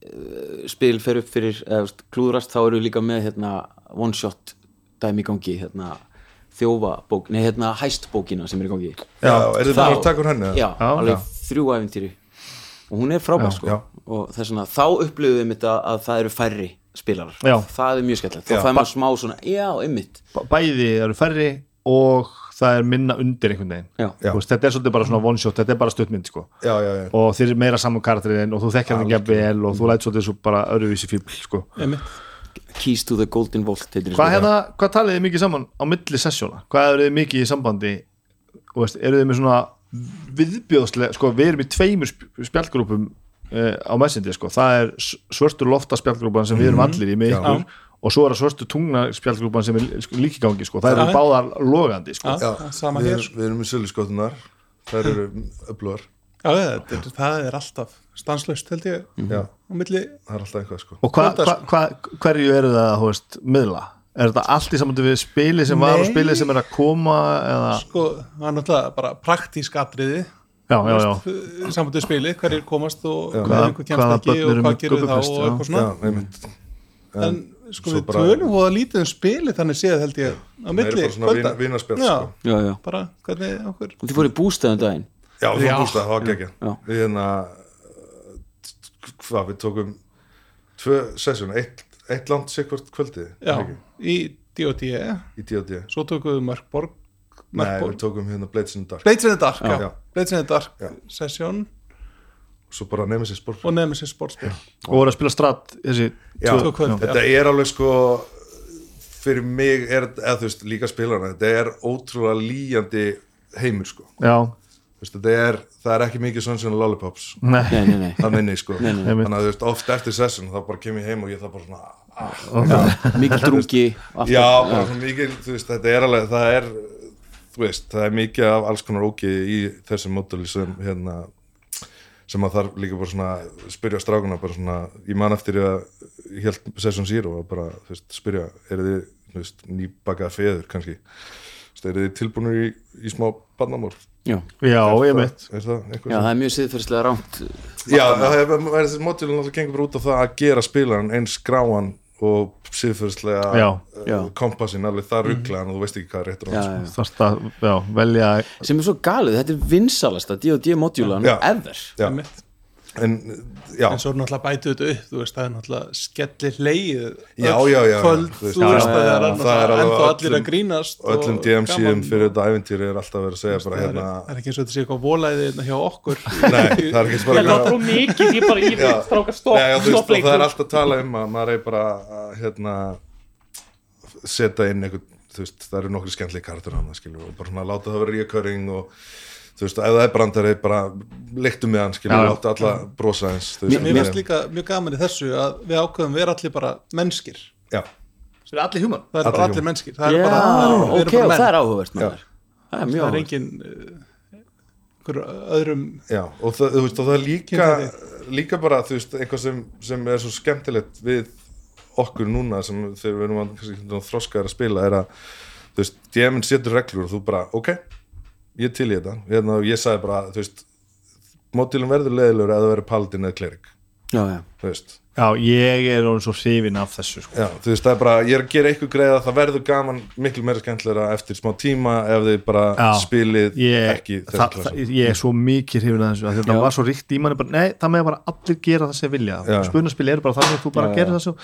Speaker 1: eh, spil fer upp fyrir eða, veist, klúðrast þá eru líka með hérna, one shot dæmi í gangi hérna, þjófabók, nei hérna hæstbókina sem er í gangi
Speaker 2: Já, er þetta bara að taka úr henni? eða?
Speaker 1: Já,
Speaker 3: Já,
Speaker 1: alveg
Speaker 3: já.
Speaker 1: þrjú æfintýri og hún er frábær sko
Speaker 2: já.
Speaker 1: og þess vegna þá upplifum við þetta að það eru færri spilarar,
Speaker 3: Já.
Speaker 1: það er mjög skemmtilegt þá
Speaker 2: Já.
Speaker 1: fær maður smá svona, já, einmitt
Speaker 3: B- Bæði eru færri og það er minna undir einhvern veginn
Speaker 1: Já.
Speaker 3: Þú veist, Þetta er svolítið bara svona one shot, þetta er bara stuttmynd sko.
Speaker 2: Já, já, já,
Speaker 3: og þeir eru meira saman karakterinn og þú þekkar hann ekki vel og þú læt svolítið svo bara öruvísi fíbl sko.
Speaker 1: Keys to the Golden Vault heitir
Speaker 3: Hvað,
Speaker 1: þessi
Speaker 3: hefða, hvað talið þið mikið saman á milli sessjóna? Hvað eru þið mikið í sambandi? Þú Veist, eru þið með svona viðbjóðslega, sko við erum í tveimur sp- spjallgrúpum uh, á messendi sko. það er s- svörtur lofta spjallgrúpan sem
Speaker 4: Mhm.
Speaker 3: við erum allir í með ykkur og svo er það svörtur tungna spjallgrúpan sem er lí- sko, líka í gangi sko. það eru
Speaker 4: Já.
Speaker 3: báðar logandi sko.
Speaker 4: já, já, sama
Speaker 2: við,
Speaker 4: hér
Speaker 2: erum-
Speaker 4: sko.
Speaker 2: við erum í söluskotunar Þær eru öflugar
Speaker 4: sko. já, já, þetta er- það er alltaf stanslust held ég
Speaker 2: Já,
Speaker 4: á milli
Speaker 2: það er alltaf eitthvað, sko
Speaker 3: og hva,
Speaker 4: Þetta,
Speaker 3: hva, hva, hverju eru það þú veist, miðla? Er þetta allt í sambandi við spili sem var og
Speaker 4: Nei.
Speaker 3: spili sem er að koma eða...
Speaker 4: sko, það er náttúrulega bara praktísk atriði
Speaker 3: já, já, já,
Speaker 4: samanlega spili, hverjir komast og
Speaker 3: Hvaða-
Speaker 4: hvað einhver
Speaker 3: hvaða
Speaker 4: kemst ekki
Speaker 3: börn eru
Speaker 4: og hvað
Speaker 3: með
Speaker 4: gerir þá
Speaker 3: gubbupest,
Speaker 4: og
Speaker 3: já.
Speaker 4: eitthvað
Speaker 2: Já,
Speaker 4: svona
Speaker 2: einmitt
Speaker 4: en sko
Speaker 2: svo
Speaker 4: við
Speaker 2: bara-
Speaker 4: tölum hóða lítið um spili þannig séð held ég á
Speaker 2: Það eru
Speaker 4: milli
Speaker 2: bara svona vina, vinaspjall,
Speaker 4: já,
Speaker 2: sko
Speaker 1: Já, já,
Speaker 4: bara hvernig okkur
Speaker 1: og þið fóru í bústæðum daginn
Speaker 2: Já, þú búst að það var gekkja
Speaker 1: Já.
Speaker 2: Við hérna t- Hvað, við tókum Tvö sessjón, eitt, eitt land sér hvort kvöldi
Speaker 4: já, í D.O.D.
Speaker 2: Í D.O.D.
Speaker 4: E. svo tökum við Mörkborg
Speaker 2: Nei, við
Speaker 4: Mörkborg
Speaker 2: tókum hérna Blades in the Dark
Speaker 4: Blades in the Dark,
Speaker 2: Já.
Speaker 4: já, Blades in the Dark
Speaker 2: Já.
Speaker 4: sesjón
Speaker 2: Svo bara nefnir sér sport
Speaker 4: og Nemesis sportspil
Speaker 3: og voru að spila stratt þessi
Speaker 2: Já,
Speaker 4: tvö kvöld,
Speaker 2: þetta er alveg sko fyrir mig er, eða þú veist, líka spilarna þetta er ótrúlega líjandi heimur sko,
Speaker 3: já,
Speaker 2: þú veist, þetta er það er ekki mikið svona svona lollipops
Speaker 3: nei,
Speaker 1: Nei, nei, nei,
Speaker 2: það minni sko,
Speaker 3: nei.
Speaker 2: þannig að þú veist oft eftir sessun þá bara kem ég heim og ég það bara svona ah,
Speaker 1: mikil drungi aftur.
Speaker 2: já, bara svona mikið, þú veist, þetta er alveg það er, þú veist, það er mikið af alls konar óki í þessum mótuli sem hérna sem að þarf líka bara svona spyrja strákuna bara svona, ég man eftir því að ég held session zero að bara þú veist, spyrja, eru þið þú veist, nýbakað feður kannski Þú veist, eru þið tilbúinir í, í smá barnamór
Speaker 1: já.
Speaker 3: já, ég
Speaker 2: það,
Speaker 3: mitt
Speaker 2: er það eitthvað
Speaker 1: já,
Speaker 2: sem-
Speaker 1: það er mjög siðferðslega rámt
Speaker 2: já, það er þessi mótilin alltaf gengur bara út á það að gera spilaran eins gráan og síðfyrstlega
Speaker 3: Já.
Speaker 1: Já.
Speaker 2: kompassin alveg það
Speaker 4: Mhm.
Speaker 2: rugglaðan og þú veist ekki hvað er rétt og
Speaker 1: já,
Speaker 2: rangt, sko.
Speaker 1: já.
Speaker 3: þarst að já, velja
Speaker 1: sem er svo galið, þetta er vinsalasta D&D modjúlan
Speaker 2: Já.
Speaker 1: ever
Speaker 2: sko. já,
Speaker 4: Einmitt.
Speaker 2: en já,
Speaker 4: en svo er náttúrulega bætið þetta upp þú veist, það er náttúrulega skellir leið
Speaker 2: Já, já, já, já,
Speaker 4: kvöld,
Speaker 2: þú veist,
Speaker 4: þú
Speaker 2: já,
Speaker 4: veist,
Speaker 2: já,
Speaker 4: það er
Speaker 2: já, já, það er
Speaker 4: náttúrulega
Speaker 2: alveg
Speaker 4: ennþá allir
Speaker 2: öllum-
Speaker 4: að grínast
Speaker 2: og öllum
Speaker 4: og
Speaker 2: DMC-um
Speaker 4: gaman.
Speaker 2: fyrir þetta æfintýri er alltaf verið að segja bara
Speaker 4: það er,
Speaker 2: hérna
Speaker 4: það er ekki eins og þetta sé eitthvað volæði hérna hjá okkur
Speaker 2: Nei, það er ekki
Speaker 5: Ég
Speaker 2: bara
Speaker 5: láta hún mikið, ég bara, ég
Speaker 2: Já.
Speaker 5: stráka stopp,
Speaker 2: Nei, og þú veist,
Speaker 5: stopp
Speaker 2: og það er
Speaker 5: leikur
Speaker 2: alltaf að tala um að maður er bara að hérna, setja inn einhvern, þú veist, það eru nokkri skemmtli kartur hann, skilur, og bara svona láta það vera ríkjöring og þú veist, ef það er brandari bara leiktu með hann, skilur,
Speaker 3: Já,
Speaker 2: og
Speaker 3: já.
Speaker 2: láta alla brosa eins, þú
Speaker 4: mér
Speaker 2: meira-
Speaker 4: finnst líka mjög gaman í þessu að við ákveðum við erum allir bara mennskir
Speaker 2: Já,
Speaker 3: sem er allir human
Speaker 4: það er
Speaker 2: Allir
Speaker 4: bara allir
Speaker 2: human.
Speaker 4: mennskir það er
Speaker 1: Já,
Speaker 4: bara, við
Speaker 1: ok,
Speaker 4: erum bara
Speaker 1: það
Speaker 4: menn
Speaker 1: er áhugavert maður. Það er mjög
Speaker 4: það er
Speaker 1: áhugavert
Speaker 4: engin eh, einhver öðrum
Speaker 2: já, og það, þú veist, og það er líka,
Speaker 4: Kynfæri.
Speaker 2: líka bara, þú veist, eitthvað sem, sem er svo skemmtilegt við okkur núna sem þegar við erum að kannski, þroskaðar að spila er að, þú veist, DM-in setur reglur og þú bara, ok, ég til í þetta, hérna, og ég sagði bara, þú veist, mótilum verður leiðilegur að það verður paladin eða klerik,
Speaker 1: Já, já,
Speaker 2: þú veist,
Speaker 3: já, ég er orðin svo hrifin af þessu sko.
Speaker 2: Já, þú veist, það er bara, ég er að gera eitthvað greið að það verður gaman miklu meira skemmtilega eftir smá tíma ef þið bara
Speaker 3: Já.
Speaker 2: spilið
Speaker 3: ég,
Speaker 2: ekki
Speaker 3: þa,
Speaker 2: þessu
Speaker 3: þa,
Speaker 2: klassu.
Speaker 3: ég er svo mikið hrifin af þessu af því að þetta var svo ríkt í manni bara, nei, það með bara allir gera það sem vilja
Speaker 2: Já.
Speaker 3: spunaspil eru bara það sem þú bara gerir það svo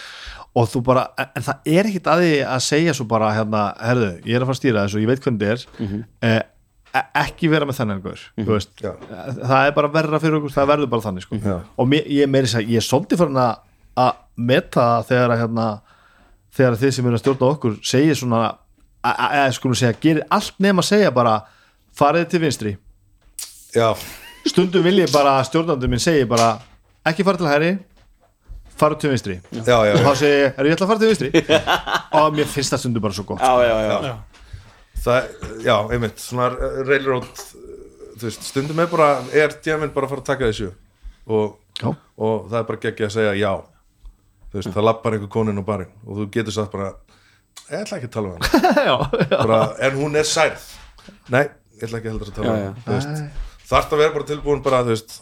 Speaker 3: og þú bara, en- en það er ekkit að því að segja svo bara, hérna, herðu ég er að fara að stýra þessu, ég veit hvernig þetta er mm ekki vera með þennan einhver mm
Speaker 2: Já.
Speaker 3: -hmm. það er bara verra fyrir okkur það verður bara þannig sko.
Speaker 2: Já.
Speaker 3: og mér, ég meiri þess að ég er svolítið fyrir að að meta það þegar að hérna, þegar þið sem eru að stjórna okkur segir svona að- að- að skulum segja, gerir allt nema að segja bara farið til vinstri
Speaker 2: Já,
Speaker 3: stundum vil ég bara að stjórnandi minn segi bara ekki fara til hæri farið til vinstri
Speaker 2: já, já,
Speaker 3: og
Speaker 2: já.
Speaker 3: þá segi ég, er ég ætla að fara til vinstri og mér finnst það stundum bara svo gott
Speaker 1: já, já, já.
Speaker 2: Það, já, einmitt, svona eh, railroad, eh, þú veist, stundum er bara, er djæminn bara að fara að taka þessu og,
Speaker 3: Já.
Speaker 2: og það er bara geggja að segja já, þú veist, það lappar einhver konin og barinn og þú getur satt bara, ég ætla ekki að tala um hann,
Speaker 3: já, já.
Speaker 2: bara, en hún er særð, nei, ég ætla ekki heldur að tala um
Speaker 1: Já,
Speaker 2: hann, þú veist, þarft að vera bara tilbúin bara, þú veist,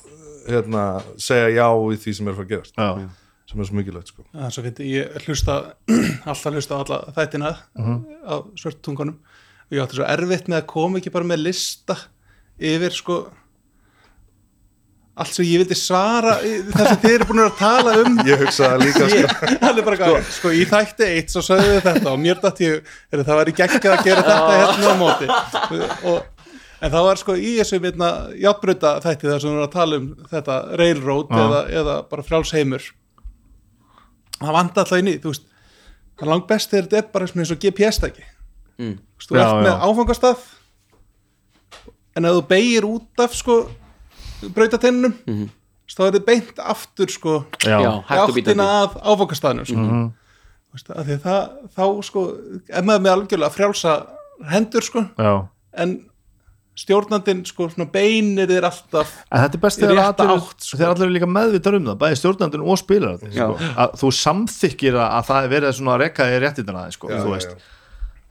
Speaker 2: hérna, segja já í því sem er að fara að gerast,
Speaker 3: Já.
Speaker 2: sem er svo mikilvægt, sko.
Speaker 4: Það er svo fyndi, ég hlusta alltaf hlusta á alla þættina
Speaker 2: Mhm.
Speaker 4: á svörtungunum og ég átti svo erfitt með að koma ekki bara með lista yfir sko allt sem ég vildi svara í- það sem þið eru búin að tala um
Speaker 2: Ég hugsaði líka, sko,
Speaker 4: Það er bara gæði, sko í þætti eitt svo sögðu þið þetta og mér dætt ég er, það væri geggjað að gera þetta hérna á móti og, en það var sko í þessu minna jafnbröta þætti þar sem við erum að tala um þetta railroad eða, eða bara frjálsheimur það vanda alltaf inn í þú veist, það langt best þegar þetta er bara svona eins og GPS-tæki
Speaker 1: Mm.
Speaker 4: Þú veist, þú
Speaker 3: Já,
Speaker 4: ert
Speaker 3: já.
Speaker 4: með áfangastað en ef þú beigir út af sko brautatinnum mm -hmm. þá er þið beint aftur sko
Speaker 3: Já.
Speaker 1: Já, hægt og
Speaker 4: áttina
Speaker 1: bítandi
Speaker 4: að áfokastæðinu sko. mm -hmm. að því að það, þá sko er maður með algjörlega frjálsa hendur sko,
Speaker 3: Já.
Speaker 4: en stjórnandinn sko, svona beinir þér alltaf
Speaker 3: En þetta er best
Speaker 4: Í
Speaker 3: þegar
Speaker 4: rétta
Speaker 3: allir,
Speaker 4: átt, sko.
Speaker 3: þegar allir eru líka meðvitað um það, bæði stjórnandinn og spilarandi sko.
Speaker 1: Já.
Speaker 3: að þú samþykkir að, að það er verið svona að rekka þér réttindina aðeins, sko,
Speaker 2: Já,
Speaker 3: þú
Speaker 2: já,
Speaker 3: veist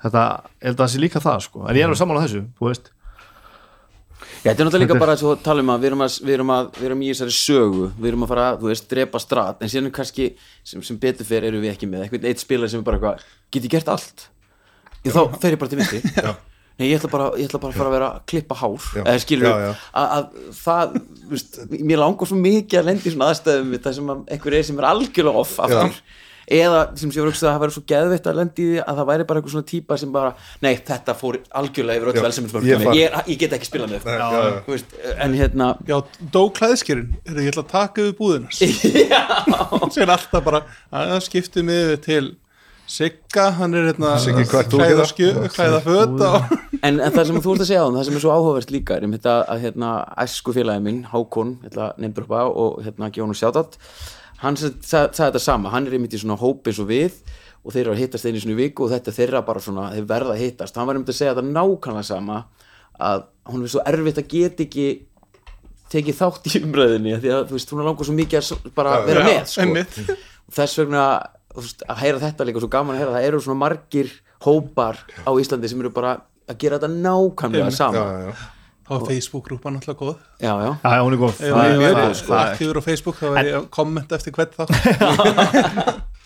Speaker 3: þetta, ég held að það sé líka það sko. en ég er alveg sammála þessu, þú veist
Speaker 1: Já, þetta er náttúrulega líka bara svo tala um að við erum, að, við, erum að, við erum í þessari sögu við erum að fara, þú veist, drepa strat en síðan er kannski, sem, sem betur fer erum við ekki með eitthvað eitt spilar sem er bara eitthvað get ég gert allt? Ég þá fer ég bara til myndi Nei, ég ætla bara, ég ætla bara að fara að vera að klippa hár
Speaker 2: Já.
Speaker 1: eða skilur
Speaker 2: Já, já.
Speaker 1: Að, að það, þú veist, mér langar svo mikið að lenda í svona aðstæðum það sem að einhver er sem er algjörlega off aftur eða sem sé voru að það væri svo geðveitt að lenda í því að það væri bara eitthvað svona típa sem bara nei, þetta fór algjörlega yfir öll
Speaker 2: Já. Ég
Speaker 1: velsefnismörgum
Speaker 2: fann-
Speaker 1: ég, er- ah, ég get ekki spilað með
Speaker 2: Nei, já, já.
Speaker 1: Þú veist, en hérna
Speaker 4: já, dó klæðskýrin, er ég ætla að taka við búðinars sér alltaf bara að skiptu mig til Sigga, hann er hérna
Speaker 2: Siggi, hvað ert þú að
Speaker 4: klæða
Speaker 2: gera?
Speaker 4: skjö, klæða föt og
Speaker 1: en, en það sem þú ert að segja á það sem er svo áhugavert líka er um þetta að hérna æsku félagi minn, Hákon, hérna nefndur upp á og hérna gefa hann sjátt hann sem sagði sagði þetta sama, hann er einmitt í svona hópi eins og við og þeir eru að hittast einu sinni í viku og þetta er þeirra bara svona, þeir verða að hittast hann var einmitt að segja þetta nákvæmlega sama að hún er svo erfitt að geta ekki tekið þátt í umræðinni af því að þú veist, hún er langar svo mikið að s- bara
Speaker 2: Já,
Speaker 1: vera
Speaker 4: já,
Speaker 1: með sko.
Speaker 4: einmitt.
Speaker 1: Og þess vegna þú veist, að heyra þetta líka svo gaman að heyra það eru svona margir hópar á Íslandi sem eru bara að gera þetta nákvæmlega
Speaker 2: já,
Speaker 1: sama
Speaker 2: já, já.
Speaker 4: þá er Facebook-grúpa náttúrulega góð
Speaker 1: já, já,
Speaker 3: Já, hún er góð
Speaker 4: ef ég
Speaker 3: Það-
Speaker 4: væri
Speaker 3: það-
Speaker 4: aktífur á Facebook þá væri ég að kommenta eftir hvert þá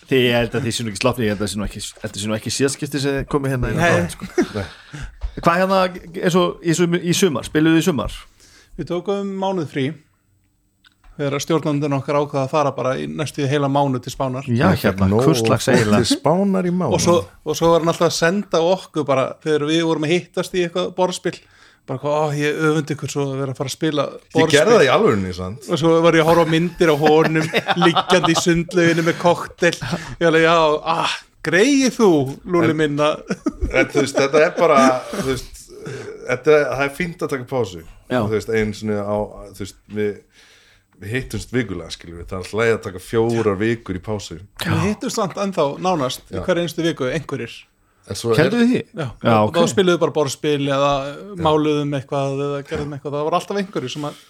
Speaker 3: Því ég held að því sínum ekki slapni, ég held að því sínum ekki, þetta sé nú ekki síðaskipti sem þið komið hérna inn á
Speaker 4: Nei.
Speaker 3: það, sko. Hvað hérna, eins og í, sum, í sumar, spiluðu í sumar?
Speaker 4: Við tókum mánuð frí þegar stjórnandinn okkar ákvaða að fara bara í næstu því heila mánu til spánar
Speaker 3: já hérna,
Speaker 2: Nóg
Speaker 3: kurslags
Speaker 2: og
Speaker 3: eiginlega
Speaker 2: til spánar í mánu
Speaker 4: og svo, og svo var hann alltaf að senda okkur bara þegar við vorum að hittast í eitthvað borðspil bara hvað, ó, ég öfundi ykkur svo að vera að fara að spila
Speaker 2: ég
Speaker 4: borðspil
Speaker 2: gerði það í alvörunni sant?
Speaker 4: og svo var ég að horfa á myndir á honum liggjandi í sundleginu með koktel ég alveg, já, ah, greið þú lúli minn að
Speaker 2: en, þú veist, þetta er bara þú veist, þetta, það er fínt að taka pásu
Speaker 1: Já.
Speaker 2: þú veist, einu sinni á þú veist, við, við hittumst vikulega skiljum við, það er hlæði að taka fjórar vikur í pásu
Speaker 4: við hittum samt ennþá nánast í hver einstu viku, einhverjir
Speaker 2: en svo
Speaker 3: Kenndu þið því?
Speaker 4: já,
Speaker 3: já
Speaker 4: og
Speaker 3: ok
Speaker 4: þá spiluðu bara borðspil eða máluðum eitthvað eða gerðum eitthvað, það var alltaf einhverjir sem að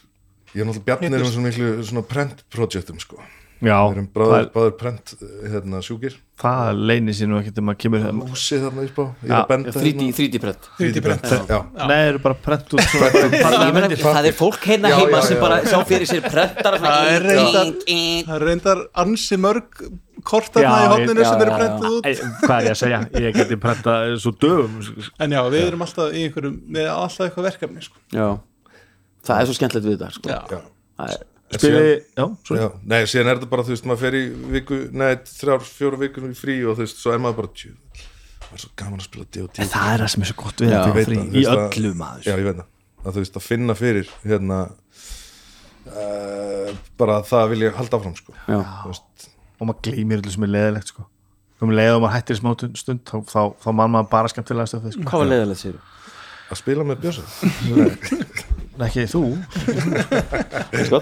Speaker 2: ég er náttúrulega bjarnir um svona miklu svona prent projektum sko,
Speaker 3: Já,
Speaker 2: við erum
Speaker 3: það,
Speaker 2: bráður, báður prent hérna sjúkir,
Speaker 3: það leynir sér nú ekkert um að kemur
Speaker 2: húsi þarna upp á ég er
Speaker 3: Já,
Speaker 2: að benda
Speaker 1: 3D, 3D prent
Speaker 2: 3D prent, já,
Speaker 3: Nei, það eru bara prent út svona-
Speaker 1: Ég meina, það er fólk hérna
Speaker 2: Já,
Speaker 1: heima
Speaker 2: já,
Speaker 1: sem
Speaker 2: já.
Speaker 1: bara sá fyrir sér prentar
Speaker 4: Það er reyndar- það er reyndar ansi mörg kortarna í
Speaker 3: Já,
Speaker 4: hodninu
Speaker 1: já,
Speaker 4: sem
Speaker 1: já,
Speaker 4: eru prentið út
Speaker 3: Æ, Hvað er ég að segja? Ég geti prenta svo dögum
Speaker 4: en já, við erum alltaf í einhverjum með alltaf eitthvað verkefni sko.
Speaker 1: Já Það er svo skemmtilegt við þetta sko.
Speaker 4: já.
Speaker 2: já.
Speaker 1: Það er-
Speaker 3: Spili, já, svo
Speaker 2: Já, nei, síðan er þetta bara, þú veist, maður fer í viku, nei, þrjár, fjóru vikunum í frí og þú veist, svo er maður bara, tjú, það er svo gaman að spila D&D
Speaker 3: En það er það sem er svo gott við að
Speaker 2: Ég
Speaker 3: taka
Speaker 2: veit
Speaker 3: frí
Speaker 2: það, þú
Speaker 3: í
Speaker 2: veist, að-
Speaker 3: öllu maður
Speaker 2: Já, ég veit það, að þú veist, að finna fyrir, hérna, uh, bara að það vil ég halda áfram, sko
Speaker 1: Já.
Speaker 2: Þú veist,
Speaker 3: og maður gleymir öllu sem er leðilegt sko. um leið og maður hættir í smá tund- stund þá, þá, þá mann maður bara skemmtilega stöð sko.
Speaker 1: Hvað var leiðilegt sér?
Speaker 2: að spila með bjösa
Speaker 3: Nei, ekki þú
Speaker 1: Sko?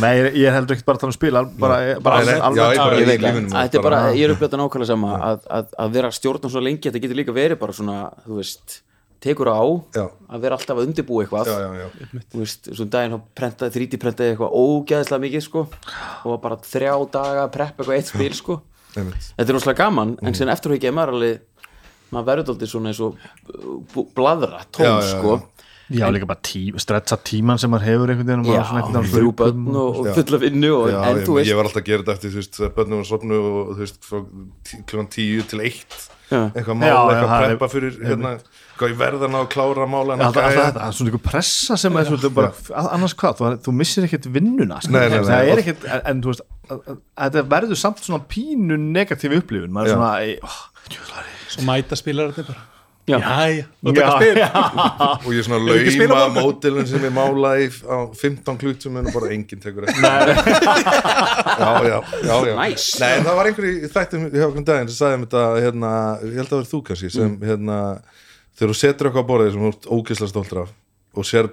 Speaker 3: Nei, ég ég er heldur ekkert bara að tala um spil al- bara, bara
Speaker 2: Sko? Nei, nei,
Speaker 3: alveg,
Speaker 2: já, ég bara-
Speaker 3: alveg,
Speaker 1: Ég veit
Speaker 2: í
Speaker 1: það,
Speaker 2: lífinu mínu,
Speaker 1: þetta er bara,
Speaker 2: bara-
Speaker 1: ég er uppjöta nákvæmlega sama að, að, að vera stjórnum svo lengi þetta getur líka verið bara svona, þú veist tekur á
Speaker 2: Já.
Speaker 1: að vera alltaf að undirbúa eitthvað
Speaker 2: Já, já, já,
Speaker 1: þú veist, svona daginn þá prentaði 3D prentaði eitthvað ógæðislega mikið sko og var bara þrjá daga að preppa eitthvað eitt spil sko
Speaker 2: einmitt
Speaker 1: þetta er náttúrulega gaman,
Speaker 2: Mm.
Speaker 1: en sen eftir að ekki er maður alveg maður verður daldið svona eins og uh, bú- blaðra, tóm
Speaker 2: Já, já, já.
Speaker 1: sko
Speaker 3: já, líka bara tí, stretsa tíman sem maður hefur einhvern veginn og
Speaker 1: já,
Speaker 3: maður svona einhvern veginn um á
Speaker 1: þrjú
Speaker 3: hlaupum
Speaker 1: börn og, og fulla vinnu og,
Speaker 2: Já,
Speaker 1: en
Speaker 2: ég,
Speaker 1: þú veist
Speaker 2: ég var alltaf að gera þetta eftir, þú veist, þegar börnum var sofnu og þú veist, frá tí- klukkan tíu til eitt
Speaker 1: Já.
Speaker 2: eitthvað mál,
Speaker 3: Já, já,
Speaker 2: eitthvað
Speaker 3: það er-
Speaker 2: preppa fyrir hérna, hvað ég verðan á að klára mála
Speaker 3: Já, það, það, það er svona einhver pressa sem er svona bara, að- annars hvað, þú, þú missir ekkert vinnuna sko.
Speaker 2: Nei, nei, nei.
Speaker 3: það er ekkert, en, en þú veist að- að- að þetta verður samt svona pínu negatífi upplifun, maður er
Speaker 2: Já.
Speaker 3: svona æ, ó, djöflar,
Speaker 4: svo mæta spilararnir bara
Speaker 1: Já.
Speaker 4: Jæja, og
Speaker 3: Já,
Speaker 4: taka spil
Speaker 2: og ég svona
Speaker 4: Eigum við ekki að spila á
Speaker 2: lauma
Speaker 4: morgun?
Speaker 2: mótilin sem ég mála í á 15 klutum en bara enginn tekur eftir já, já, já, já.
Speaker 1: Nice.
Speaker 2: Nei, en það var einhver í þættum hjá okkur um daginn sem sagði um þetta, hérna, ég held að það verið þú kannski sem, hérna, þegar þú setur eitthvað á borðið sem þú ert ógislega stoltur af og sér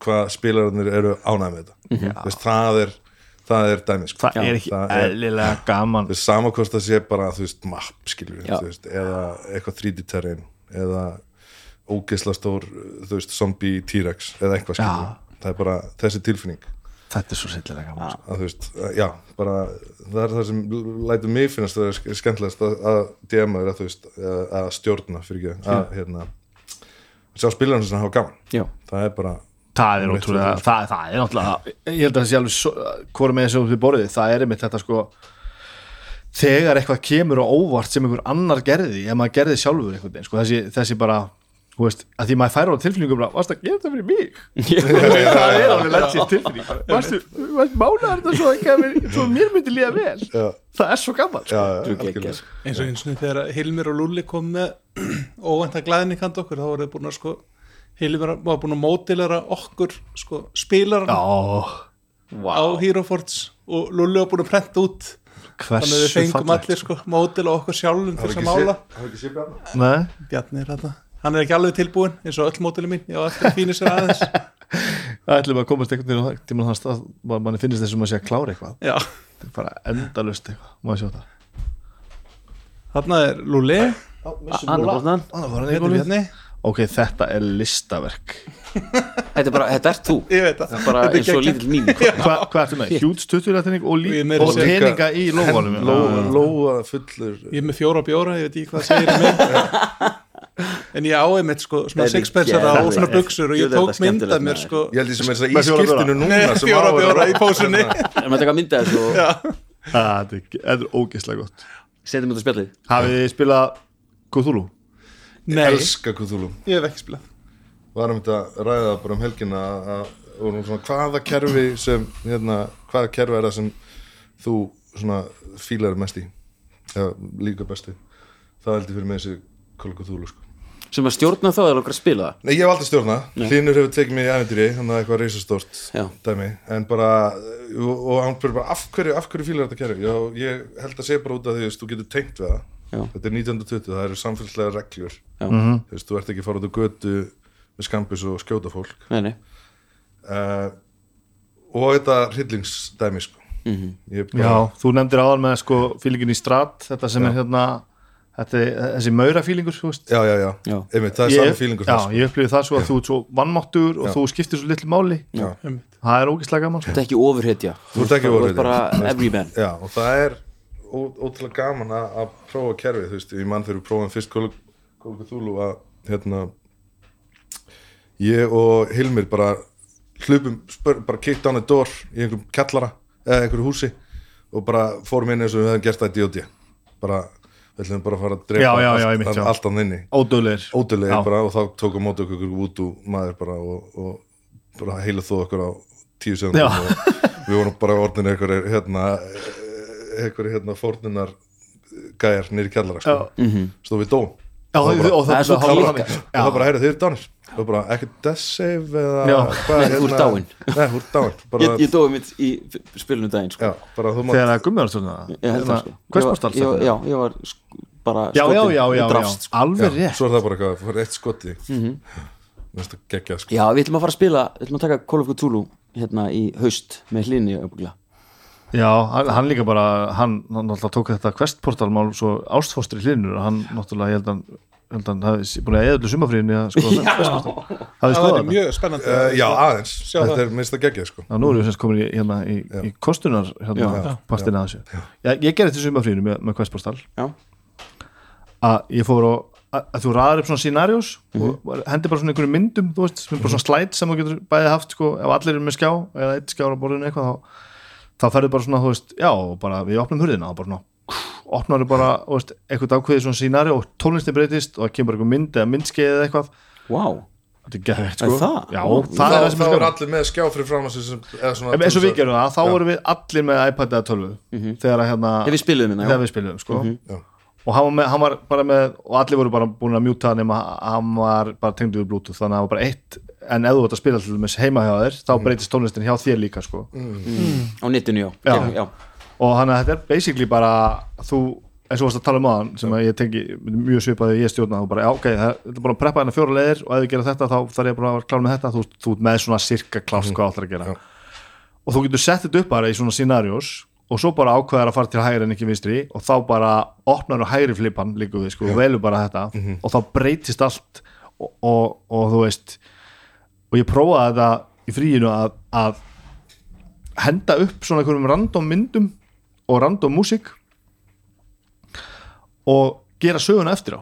Speaker 2: hvað spilararnir eru ánægð með þetta, Þú veist, það er það er dæmi, sko
Speaker 3: það er ekki
Speaker 2: það er-
Speaker 3: eðlilega gaman
Speaker 2: Þú veist, sama hvort það sé bara, þú veist, mapp skilur,
Speaker 1: Já.
Speaker 2: þú veist, eða eitthvað 3D terrain eða ógeðsla stór, þú veist, zombie T-Rex eða eitthvað skilur, það er bara þessi tilfinning,
Speaker 3: þetta er svo sillilega gaman sko.
Speaker 2: að þú veist, að, já bara, það er það sem lætur mig finnast það er skemmtilegast að, að DM er að þú veist, að, að stjórna fyrir ekki, að hérna sjá spilarinn sem hafa gaman,
Speaker 1: Já.
Speaker 2: það er bara
Speaker 3: það er
Speaker 2: Rétt
Speaker 3: ótrúlega,
Speaker 2: fyrir
Speaker 3: það, það er náttúrulega ég held að það sé alveg svo- hvor með þessu upp í borðið, það er einmitt þetta sko þegar eitthvað kemur á óvart sem einhver annar gerði, ef maður gerði sjálfur einhvern veginn, sko, þessi, þessi bara þú veist, að því maður fær á tilfinningum bara, varst að gera þetta fyrir mig það er alveg legit tilfinning varstu, varstu málaður þetta svo, ekki að mér- svo mér myndi líða vel
Speaker 2: já,
Speaker 3: það er svo gaman sko.
Speaker 2: já,
Speaker 1: geggjað,
Speaker 2: algjörlega.
Speaker 1: sko.
Speaker 4: eins og eins og þegar Hilmir og Lulli kom með óvænta glæðinni kant okkur þá voru þeir búin að sko Hilmir var búin að mótilera okkur sko, spilaran
Speaker 3: já,
Speaker 4: á Herofords og Lulli var búin að prenta út þannig að við
Speaker 3: hversu
Speaker 4: fengum allir sko, mótila okkur sjálfum til
Speaker 2: Hafa
Speaker 4: þess
Speaker 2: ekki
Speaker 4: að mála
Speaker 2: séð- hafa ekki séð Bjarna?
Speaker 3: Nei,
Speaker 4: Bjarni er þetta hann er ekki alveg tilbúin eins og öll mótili mín ég á eftir að fínu sér aðeins
Speaker 3: það ætlum að komast einhvern veginn á það- tímann á þann stað maður manni finnist þessum að sé að klára eitthvað
Speaker 4: já.
Speaker 3: þetta er bara endalust eitthvað, maður sjá það
Speaker 4: þarna er Lulli
Speaker 1: Annar botnan.
Speaker 4: hérna er Bjarni
Speaker 3: ok, þetta er listaverk
Speaker 1: þetta er bara, þetta er þú
Speaker 4: ég veit það
Speaker 1: bara
Speaker 4: Þetta er
Speaker 1: eins og
Speaker 4: geggjað.
Speaker 1: lítill sko. mín
Speaker 3: Hva, hvað ertu með? hjút stutturættinning og,
Speaker 4: Ég
Speaker 3: lí-
Speaker 4: er meira að
Speaker 3: og
Speaker 4: segja-
Speaker 3: peninga í lófanum
Speaker 2: Lóa- lóa fullur
Speaker 4: ég er með fjóra bjóra, ég veit ekki hvað það segir um mig en ég á einmitt sko
Speaker 1: Þetta
Speaker 4: svona
Speaker 1: er
Speaker 4: sixpensara og
Speaker 1: geðveikt.
Speaker 4: svona buksur og
Speaker 1: Jú,
Speaker 4: ég
Speaker 1: þetta
Speaker 4: tók
Speaker 1: er
Speaker 4: mynd af
Speaker 1: skemmtilegt,
Speaker 4: mér
Speaker 1: maður.
Speaker 4: sko
Speaker 2: Ég held því sem er í
Speaker 3: Með fjóra
Speaker 2: skiltinu núna
Speaker 4: Nei,
Speaker 2: sem
Speaker 4: fjóra
Speaker 2: á að vera
Speaker 4: bjóra í
Speaker 2: rokk,
Speaker 4: pósunni.
Speaker 2: hérna.
Speaker 1: en maður taka mynda þessu og
Speaker 3: Ah, þetta er þetta er ógeðslega gott
Speaker 1: setjum þetta á spjallið
Speaker 3: hafið þið spilað Cthulhu?
Speaker 4: nei,
Speaker 2: Elska Cthulhu
Speaker 4: ég hef ekki spilað
Speaker 2: Varum þetta að ræða bara um helgina að- að og nú svona, hvaða kerfi sem hérna, hvaða kerfi er það sem þú svona fílar mest í eða líka besti það heldur fyrir mig þessi kollega þúlu sko.
Speaker 1: sem að stjórna þá er okkur að spila það
Speaker 2: Nei, ég hef aldrei stjórnað, Hlynur hefur tekið mig í ævendýri þannig að það er eitthvað reisastórt
Speaker 1: Já.
Speaker 2: dæmi en bara, og, og hann spyrir bara af hverju, af hverju fílar þetta kerfi? Já, ég held að segja bara út af því að þú getur tengt við það
Speaker 1: Já.
Speaker 2: þetta er 1920, það eru samfélslega reglur
Speaker 1: Já.
Speaker 3: Mhm.
Speaker 2: þú veist, þú ert ekki að fara út á götu með skambis og skjóta fólk
Speaker 1: nei, nei.
Speaker 2: uh, og þetta hryllingsdæmi sko. mm
Speaker 1: Mhm.
Speaker 2: -hmm. ég bara,
Speaker 3: Já, þú nefndir áðan með sko fílingin í strat, þetta sem er hérna þetta, er- þessi maurafílingur, þú veist
Speaker 2: já, já, já,
Speaker 1: Já.
Speaker 2: Einmitt, það er
Speaker 3: Ég-
Speaker 2: saman
Speaker 3: Já,
Speaker 2: fílingur þar, sko.
Speaker 3: ég upplifið það svo að þú ert svo vannmáttur og
Speaker 2: Já.
Speaker 3: þú skiptir svo litlu máli
Speaker 2: Já.
Speaker 3: það er ógislega gaman sko.
Speaker 1: þetta er ekki ofurhetja
Speaker 2: Þú ert ekki ofurhetja.
Speaker 1: bara everyman
Speaker 2: já, og það er ó, ótrúlega gaman að, að prófa kerfið, þú veist, ég mann þegar við prófaðum fyrst Kóluka Þúlu að hérna ég og Hilmir bara hlupum, spör, bara kicked on the door í einhverjum kjallara eða einhverju húsi og bara fórum inn eins og við hefðum gert það í D.O.D. bara, við ætlum bara að fara að drepa
Speaker 3: Já, já, já,
Speaker 2: allt-
Speaker 3: einmitt, já.
Speaker 2: allt annað inni
Speaker 3: Ódöðlegir
Speaker 2: ódöðlega
Speaker 3: Já.
Speaker 2: bara og þá tók á móti okkur út úr maður bara og, og bara heila þó okkur á tíu
Speaker 3: Já.
Speaker 2: segundum og við vorum bara orðin einhverju hérna einhverju hérna fórnunar gæjar nýri kjallara sko.
Speaker 1: Mhm.
Speaker 2: svo við dóum
Speaker 3: Já,
Speaker 2: og það bara,
Speaker 3: og
Speaker 1: Það er svo
Speaker 3: það
Speaker 1: klíka.
Speaker 3: þannig.
Speaker 2: og það bara heyrðu þeir eru dánir og bara ekki death save eða
Speaker 3: Já.
Speaker 2: hvað hérna?
Speaker 1: Nei, þú ert dáinn.
Speaker 2: nei, þú ert dáin bara,
Speaker 1: ég, ég dói mitt í f- spilinu daginn sko.
Speaker 2: já, bara þú
Speaker 3: þegar
Speaker 2: mátt
Speaker 3: að gummiðarstjórna
Speaker 1: ég held það sko
Speaker 3: hvers
Speaker 1: Ég var-
Speaker 3: mást alls
Speaker 1: ég var- já, ég var sk- bara
Speaker 3: já, já,
Speaker 1: skotin
Speaker 3: já,
Speaker 1: og
Speaker 3: já,
Speaker 1: drafst,
Speaker 3: já. alveg
Speaker 2: já,
Speaker 3: rétt
Speaker 2: svo er það bara eitthvað, þú fær eitt skoti mm
Speaker 1: Mhm.
Speaker 2: -hmm. næsta geggja sko
Speaker 1: Já, við ætlum að fara að spila, við ætlum að taka Call of Cthulhu hérna í haust með hlinni öfuglega.
Speaker 3: Já, hann hann líka bara, hann hann náttúrulega tók þetta questportalmál svo ástfóstri hlinur og hann náttúrulega, ég held hann ég held hann hafi búin að eða öllu sumafríðinni að sko hafi
Speaker 4: það
Speaker 3: skoðað
Speaker 4: er
Speaker 3: þetta
Speaker 4: mjög spennandi
Speaker 2: uh, já, aðeins,
Speaker 4: Sjá
Speaker 2: þetta
Speaker 4: það.
Speaker 2: er minnst að geggja sko
Speaker 3: Já, nú erum við semst komin í, hérna, í, í kostunar hérna, partina þessu. Já, ég gerði þetta sumafríðinu með, með questportal
Speaker 1: Já,
Speaker 3: að ég fór og að, að þú raðar upp svona scenarios
Speaker 2: Mhm.
Speaker 3: og hendi bara svona einhverjum myndum, þú veist, sem er bara svona slæt sem þú getur bæði haft, sko, ef allir eru með skjá eða eitt skjár á borðinu eitthvað þá, þá ferðu bara svona, þú veist, já, og bara við opnum hurðina og bara svona, opnar bara, þú veist, eitthvað ákveðið svona scenari og tónlistin breytist og það kemur bara einhver mynd eða myndskeið eða eitthvað
Speaker 1: wow,
Speaker 3: þetta er gerðið,
Speaker 1: Er
Speaker 3: sko
Speaker 1: það?
Speaker 3: Já,
Speaker 1: Ó,
Speaker 3: það
Speaker 2: þá,
Speaker 3: er það sem
Speaker 2: þá
Speaker 3: er
Speaker 2: er
Speaker 3: skjá
Speaker 2: allir með skjá fyrir fram sem, eða svona
Speaker 3: Ef eins og við
Speaker 2: til þess
Speaker 3: gerum það, þá
Speaker 2: Já. Mhm.
Speaker 3: vorum við allir með iPad eða tölvu þegar að hérna
Speaker 1: Þegar við spiluðum hérna, já.
Speaker 3: þegar við spiluðum, sko
Speaker 2: Já.
Speaker 3: og hann var, með, hann var bara með og allir voru bara búin að mjúta nema hann var bara tengdu við bluetooth þannig að það var bara eitt en ef þú vart að spila allir með heima hjá þér þá breytist tónlistin hjá þér líka, sko
Speaker 1: á netinu, já.
Speaker 3: Já.
Speaker 1: Gerðu, já.
Speaker 3: og hann að þetta er basically bara þú, eins og varst að tala um aðan sem að ég tengi mjög svipaði ég stjórna þú bara, já, ok, það þetta er bara að preppa hérna fjóra leiðir og ef þú gerir þetta þá þarf ég bara að vera klár með þetta þú, þú ert með svona sirka klárt hvað átlar að gera og þú getur sett þetta upp bara í svona scenarios og svo bara ákveðar að fara til hægri en ekki vinstri og þá bara opnar og hægri flipan líka við, sko, og velur bara þetta og þá breytist allt og, og, og þú veist og ég prófaði þetta í fríinu að, að henda upp svona einhverjum random myndum og random músík og gera söguna eftir á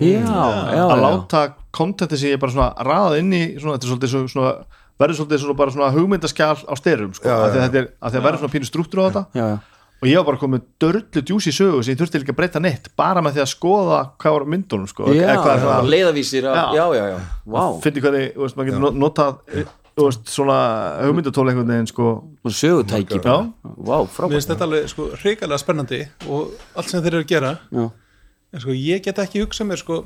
Speaker 1: Já, já,
Speaker 3: Mm. að
Speaker 1: já.
Speaker 3: láta kontenti sem ég bara svona raða inn í svona, þetta er svolítið svo- svona verður svolítið svona bara svona hugmyndaskjál á styrum sko, af því að þetta er, af því að verður svona pínu strúktur á þetta
Speaker 1: Já, já.
Speaker 3: og ég var bara komið dörlu djúsi sögu sem ég þurfti líka að breyta neitt bara með því að skoða hvað var á myndunum sko,
Speaker 1: Já,
Speaker 3: eða hvað er
Speaker 1: já,
Speaker 3: svona-
Speaker 1: leiðavísir að,
Speaker 3: Já.
Speaker 1: já, já, já, vá
Speaker 3: finna hvernig, þú veist, maður getur no- notað eh, þú veist, svona hugmyndatóla einhvern veginn sko,
Speaker 1: Svona sögutæki
Speaker 3: já,
Speaker 1: bara, vá,
Speaker 4: Mér
Speaker 1: frábært
Speaker 4: finnst þetta alveg sko hrikalega spennandi og allt sem þeir eru að gera
Speaker 1: Já,
Speaker 4: en sko ég get ekki hugsað mér sko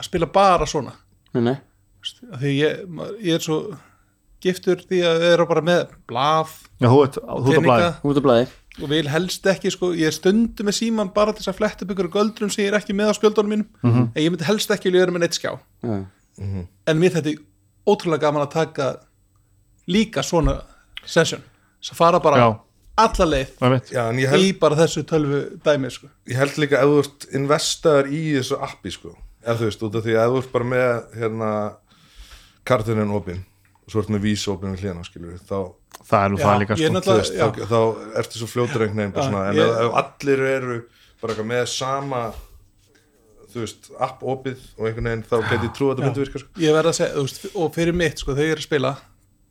Speaker 4: að spila bara svona
Speaker 1: nei, nei,
Speaker 4: Veist, af því ég, ma- ég er svo giftur því að við erum bara með blaf
Speaker 3: já, þú veit, þú ert að blæði
Speaker 4: peninga
Speaker 1: út af blæði
Speaker 4: og vil helst ekki sko, ég er stundum með síman bara til þess að fletta upp ykkur göldrum sem ég er ekki með á spjöldunum mínum en ég myndi helst ekki vilja vera með neitt skjá
Speaker 1: Já,
Speaker 4: en mér þetta er ótrúlega gaman að taka líka svona session, svo fara bara
Speaker 3: Já.
Speaker 4: alla leið
Speaker 3: Einmitt.
Speaker 2: Já, en ég held,
Speaker 4: í bara þessu tölvu dæmi sko.
Speaker 2: ég held líka ef þú ert investaður í þessu appi sko, ef þú veist, út af því að ef þú ert bara með hérna kartunin opinn, og svo ert með vís opinn við hlýðan, skilur við, þá
Speaker 3: það er nú
Speaker 4: Já,
Speaker 3: það líka
Speaker 4: ég
Speaker 3: sko.
Speaker 4: er náttúrulega-
Speaker 2: þú veist,
Speaker 4: já.
Speaker 2: þá, þá ertu svo fljótur einhvern veginn bara
Speaker 4: Já,
Speaker 2: svona, en
Speaker 4: ég-
Speaker 2: ef, ef allir eru bara eitthvað með sama þú veist, app opið og einhvern veginn, þá geti ég trú að þetta myndi virka sko.
Speaker 4: ég verð að segja, þú veist, og fyrir mitt sko, þau eru að spila,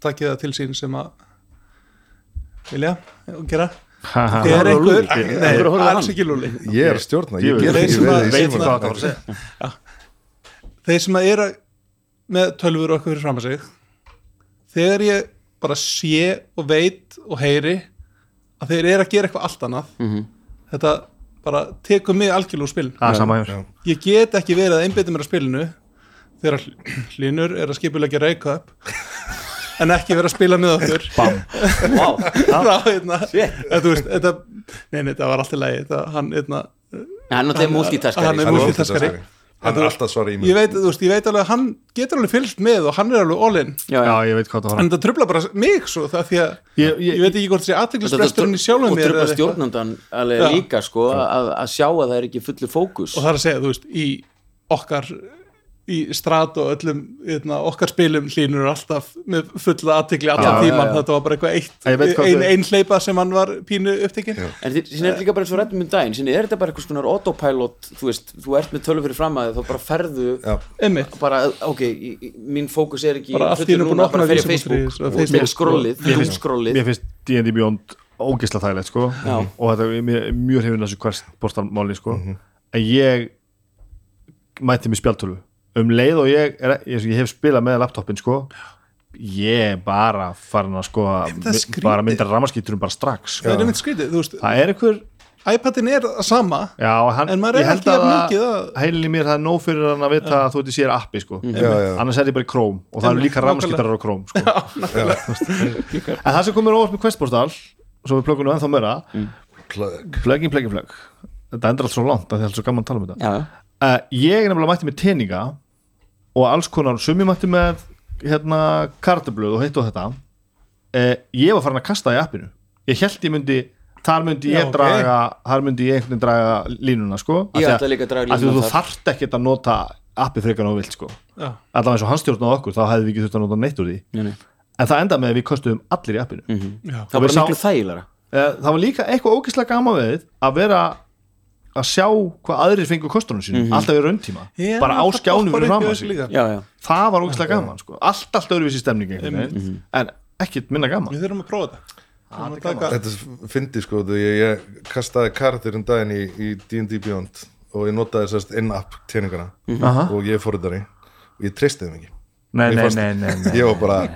Speaker 4: takkið það til sín sem að vilja og gera þegar
Speaker 1: Lúlli
Speaker 4: einhver,
Speaker 1: ekki? Af hverju
Speaker 4: nei,
Speaker 1: horfðu á hann?
Speaker 4: alls ekki lúli
Speaker 2: ég er að stjórna, ég
Speaker 3: Ég
Speaker 2: ger
Speaker 4: veit
Speaker 2: ekki
Speaker 4: sem að-
Speaker 2: veð
Speaker 4: veit
Speaker 2: í
Speaker 3: veit hvað
Speaker 2: símanum.
Speaker 3: það var að segja
Speaker 4: þeir sem að eru með tölvur og okkur fyrir fram að sig þegar ég bara sé og veit og heyri að þeir eru að gera eitthvað allt annað
Speaker 3: Mhm.
Speaker 4: -hmm. þetta bara tekur mig algjörlega úr spil
Speaker 3: það er sama hjá
Speaker 2: já.
Speaker 3: mér
Speaker 4: ég get ekki verið að einbytta mér að spilinu þegar hl- hlynur er að skipulegja reykjöp en ekki vera að spila með okkur
Speaker 3: Bam.
Speaker 1: Vá,
Speaker 4: frá hérna
Speaker 1: shit.
Speaker 4: en, þú veist, þetta, nein, þetta var alltaf lægi þetta, hann, hérna,
Speaker 1: Hann náttúrulega sko. er
Speaker 4: Hann
Speaker 1: multitaskari
Speaker 4: er
Speaker 2: Hann er
Speaker 4: multitaskari.
Speaker 2: multitaskari. Hann er alltaf svara í
Speaker 4: ég,
Speaker 2: mig
Speaker 4: veit, þú veist, ég veit alveg að hann getur alveg fylgst með og hann er alveg all in
Speaker 1: Já,
Speaker 3: já,
Speaker 1: já
Speaker 3: ég veit hvað það var
Speaker 4: en þetta trubla bara mig svo það því að ég,
Speaker 3: Ég- ég-
Speaker 4: veit ekki hvort þessi aðteglisbresturinn í
Speaker 1: og
Speaker 4: sjálfum mér
Speaker 1: tröfla
Speaker 4: eða eitthvað.
Speaker 1: stjórnandan alveg
Speaker 4: Já.
Speaker 1: líka sko að, að sjá að það er ekki fullu fókus
Speaker 4: og það er að segja, þú veist, í okkar í strat og öllum eitna, okkar spilum hlínur alltaf með fulla aðtegli
Speaker 3: Já,
Speaker 4: allan
Speaker 3: já,
Speaker 4: tíman
Speaker 1: já.
Speaker 4: þetta var bara eitthvað
Speaker 3: Ég veit
Speaker 4: eitt
Speaker 3: hvað
Speaker 4: ein,
Speaker 3: þú-
Speaker 4: ein hleypa sem hann var pínu upptekinn
Speaker 2: Já.
Speaker 1: En þið- sinni er þetta líka bara eins og rættum um daginn sinni er þetta bara eitthvað svona autopilot þú veist, þú ert með tölvu fyrir fram að þið þá bara ferðu
Speaker 2: Já,
Speaker 4: einmitt,
Speaker 1: bara, ok, í- í- mín fókus er ekki
Speaker 4: Bara allt í
Speaker 1: fullur
Speaker 4: einu búin
Speaker 1: núna,
Speaker 4: að opna
Speaker 1: bara fyrir
Speaker 4: vísi.is
Speaker 1: Facebook
Speaker 4: og
Speaker 1: og
Speaker 4: Facebook.
Speaker 1: fyrir skrollið, doomskrollið
Speaker 3: mér finnst D&D Beyond ógisla þægilegt sko
Speaker 1: Já.
Speaker 3: og þetta er mér- mjög hefinn þessu kvartbortarmáli sko
Speaker 2: Mhm.
Speaker 3: en ég mætti mér spjaltölu um leið og ég, er, ég, ég hef spilað með laptopin sko ég er bara farin að sko að
Speaker 4: það er
Speaker 3: mi-
Speaker 4: skrítið.
Speaker 3: bara mynda rammaskýturum bara strax
Speaker 4: það
Speaker 3: sko.
Speaker 4: er einmitt skrítið þú veist,
Speaker 3: það er einhver
Speaker 4: iPadin er það sama
Speaker 3: Já, hann,
Speaker 4: En maður er
Speaker 3: ég held
Speaker 4: ekki jafn
Speaker 3: að
Speaker 4: mikið að-
Speaker 3: heilin í mér það er nóg fyrir hann að vita að þú ert í sér appi sko.
Speaker 2: Mm-hmm. já, já.
Speaker 3: annars er ég bara í króm og það eru líka
Speaker 4: Nákvæmlega.
Speaker 3: ramaskýtarar á króm sko. en það sem komur óvart með questbórstal svo við plöggum nú ennþá meira
Speaker 2: Mm. Plug.
Speaker 3: plöggin, plöggin, plögg þetta endur allt svo langt að það er allt svo gaman að tala um þetta
Speaker 1: já,
Speaker 3: uh, ég er nefnilega mætti með teninga og alls konar sumi mætti með hérna kartabluð og heitt og þetta uh, ég var farin að kasta í appinu ég held ég myndi þar myndi ég
Speaker 4: Já, ok.
Speaker 3: draga þar myndi ég einhvern veginn draga línuna sko Af
Speaker 1: Ég
Speaker 3: því
Speaker 1: ætla líka að draga
Speaker 3: af því
Speaker 1: línuna
Speaker 3: þú
Speaker 1: þar.
Speaker 3: þarft ekkert að nota appi frekar og vilt sko
Speaker 4: já,
Speaker 3: allavega eins og hann stjórnaði okkur þá hefði við ekki þurft að nota neitt úr því
Speaker 1: nei, Mhm. nei.
Speaker 3: en það endaði með að við kostuðum allir í appinu mm -hmm.
Speaker 4: já,
Speaker 1: það
Speaker 3: við
Speaker 1: var
Speaker 3: sá-
Speaker 1: miklu þægilega
Speaker 3: Eh, það var líka eitthvað ógeðslega gaman við að vera að sjá hvað aðrir fengur kostunum sínum alltaf í rauntíma,
Speaker 4: Já,
Speaker 3: bara á
Speaker 4: það
Speaker 3: skjánum
Speaker 4: poppar
Speaker 3: fyrir
Speaker 4: upp í
Speaker 3: fram að
Speaker 4: þessu
Speaker 3: sig
Speaker 4: líka.
Speaker 1: já, já,
Speaker 3: það var ógeðslega gaman, sko. allt alltaf öðruvísi stemning mm -hmm. en ekkert minna gaman
Speaker 4: við þurfum að prófa þetta Þurfum að taka-
Speaker 2: Þetta fyndi sko, því ég, ég kastaði karakterinn daginn í, í D&D Beyond og ég notaði sérst in-app tjeningana
Speaker 1: Mhm.
Speaker 3: Aha.
Speaker 2: og ég er forritari og ég treysti þeim ekki
Speaker 3: nei,
Speaker 2: Mér
Speaker 3: nei,
Speaker 2: fannst-
Speaker 3: nei, nei, nei.
Speaker 2: Ég var bara,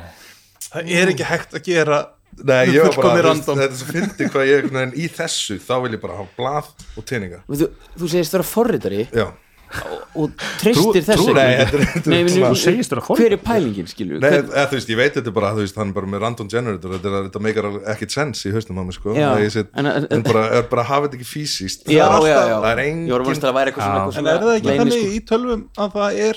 Speaker 4: það er ekki hægt að gera
Speaker 2: nei, ég var bara
Speaker 4: Fullkomið
Speaker 2: þú veist,
Speaker 4: random.
Speaker 2: Þetta er svo fyndi hvað ég, en í þessu þá vil ég bara hafa blað og tjeninga
Speaker 1: Við þú, þú segist vera forritari
Speaker 2: Já,
Speaker 1: og treystir
Speaker 3: Trú-
Speaker 1: þess
Speaker 3: trú-
Speaker 1: ekki.
Speaker 2: nei, þetta er- þetta
Speaker 1: Nei,
Speaker 2: er
Speaker 1: minn,
Speaker 2: svona-
Speaker 3: Þú segist vera forritari.
Speaker 1: hver er pælingin skilju
Speaker 2: Nei, eða, þú veist, ég veit þetta bara, þú veist, hann er bara með random generator, þetta, er, þetta meikar alveg ekkit sens í haustum á mig, sko,
Speaker 1: Já.
Speaker 2: Að ég set,
Speaker 1: En-
Speaker 2: en,
Speaker 1: en-
Speaker 2: bara, er bara að hafa þetta ekki fysiskt,
Speaker 1: já, já,
Speaker 2: það er
Speaker 1: já,
Speaker 2: alltaf, það er
Speaker 1: ég var að vonast
Speaker 2: engin,
Speaker 1: að það væri eitthvað svona, eitthvað
Speaker 4: en er það ekki
Speaker 1: leyni,
Speaker 4: þannig
Speaker 1: sko.
Speaker 4: í tölvum að það er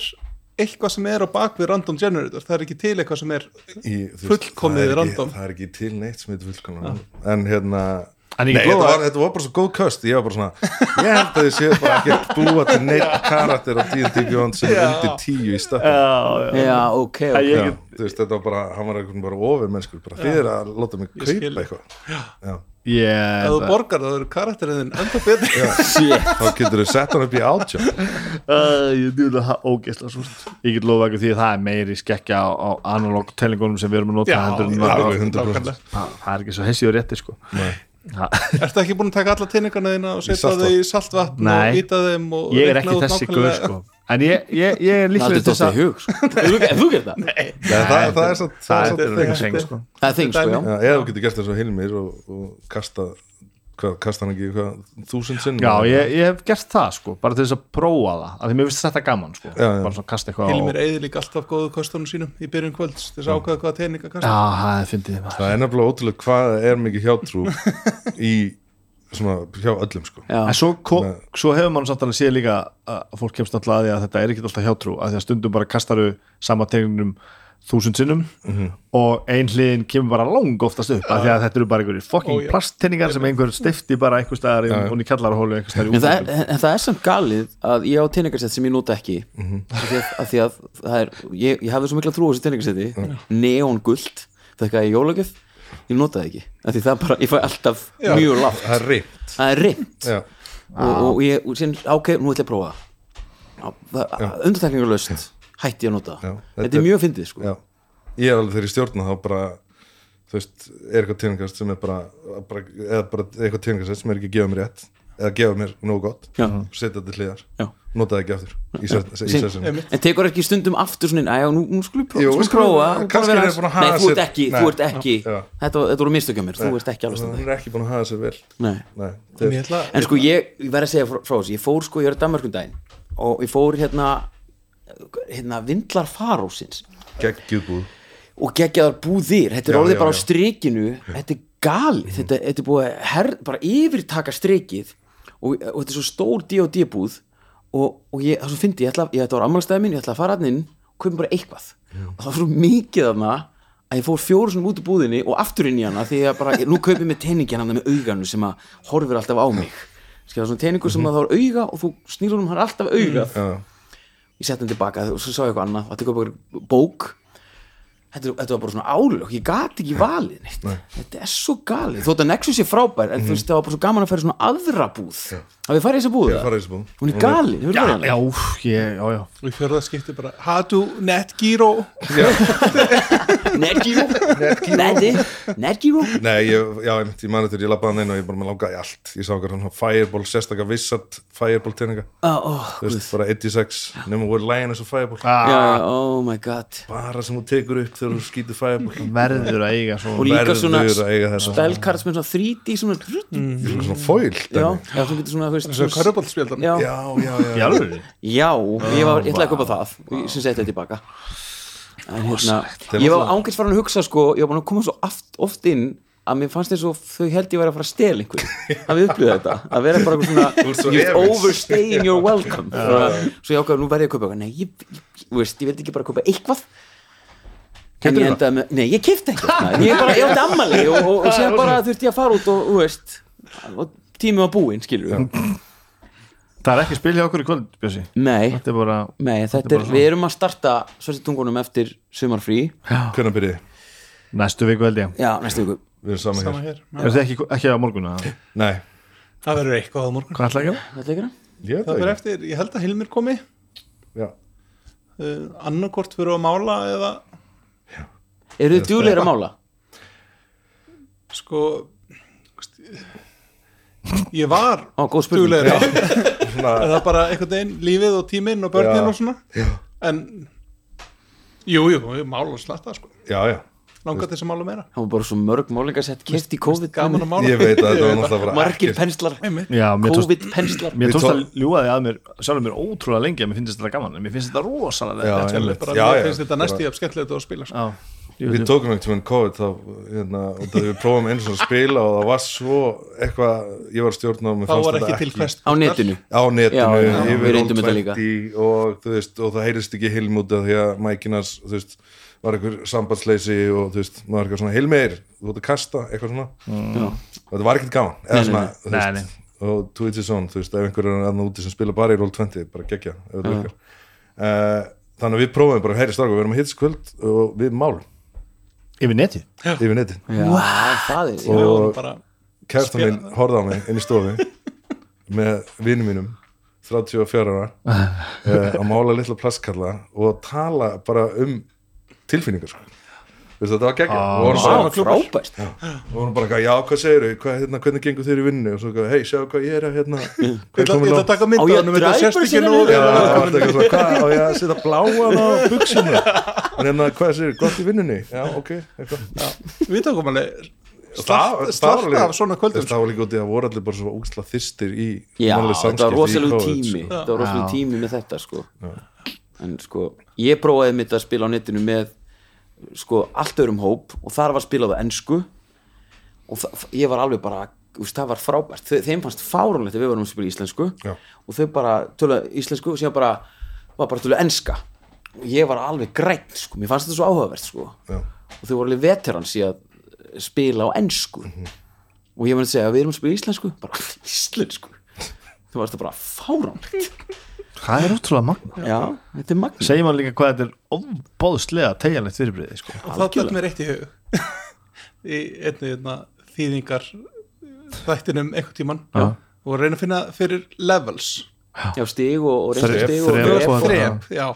Speaker 4: eitthvað sem er á bakvið random generator það er ekki til eitthvað sem er
Speaker 2: í, þú
Speaker 4: Fullkomið
Speaker 2: það er ekki-
Speaker 4: random. Ah.
Speaker 2: það er ekki til neitt sem heitir fullkomið random en hérna
Speaker 3: En ég
Speaker 2: Nei,
Speaker 3: get lofað-
Speaker 2: þetta var, þetta var bara svo góð köst ég var bara svona, ég held að þið séu bara ekki að búa til neitt karakter á D&D Beyond sem er undir tíu í stökkum
Speaker 3: já,
Speaker 1: já, ok,
Speaker 3: ég
Speaker 1: ok
Speaker 2: Já,
Speaker 3: get-
Speaker 2: þú veist, þetta var bara, hann var einhvern bara ofið mennskur, bara þið er að láta mig
Speaker 4: Ég skil.
Speaker 2: kaupa eitthvað Já.
Speaker 3: ég
Speaker 4: ef þú borgar það eru karakterinn þinn enda betri
Speaker 1: shit
Speaker 2: þá getur þau sett hann upp í átjá
Speaker 3: Æ, ég dýla það ógeðslega svort ég get lofa ekki því að það er meiri skekkja á, á analog tellingunum sem við erum að nota
Speaker 4: Já,
Speaker 3: heldur en-
Speaker 4: já,
Speaker 2: alveg 100%
Speaker 4: nákvæmlega.
Speaker 3: Þa- það er ekki svo hessi og rétti sko Ha,
Speaker 4: Ertu ekki búin að taka alla teiningana þína og setja
Speaker 2: saltvatn.
Speaker 4: þau í saltvatn
Speaker 3: Nei.
Speaker 4: og íta þeim og
Speaker 3: ég er
Speaker 4: reikna
Speaker 3: ekki
Speaker 4: út
Speaker 3: þessi guð
Speaker 4: nákvæmlega-
Speaker 3: sko en ég, ég, ég er
Speaker 1: Náttúrulega
Speaker 3: líklega
Speaker 1: þetta í hug sko. Þú- ef Þú getur það
Speaker 2: Nei, það, það er satt það
Speaker 3: það
Speaker 2: er satt
Speaker 3: er ekki seng sko
Speaker 1: Það er þing sko, já
Speaker 2: Já, eða þú getur gert þessu Hilmir og, og kasta hvað, kasta hann ekki, hvað, þúsund sinn
Speaker 3: já, ég, ég hef gert það sko bara til þess að prófa það, af því mér finnst þetta gaman sko
Speaker 2: Já, já.
Speaker 3: bara svona kasta eitthvað á
Speaker 4: Hilmir eigði líka alltaf góðu kostunum sínum í byrjun kvölds til þess að ákvæða hvaða teininga
Speaker 3: já,
Speaker 4: kasta
Speaker 3: það er fyndið maður.
Speaker 2: Það er nefnilega ótrúlega hvað það er mikið hjátrú í svona hjá öllum sko
Speaker 1: Já.
Speaker 3: en svo, ko,
Speaker 2: Nei.
Speaker 3: svo hefur mann samt alveg séð líka að fólk kemst alltaf að því að þetta er ekki alltaf hjátrú að því að stundum bara kastaru sama tegnum þúsund sinnum
Speaker 2: Mhm.
Speaker 3: og ein hliðin kemur bara lang oftast upp af því að þetta eru bara einhverjir fucking
Speaker 4: Ó,
Speaker 3: oh,
Speaker 4: já.
Speaker 3: sem einhver stifti bara einhver staðar í- og í kallarahólu einhver staðar í
Speaker 1: En það,
Speaker 3: útlöndum.
Speaker 1: er- en það er samt galið að ég á teiningarsett sem ég nota ekki mm -hmm. af, því að, af því að það er ég, ég hafði svo mikla trú á þessu teiningarsetti mm. neon gullt, þetta er jólagjöf ég nota það ekki, af því það bara ég fæ alltaf mjög lágt,
Speaker 2: Það er reynt
Speaker 1: það er reynt
Speaker 2: Já,
Speaker 1: og, og ég, og sín, ok, nú ætla ég að prófa það Já, það- undantekningarlaust hætti ég að nota
Speaker 2: Já,
Speaker 1: það,
Speaker 2: þetta
Speaker 1: þetta
Speaker 2: er-
Speaker 1: er mjög fyndið sko
Speaker 2: já Ég er alveg þegar ég stjórna þá bara þú veist, er eitthvað tengast sem er bara, bara eða bara eitthvað tengast sem er ekki að gefa mér rétt eða gefa mér nógu gott
Speaker 1: Já.
Speaker 2: og setja þetta til hliðar
Speaker 1: Já.
Speaker 2: notaði ekki aftur í ses- í sessinu
Speaker 1: en tekur ekki stundum aftur svona inn, "Æ, já, nú, nú skulum prófa,
Speaker 2: Jú,
Speaker 1: skulum
Speaker 2: við skulum-
Speaker 1: prófa og
Speaker 2: kannski
Speaker 1: bara
Speaker 2: er
Speaker 1: vera
Speaker 2: ég búin að
Speaker 1: aðeins-
Speaker 2: haga
Speaker 1: Nei, þú ert
Speaker 2: sér.
Speaker 1: ekki,
Speaker 2: Nei.
Speaker 1: þú ert ekki
Speaker 2: Já.
Speaker 1: þetta, þetta voru mistökjum mér, þú ert ekki alveg
Speaker 2: hún
Speaker 1: stundar
Speaker 2: er ekki búin að hafa sér vel
Speaker 1: Nei.
Speaker 2: Nei,
Speaker 4: Ég
Speaker 2: þeir,
Speaker 4: ætla
Speaker 1: en sko ég, ég verð að segja frá frá þessu ég fór sko, ég er að Danmarkum daginn og ég fór hérna hérna vindlar farósins
Speaker 2: geggjubúð
Speaker 1: og geggjaðar búðir þetta er
Speaker 2: Já,
Speaker 1: orðið
Speaker 2: já, Mhm.
Speaker 1: bara á
Speaker 2: já.
Speaker 1: strikinu þetta er galið, þetta, þetta er búið að her, bara yfirtaka strikið og, og þetta er svo stór D&D búð og, og ég, það svo fyndi, ég ætla ég, þetta var ammálstæði minn, ég ætla að fara hann inn og köpum bara eitthvað og það var svo mikið þarna að ég fór fjóru svona út úr búðinni og aftur inn í hana því að bara, ég, nú kaupið mér teiningin hann með auganu sem að horfir alltaf á mig skilja svona teiningur sem að það var auga og þú snýr honum hann alltaf augað
Speaker 2: Mhm. já,
Speaker 1: ég sett hann tilbaka og svo sá ég eitthvað annað og tekið upp eitthvað bók þetta, er- þetta var bara svona álög, ég gat ekki valið neitt þetta er svo galið, þótt að Nexus er frábær en þú veist það var bara svo gaman að færa svona aðra búð að við farið þess að búð
Speaker 2: Mhm. ég
Speaker 1: eða?
Speaker 2: fara í þessu búð
Speaker 1: hún er galið,
Speaker 3: já,
Speaker 1: hefur verið
Speaker 3: já,
Speaker 1: hann
Speaker 3: ég, já, já
Speaker 4: Í fjörða skipti bara Hadu Netgyro
Speaker 1: Netgyro, Neti Netgyro
Speaker 2: Nei, ég, já, einmitt, ég mani þegar ég labbaði hann inn og ég bara með langaði í allt Ég sá okkar hann fireball, sérstakar vissat fireball teininga,
Speaker 1: Ó, ó,
Speaker 2: þú veist, bara 1-6 nema voru lægin eins og fireball
Speaker 3: ah,
Speaker 1: já, oh my god
Speaker 2: bara sem hún tekur upp þegar hún skýtur fireball
Speaker 3: verður að eiga
Speaker 1: og
Speaker 3: svo
Speaker 1: líka svona
Speaker 2: Verður að Mm. eiga þetta.
Speaker 1: spelkart sem er svona 3D svona,
Speaker 2: Ég er svona foil
Speaker 1: já,
Speaker 2: dæmi.
Speaker 1: já, sem getur svona, þú veist
Speaker 4: Svo
Speaker 1: svona-
Speaker 4: körubaldspjaldan
Speaker 1: já,
Speaker 2: já, já, já,
Speaker 3: í alveg
Speaker 1: Já, ég var illa að köpa það sem sett þetta tilbaka en hérna,
Speaker 2: Þetta er
Speaker 1: ég var
Speaker 2: náttúrulega-
Speaker 1: ángætt farin að hugsa sko, ég var búin að koma svo oft, oft inn að mér fannst þess að þau held ég væri að fara að stela einhver að við upplýða þetta, að vera bara eitthvað
Speaker 2: svo
Speaker 1: svona you're
Speaker 2: efins.
Speaker 1: overstaying your welcome Bara, svo ég ákvæði, nú verði ég að köpa eitthvað nei, ég, ég, ég veist, ég vildi ekki bara köpa eitthvað en ég endaði með, nei, ég kefti ekkert maður. ég bara, ég átti ammali og, og, og sér bara þurfti ég að fara út og, þú veist og tími var búinn, skilur
Speaker 3: það er ekki spil hjá okkur í kvöld, Bjössi
Speaker 1: nei,
Speaker 3: þetta er bara,
Speaker 1: Nei, þetta er,
Speaker 3: bara svona.
Speaker 1: við erum að starta Svörstu tungunum eftir sumarfrí
Speaker 2: hvernig byrjið? þið?
Speaker 3: næstu viku held ég
Speaker 1: Já, næstu viku
Speaker 2: Við erum saman
Speaker 4: Sama
Speaker 2: hér
Speaker 4: hér
Speaker 3: er þetta ekki, ekki á morgun að
Speaker 2: Nei,
Speaker 4: Það verður eitthvað á morgun
Speaker 3: hvað ætla ekki að gera?
Speaker 1: Þetta er ekki
Speaker 2: ég
Speaker 4: Það verður
Speaker 2: veit
Speaker 4: eftir, ég held að Hilmir komi
Speaker 2: það
Speaker 4: uh, annarkort fyrir að mála eða
Speaker 1: Eru þið djúlegir að mála?
Speaker 4: sko veist, ég var
Speaker 1: Ó, góð spurning
Speaker 4: duglegri á
Speaker 2: Svona-
Speaker 4: það er bara einhvern veginn lífið og tíminn og
Speaker 2: Já.
Speaker 4: börnin og svona en jú, jú, ég mála og slatta sko
Speaker 2: Já, já,
Speaker 4: langar til þess að mála meira
Speaker 1: Það var bara svo mörg málingarsett Keft í COVID
Speaker 4: gaman að mála
Speaker 2: ég veit að þetta var
Speaker 4: Ég
Speaker 2: náttúrulega bara
Speaker 1: Margir
Speaker 2: ekkert-
Speaker 1: penslar
Speaker 4: Einmitt.
Speaker 3: já, mér tókst
Speaker 1: COVID-penslar
Speaker 3: Mér
Speaker 2: Við
Speaker 3: tókst að
Speaker 2: tó-
Speaker 3: ljúaði að mér sjálfur mér ótrúlega lengi að mér finnst þetta gaman en mér finnst þetta rosalega
Speaker 2: Já,
Speaker 3: leiðilegt.
Speaker 2: einmitt.
Speaker 4: bara,
Speaker 2: Já,
Speaker 4: mér
Speaker 2: já,
Speaker 4: finnst þetta
Speaker 2: bara-
Speaker 4: næstu ég skemmtilegt að spila sko.
Speaker 3: Já, ég
Speaker 2: Við
Speaker 3: veit
Speaker 2: tókum einhvern tímann COVID þá, hérna, og það við prófum einu svona að spila og það var svo eitthvað, ég var stjórn og mér
Speaker 4: þá
Speaker 2: fannst
Speaker 4: var
Speaker 2: þetta
Speaker 4: ekki til fest
Speaker 1: Á netinu
Speaker 2: á netinu,
Speaker 1: Já, já, já, við
Speaker 2: yfir all
Speaker 1: reyndum þetta líka.
Speaker 2: 20 og, þú veist, og það heyrist ekki heilmúti því að mækinas, þú veist, var einhver sambandsleysi og þú veist, maður var eitthvað svona heilmeir, þú vart að kasta, eitthvað svona
Speaker 1: Já.
Speaker 2: og þetta var ekkert gaman, eða
Speaker 1: Mm. Nei, nei,
Speaker 2: svona,
Speaker 3: Nei,
Speaker 1: nei.
Speaker 2: þú veist og to each his own, þú veist, ef einhver er aðna úti sem spila bara í roll 20, bara gegja ef þetta virkar uh, þannig að við prófum bara, heyri stráku, við erum að hittast í kvöld og við málum
Speaker 3: Yfir neti
Speaker 2: yfir netin
Speaker 1: Já, það er
Speaker 4: við
Speaker 2: Og-
Speaker 4: vorum bara
Speaker 2: kærstan
Speaker 4: Spila-
Speaker 2: mín horfði á mig inn í stofu með vinnum mínum 34 ára uh, að mála litla plastkalla og tala bara um tilfinningar sko. Veistu, þetta var geggja
Speaker 4: Ah.
Speaker 2: og vorum
Speaker 1: Vá,
Speaker 2: bara,
Speaker 1: frábært
Speaker 2: og vorum bara eitthvað, já, hvað segir þau hérna, hvernig gengur þeir í vinnu og svo, eitthvað, hei, sjáu hvað ég er að hérna,
Speaker 4: ég
Speaker 2: hvað
Speaker 4: ætla ég
Speaker 2: er komin
Speaker 4: ætla
Speaker 2: langt?"
Speaker 4: að taka
Speaker 1: Á
Speaker 4: mynda
Speaker 1: ég
Speaker 4: honum þetta
Speaker 1: driver
Speaker 4: sérst ekki
Speaker 1: sem
Speaker 4: nú
Speaker 1: er
Speaker 4: vel.
Speaker 2: Já, það var eitthvað svona, hvað, á ég að setja bláan á buksuna en hérna, hvað segir, gott í vinnunni já, ok, eitthvað
Speaker 4: við tókum alveg
Speaker 2: Það-
Speaker 4: slart
Speaker 2: það var alveg-
Speaker 4: af svona kvöldum
Speaker 2: það var líka út í að voru allir bara svo úksla þystir í
Speaker 1: Já,
Speaker 2: mannleg
Speaker 1: þetta var
Speaker 2: samskipti í
Speaker 1: rosalegu
Speaker 2: COVID, sko.
Speaker 1: tími Þetta var rosalegu tími með þetta sko En sko, ég prófaði mitt að spila á netinu með sko allt öðrum hóp og þar var spilað á ennsku og það, ég var alveg bara úst, það var frábært, Þe, þeim fannst fáránlegt að við varum að spila íslensku
Speaker 2: Já.
Speaker 1: og þau bara töluðu íslensku og síðan bara var bara töluðu enska og ég var alveg grænt sko, mér fannst þetta svo áhugavert sko
Speaker 2: Já.
Speaker 1: og þau voru alveg veterans í að spila á ennsku
Speaker 2: Mhm.
Speaker 1: og ég var að segja að við erum að spila íslensku bara íslensku þau varst það bara fáránlegt
Speaker 3: Það er ótrúlega magna
Speaker 1: já, þetta er magna
Speaker 3: Segir maður líka hvað þetta er óbóðslega tegjanlegt fyrirbriði sko.
Speaker 4: og það dætt mér eitt í hug í einni einna, þýðingar þættinum einhvern tíman
Speaker 3: Já.
Speaker 4: og reyna að finna fyrir levels
Speaker 1: já, stig og, og
Speaker 3: Þrep,
Speaker 1: reynslustig og
Speaker 3: þrep
Speaker 1: þrep
Speaker 3: og-
Speaker 4: þrep, já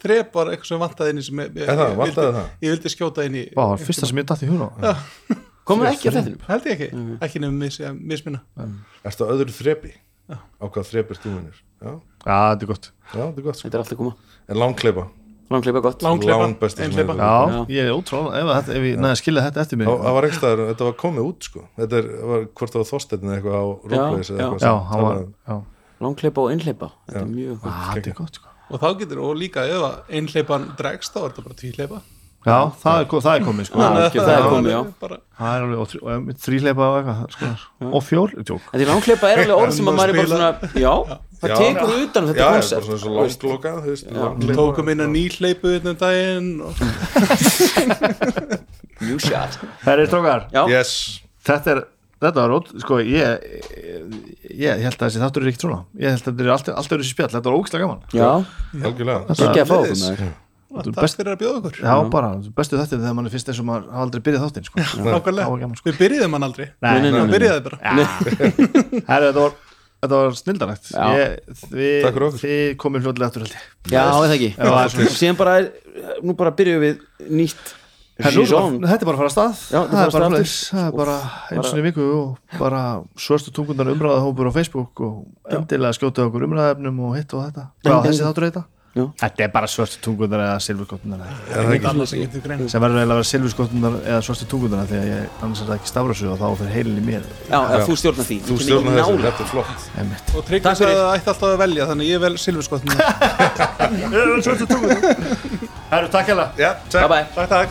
Speaker 4: þrep var eitthvað sem vantaði inn í sem ég, ég,
Speaker 2: Er það,
Speaker 4: ég,
Speaker 2: vantaði
Speaker 4: vildi,
Speaker 2: það?
Speaker 4: ég vildi skjóta inn í
Speaker 3: Vá, það var fyrsta sem ég datt í hugra
Speaker 1: komið ekki á þettinum
Speaker 4: held
Speaker 1: Mhm.
Speaker 4: ég ekki, ekki nefnum mis, misminna
Speaker 2: Erstu á öðru þrepi? Á hvað þrep er stúminir? Já,
Speaker 3: Já, þetta er gott
Speaker 2: já, þetta er gott sko.
Speaker 1: Þetta er alltaf koma
Speaker 2: En langkleipa,
Speaker 1: Langleipa er gott
Speaker 4: Langkleipa,
Speaker 2: langbesta sem
Speaker 4: einhleypa.
Speaker 2: ég-
Speaker 3: Já,
Speaker 1: Já.
Speaker 3: ég er ótrúlega ef, að þetta- ef ég næði að skilja þetta eftir mig
Speaker 2: Þá- Það var einhverstaðar, þetta var komið út sko Þetta er, það var hvort það var þorstættin eitthvað á Roleplays eða
Speaker 1: já.
Speaker 2: eitthvað
Speaker 3: Já,
Speaker 2: sem
Speaker 3: hann var
Speaker 2: talaði um.
Speaker 3: já.
Speaker 1: Langleipa og innleipa Þetta er mjög gott
Speaker 3: Ah, Þetta er gott sko.
Speaker 4: og þá getur, og líka ef að einhleipan dregst þá er þetta bara tvíhleipa
Speaker 3: Já, það er, ko- það er komið sko.
Speaker 1: Já.
Speaker 4: Þannig að
Speaker 1: ekki, það er komið, já.
Speaker 4: bara,
Speaker 3: Það er alveg og þrí- og þrýleipa og eitthvað sko. Og fjól, tjók
Speaker 1: En því langleipa er alveg orð sem að maður er bara
Speaker 4: Spila.
Speaker 1: svona Já, það
Speaker 2: Já.
Speaker 1: tekur utan um þetta
Speaker 2: Já, já, bara
Speaker 1: koncept
Speaker 2: svona svo
Speaker 1: þú veist.
Speaker 2: langloka Þú veist,
Speaker 1: Mhm.
Speaker 2: langleipa
Speaker 4: tókum inn að nýhleipu þetta um daginn og
Speaker 1: New shot
Speaker 3: Það er strókar
Speaker 1: Já,
Speaker 2: Yes,
Speaker 3: Þetta er, þetta var ótt Sko, ég, ég, ég held að þessi þáttur er ekki svona Ég held að þetta er alltaf, alltaf þessi spjall Þetta var ógislega gaman
Speaker 1: já,
Speaker 2: algjörlega
Speaker 1: það er ekki að fá okkur
Speaker 4: Liðis.
Speaker 1: með þér
Speaker 3: Þetta er
Speaker 4: takk
Speaker 3: best,
Speaker 4: fyrir að bjóða okkur
Speaker 3: Já, bara, bestu þetta er þegar mann er fyrst þessum að hafa aldrei byrjað þáttinn sko. Það var
Speaker 4: Nákvæmlega,
Speaker 3: gaman, sko.
Speaker 4: við byrjuðum hann aldrei
Speaker 3: Nei,
Speaker 1: nei, nei,
Speaker 4: hann
Speaker 1: nei.
Speaker 4: byrjaði bara
Speaker 3: Herri, þetta var, þetta var snildarægt
Speaker 1: Já.
Speaker 2: Takk
Speaker 3: Þið,
Speaker 2: fyrir okkur.
Speaker 3: þið komið fljóðlega aftur held ég
Speaker 1: Já, eða ekki
Speaker 3: Já, það er
Speaker 1: Og Síðan bara, er- nú bara byrjuðum við nýtt
Speaker 3: En nú,
Speaker 1: Season
Speaker 3: bara- þetta er bara að fara að stað
Speaker 1: Já,
Speaker 3: það er bara
Speaker 1: þetta er bara að stað
Speaker 3: svoleiðis.
Speaker 1: aftur.
Speaker 3: það er bara eins og í viku og bara svörstu tungundar umræða hópur á Facebook og endilega skjótið okkur umræðaefnum og hitt og þetta hvað á þessi þáttur heita?
Speaker 1: Já.
Speaker 3: Þetta er bara svörstu tungundar eða silfurskottunar
Speaker 4: annars ekki til greina
Speaker 3: sem verður eiginlega að vera silfurskottunar eða svörstu tungundar því að ég, annars er það ekki stafrasug og þá fyrir heilin í mér
Speaker 1: Já, eða þú stjórnar því
Speaker 2: Þú
Speaker 1: Ég kem
Speaker 2: stjórnar
Speaker 1: ekki
Speaker 2: þessu,
Speaker 1: nálægt.
Speaker 2: þetta er flott
Speaker 3: Einmitt.
Speaker 4: og Tryggvi
Speaker 1: Takk
Speaker 4: sagði
Speaker 1: fyrir.
Speaker 4: að það ætti alltaf að velja þannig ég vel silfurskottin
Speaker 3: Það eru takk hérna. hella
Speaker 2: Já, takk
Speaker 1: Bye bye
Speaker 4: Takk, takk